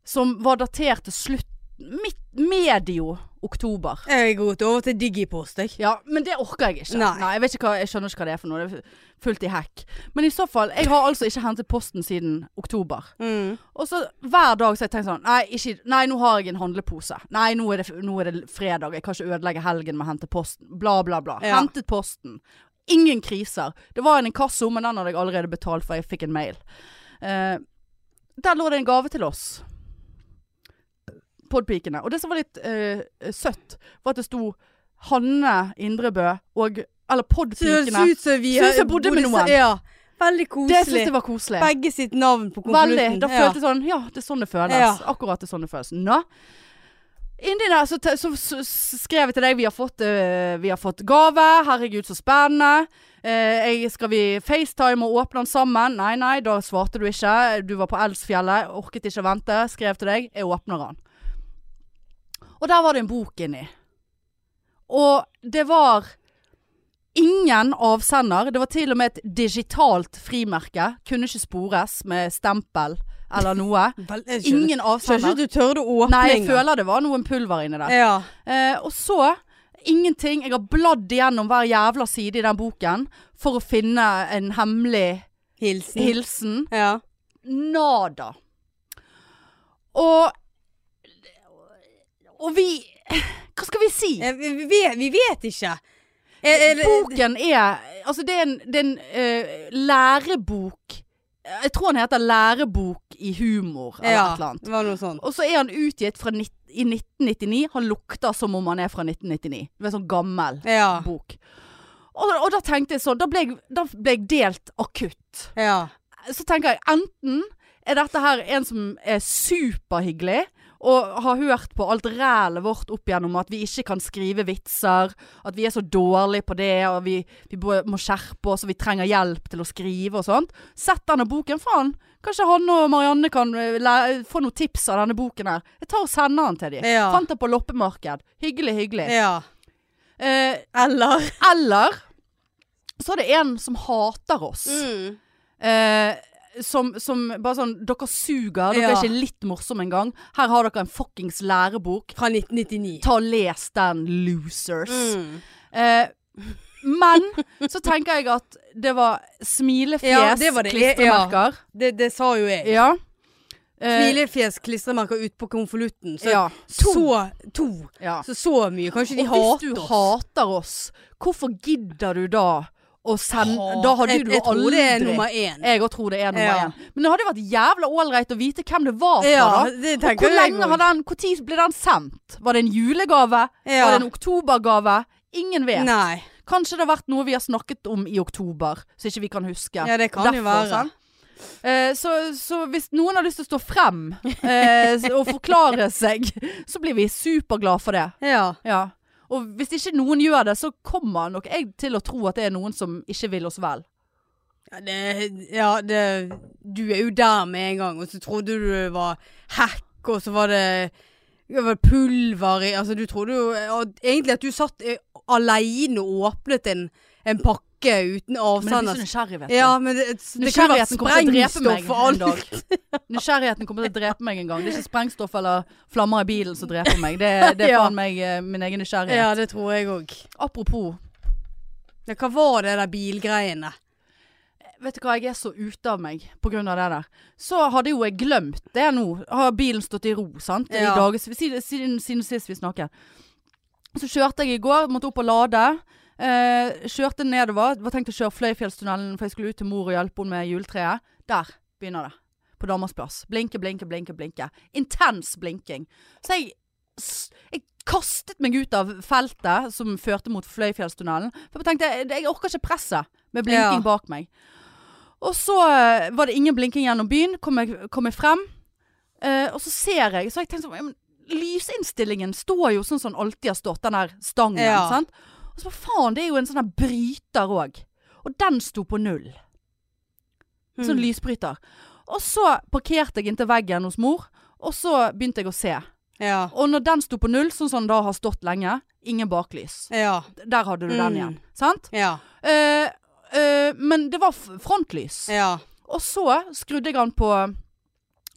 Speaker 1: som var datert til slutt midt, medio oktober.
Speaker 2: Jeg er god til å over til digipost, jeg.
Speaker 1: Ja, men det orker jeg ikke.
Speaker 2: Nei.
Speaker 1: jeg, vet ikke hva, jeg skjønner ikke hva det er for noe. Det er fullt i hekk. Men i så fall, jeg har altså ikke hentet posten siden oktober.
Speaker 2: Mm.
Speaker 1: Og så hver dag så har jeg tenkt sånn nei, ikke, i- nei, nå har jeg en handlepose. Nei, nå er, det, nå er det fredag. Jeg kan ikke ødelegge helgen med å hente posten. Bla, bla, bla.
Speaker 2: Ja.
Speaker 1: Hentet posten. Ingen kriser. Det var en inkasso, men den hadde jeg allerede betalt for. Jeg fikk en mail. Eh, der lå det en gave til oss. Podpikene. Og det som var litt eh, søtt, var at det sto Hanne Indrebø og Eller
Speaker 2: Så det
Speaker 1: Podpikene.
Speaker 2: ser ut som vi
Speaker 1: Ser ut som jeg bodde med
Speaker 2: sa-
Speaker 1: noen.
Speaker 2: Ja. Veldig
Speaker 1: Det syntes
Speaker 2: koselig.
Speaker 1: jeg var koselig.
Speaker 2: Begge sitt navn på
Speaker 1: Veldig.
Speaker 2: konvolutten.
Speaker 1: Da følte jeg sånn Ja, det er sånn det føles.
Speaker 2: Ja.
Speaker 1: Akkurat det er sånn det føles. Nå. Inni der så, te- så, så så skrev jeg til deg vi har, fått, eh, vi har fått gave. Herregud, så spennende. Eh, jeg, skal vi FaceTime og åpne den sammen? Nei, nei, da svarte du ikke. Du var på Elsfjellet, orket ikke å vente. Skrev til deg. Jeg åpner den. Og der var det en bok inni. Og det var ingen avsender. Det var til og med et digitalt frimerke. Kunne ikke spores med stempel eller noe.
Speaker 2: ja. Vel- jeg skjønner-
Speaker 1: Ingen
Speaker 2: Skjønner
Speaker 1: avsender.
Speaker 2: ikke at du tørde å åpne
Speaker 1: Nei, jeg
Speaker 2: engang.
Speaker 1: føler det var noen pulver inni der.
Speaker 2: Ja.
Speaker 1: Eh, og så ingenting. Jeg har bladd igjennom hver jævla side i den boken for å finne en hemmelig
Speaker 2: Hilsen.
Speaker 1: hilsen.
Speaker 2: ja.
Speaker 1: Nada. Og Og vi Hva skal vi si?
Speaker 2: Eh, Vi, vi, vet- vi vet ikke. Eh, eh,
Speaker 1: Boken er Altså, det er en, det er en eh, lærebok Jeg tror den heter 'Lærebok i humor' eller et eller
Speaker 2: ja,
Speaker 1: annet.
Speaker 2: det var noe sånt.
Speaker 1: Og så er han utgitt fra nitt- i 1999. Han lukter som om han er fra 1999. Det er en sånn gammel
Speaker 2: Ja.
Speaker 1: bok. Og, og da tenkte jeg sånn da ble jeg, da ble jeg delt akutt.
Speaker 2: ja.
Speaker 1: Så tenker jeg enten er dette her en som er superhyggelig og har hørt på alt rælet vårt opp gjennom at vi ikke kan skrive vitser, at vi er så dårlige på det, og vi, vi bo- må skjerpe oss, og vi trenger hjelp til å skrive og sånt. Sett denne boken, faen. Kanskje han og Marianne kan eh, læ- få noen tips av denne boken her. Jeg tar og sender den til dem.
Speaker 2: Ja.
Speaker 1: Fant den på loppemarked. Hyggelig, hyggelig.
Speaker 2: ja.
Speaker 1: Eh,
Speaker 2: Eller
Speaker 1: eller så er det en som hater oss.
Speaker 2: mm.
Speaker 1: Eh, som, som bare sånn Dere suger. Dere
Speaker 2: Ja.
Speaker 1: er ikke litt morsomme engang. Her har dere en fuckings lærebok.
Speaker 2: Fra 1999.
Speaker 1: Ta og les den, losers.
Speaker 2: Mm.
Speaker 1: Eh, men så tenker jeg at det var smilefjes,
Speaker 2: Ja, det var
Speaker 1: E-
Speaker 2: det.
Speaker 1: klistremerker.
Speaker 2: Det, det sa jo jeg.
Speaker 1: Ja. Eh,
Speaker 2: Smilefjes, klistremerker ut på konvolutten. Så,
Speaker 1: ja. To.
Speaker 2: så to.
Speaker 1: ja.
Speaker 2: Så så mye. Kanskje de
Speaker 1: og hvis
Speaker 2: hater
Speaker 1: du
Speaker 2: oss.
Speaker 1: hater oss, hvorfor gidder du da å sende
Speaker 2: Hat.
Speaker 1: Da hadde
Speaker 2: jeg,
Speaker 1: du
Speaker 2: jeg
Speaker 1: jo
Speaker 2: tror det er
Speaker 1: aldri
Speaker 2: nummer én.
Speaker 1: Jeg òg tror det er nummer
Speaker 2: Ja.
Speaker 1: én. Men det hadde vært jævla ålreit å vite hvem det var fra, da.
Speaker 2: det
Speaker 1: Og hvor lenge har
Speaker 2: det
Speaker 1: den, hvor tid ble den sendt? Var det en julegave?
Speaker 2: ja.
Speaker 1: Var det en oktobergave? Ingen vet.
Speaker 2: Nei.
Speaker 1: Kanskje det har vært noe vi har snakket om i oktober, så ikke vi kan huske.
Speaker 2: Ja, det kan jo være.
Speaker 1: sånn. Eh, så, så hvis noen har lyst til å stå frem eh, s- og forklare seg, så blir vi superglad for det.
Speaker 2: Ja.
Speaker 1: Ja. Og hvis ikke noen gjør det, så kommer nok jeg til å tro at det er noen som ikke vil oss vel.
Speaker 2: Ja, det, ja det, du er jo der med en gang, og så trodde du det var hack, og så var det, det var pulver i Altså, du trodde jo og egentlig at du satt eh, aleine og åpnet en, en pakke uten
Speaker 1: Men jeg blir
Speaker 2: avsender.
Speaker 1: så nysgjerrig, vet du.
Speaker 2: sånn Ja, men det, det kunne vært
Speaker 1: Nysgjerrigheten kommer til å drepe meg
Speaker 2: sprengstoff og
Speaker 1: en
Speaker 2: alt.
Speaker 1: dag. Nysgjerrigheten kommer til å drepe meg en gang. Det er ikke sprengstoff eller flammer i bilen som dreper meg. Det, er- det er
Speaker 2: Ja.
Speaker 1: faen meg eh, min egen nysgjerrighet.
Speaker 2: Ja, det tror jeg òg.
Speaker 1: Apropos,
Speaker 2: Ja, hva var det der bilgreiene?
Speaker 1: vet du hva, jeg er så ute av meg på grunn av det der. Så hadde jo jeg glemt det nå. Har bilen stått i ro, sant? I
Speaker 2: Ja.
Speaker 1: dages, siden, siden, siden sist vi snakket. Så kjørte jeg i går, måtte opp og lade. Eh, kjørte nedover. Var tenkt å kjøre Fløyfjellstunnelen, for jeg skulle ut til mor og hjelpe henne med juletreet. Der begynner det. På Danmarksplass. Blinke, blinke, blinke, blinke. Intens blinking. Så jeg, s- jeg kastet meg ut av feltet som førte mot Fløyfjellstunnelen. For jeg tenkte jeg, jeg orker ikke presset med blinking
Speaker 2: Ja.
Speaker 1: bak meg. Og så eh, var det ingen blinking gjennom byen. Kom jeg, kom jeg frem. Eh, og så ser jeg, så har jeg tenkt sånn ja, men Lysinnstillingen står jo sånn som den alltid har stått, den der stangen.
Speaker 2: Ja.
Speaker 1: Sant? Og så bare faen, det er jo en sånn der bryter òg. Og den sto på null. Sånn
Speaker 2: Mm.
Speaker 1: lysbryter. Og så parkerte jeg inntil veggen hos mor, og så begynte jeg å se.
Speaker 2: Ja.
Speaker 1: Og når den sto på null, sånn som den da har stått lenge, ingen baklys.
Speaker 2: Ja.
Speaker 1: Der hadde du den
Speaker 2: Mm.
Speaker 1: igjen. Sant?
Speaker 2: Ja.
Speaker 1: Eh, eh, men det var f- frontlys.
Speaker 2: ja.
Speaker 1: Og så skrudde jeg den på eh,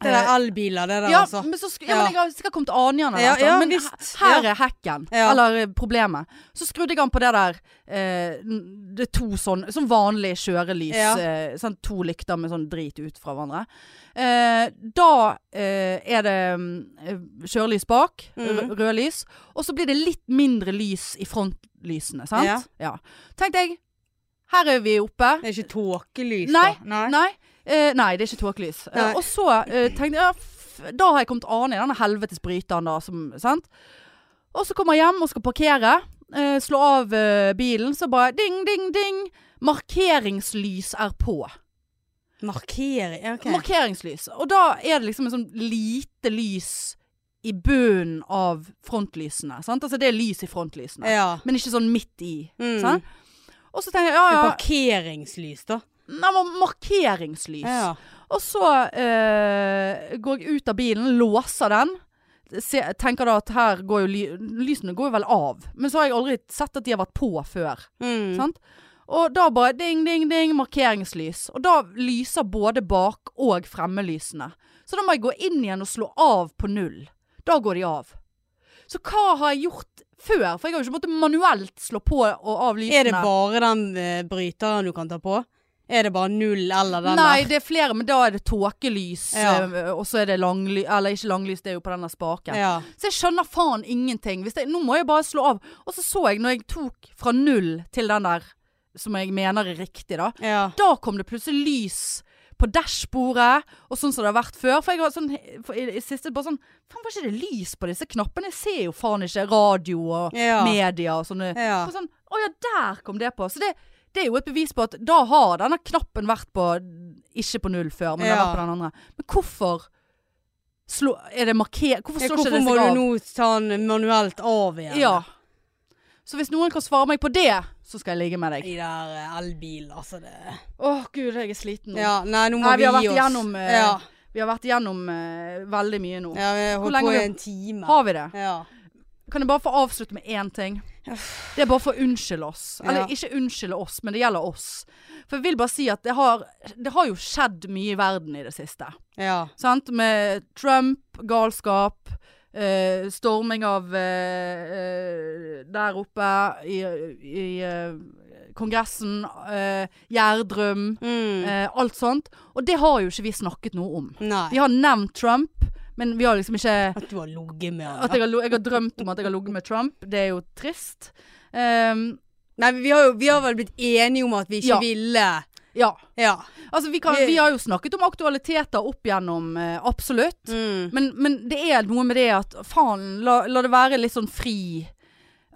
Speaker 2: Det der elbiler, det der,
Speaker 1: ja,
Speaker 2: altså.
Speaker 1: men så sk ja,
Speaker 2: Ja.
Speaker 1: men jeg har sikkert kommet til aningene.
Speaker 2: Ja,
Speaker 1: altså,
Speaker 2: ja,
Speaker 1: men
Speaker 2: visst.
Speaker 1: he- her
Speaker 2: Ja.
Speaker 1: er hacken,
Speaker 2: Ja.
Speaker 1: eller eh, problemet. Så skrudde jeg an på det der eh, n- Det er to sånn Som vanlig kjørelys.
Speaker 2: Ja.
Speaker 1: Eh, sånn to lykter med sånn drit ut fra hverandre. Eh, da eh, er det mm, kjørelys bak,
Speaker 2: Mhm.
Speaker 1: rø- rødlys, og så blir det litt mindre lys i frontlysene, sant?
Speaker 2: Ja.
Speaker 1: ja. Tenkte jeg Her er vi oppe.
Speaker 2: Det er ikke tåkelys,
Speaker 1: Nei,
Speaker 2: da. Nei.
Speaker 1: Nei. Eh, nei, det er ikke tåkelys. Eh,
Speaker 2: Nei.
Speaker 1: og så eh, tenkte jeg ja, f Da har jeg kommet an i denne helvetes bryteren, da. Som, sant? Og så kommer jeg hjem og skal parkere. Eh, slå av eh, bilen, så bare ding, ding, ding. Markeringslys er på.
Speaker 2: Markering ja, OK.
Speaker 1: Markeringslys. Og da er det liksom en sånn lite lys i bunnen av frontlysene. Sant? Altså det er lys i frontlysene,
Speaker 2: ja.
Speaker 1: men ikke sånn midt i.
Speaker 2: Mm.
Speaker 1: Sant? Og så tenker jeg Sånn. ja, ja,
Speaker 2: Parkeringslys, da.
Speaker 1: nei, men markeringslys.
Speaker 2: Ja.
Speaker 1: Og så eh, går jeg ut av bilen, låser den. Se, tenker da at her går jo ly lysene går jo vel av. Men så har jeg aldri sett at de har vært på før.
Speaker 2: Mm.
Speaker 1: Sant? Og da bare ding, ding, ding, markeringslys. Og da lyser både bak- og fremmelysene. Så da må jeg gå inn igjen og slå av på null. Da går de av. Så hva har jeg gjort før? For jeg har jo ikke måttet manuelt slå på og av lysene.
Speaker 2: Er det bare den eh, bryteren du kan ta på? Er det bare null eller den
Speaker 1: Nei,
Speaker 2: der?
Speaker 1: det er flere, men da er det tåkelys.
Speaker 2: Ja.
Speaker 1: eh, Og så er det langlys Eller ikke langlys, det er jo på denne spaken.
Speaker 2: Ja.
Speaker 1: Så jeg skjønner faen ingenting. Hvis det, nå må jeg bare slå av. Og så så jeg, når jeg tok fra null til den der som jeg mener er riktig, da.
Speaker 2: ja.
Speaker 1: Da kom det plutselig lys på dashbordet, og sånn som det har vært før. For jeg var sånn for i, i siste bare sånn Faen, var ikke det lys på disse knappene? Jeg ser jo faen ikke radio og
Speaker 2: Ja.
Speaker 1: media og sånne
Speaker 2: Ja.
Speaker 1: på sånn, Å ja, der kom det på. Så det, det er jo et bevis på at da har denne knappen vært på Ikke på null før, men den har
Speaker 2: Ja.
Speaker 1: vært på den andre. Men hvorfor slå, er det marker... Hvorfor
Speaker 2: Ja,
Speaker 1: slår
Speaker 2: Hvorfor
Speaker 1: ikke det
Speaker 2: må
Speaker 1: seg
Speaker 2: du
Speaker 1: av?
Speaker 2: nå ta den manuelt av igjen?
Speaker 1: ja. Så hvis noen kan svare meg på det, så skal jeg ligge med deg.
Speaker 2: I der eh, elbil, altså det
Speaker 1: Å gud, jeg er sliten nå.
Speaker 2: Ja, nei, nå må
Speaker 1: Nei, vi
Speaker 2: vi,
Speaker 1: har vært
Speaker 2: gi oss.
Speaker 1: igjennom, eh,
Speaker 2: ja.
Speaker 1: Vi har vært igjennom eh, veldig mye nå.
Speaker 2: ja, vi har holdt
Speaker 1: lenge
Speaker 2: på i
Speaker 1: har vi-
Speaker 2: en time.
Speaker 1: Har vi det?
Speaker 2: Ja.
Speaker 1: Kan jeg bare få avslutte med én ting? Det er bare for å unnskylde oss. Eller
Speaker 2: Ja.
Speaker 1: ikke unnskylde oss, men det gjelder oss. For jeg vil bare si at det har, det har jo skjedd mye i verden i det siste.
Speaker 2: ja.
Speaker 1: Sant? Med Trump, galskap, eh, storming av eh, eh, Der oppe i, i eh, Kongressen, eh, Gjerdrum,
Speaker 2: Mm.
Speaker 1: eh, alt sånt. Og det har jo ikke vi snakket noe om.
Speaker 2: Nei.
Speaker 1: Vi har nevnt Trump, men vi har liksom ikke
Speaker 2: At du har ligget med
Speaker 1: at
Speaker 2: han.
Speaker 1: jeg har, lo- jeg har drømt om at jeg har ligget med Trump, det er jo trist. Ehm,
Speaker 2: Nei, vi har, jo, vi har vel blitt enige om at vi ikke
Speaker 1: Ja.
Speaker 2: ville
Speaker 1: ja.
Speaker 2: Ja.
Speaker 1: Altså, vi, kan, vi har jo snakket om aktualiteter opp gjennom, eh, absolutt.
Speaker 2: Mm.
Speaker 1: Men, men det er noe med det at faen, la, la det være litt sånn fri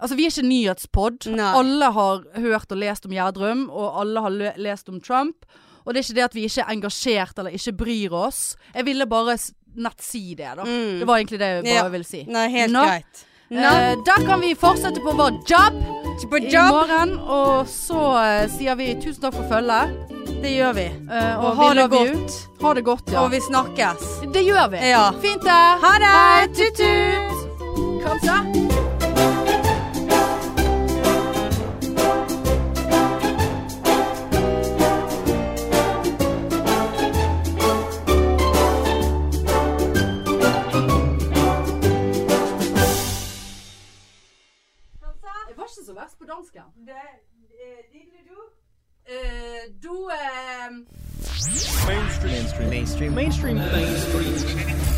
Speaker 1: Altså, vi er ikke en nyhetspod.
Speaker 2: Nei.
Speaker 1: Alle har hørt og lest om Gjerdrum, og alle har lø- lest om Trump. Og det er ikke det at vi ikke er engasjert eller ikke bryr oss. Jeg ville bare s- nett si det, da.
Speaker 2: Mm.
Speaker 1: Det var egentlig det jeg bare
Speaker 2: Ja.
Speaker 1: ville si.
Speaker 2: Nei, helt
Speaker 1: Nå-
Speaker 2: greit.
Speaker 1: Eh, da kan vi fortsette på vår job.
Speaker 2: På
Speaker 1: eh, i
Speaker 2: jobb.
Speaker 1: morgen. Og så eh, sier vi tusen takk for følget.
Speaker 2: Det gjør vi.
Speaker 1: eh, og
Speaker 2: Og
Speaker 1: ha
Speaker 2: vi
Speaker 1: det
Speaker 2: love you.
Speaker 1: godt. Ha det godt, ja.
Speaker 2: Og vi snakkes.
Speaker 1: Det gjør vi.
Speaker 2: Ja.
Speaker 1: Fint det.
Speaker 2: Ha det.
Speaker 1: Bye. Tut-tut. Kanskje. Jeg var ikke så verst på dansken. Eh, du eh,
Speaker 3: mainstream mainstream mainstream mainstream mainstream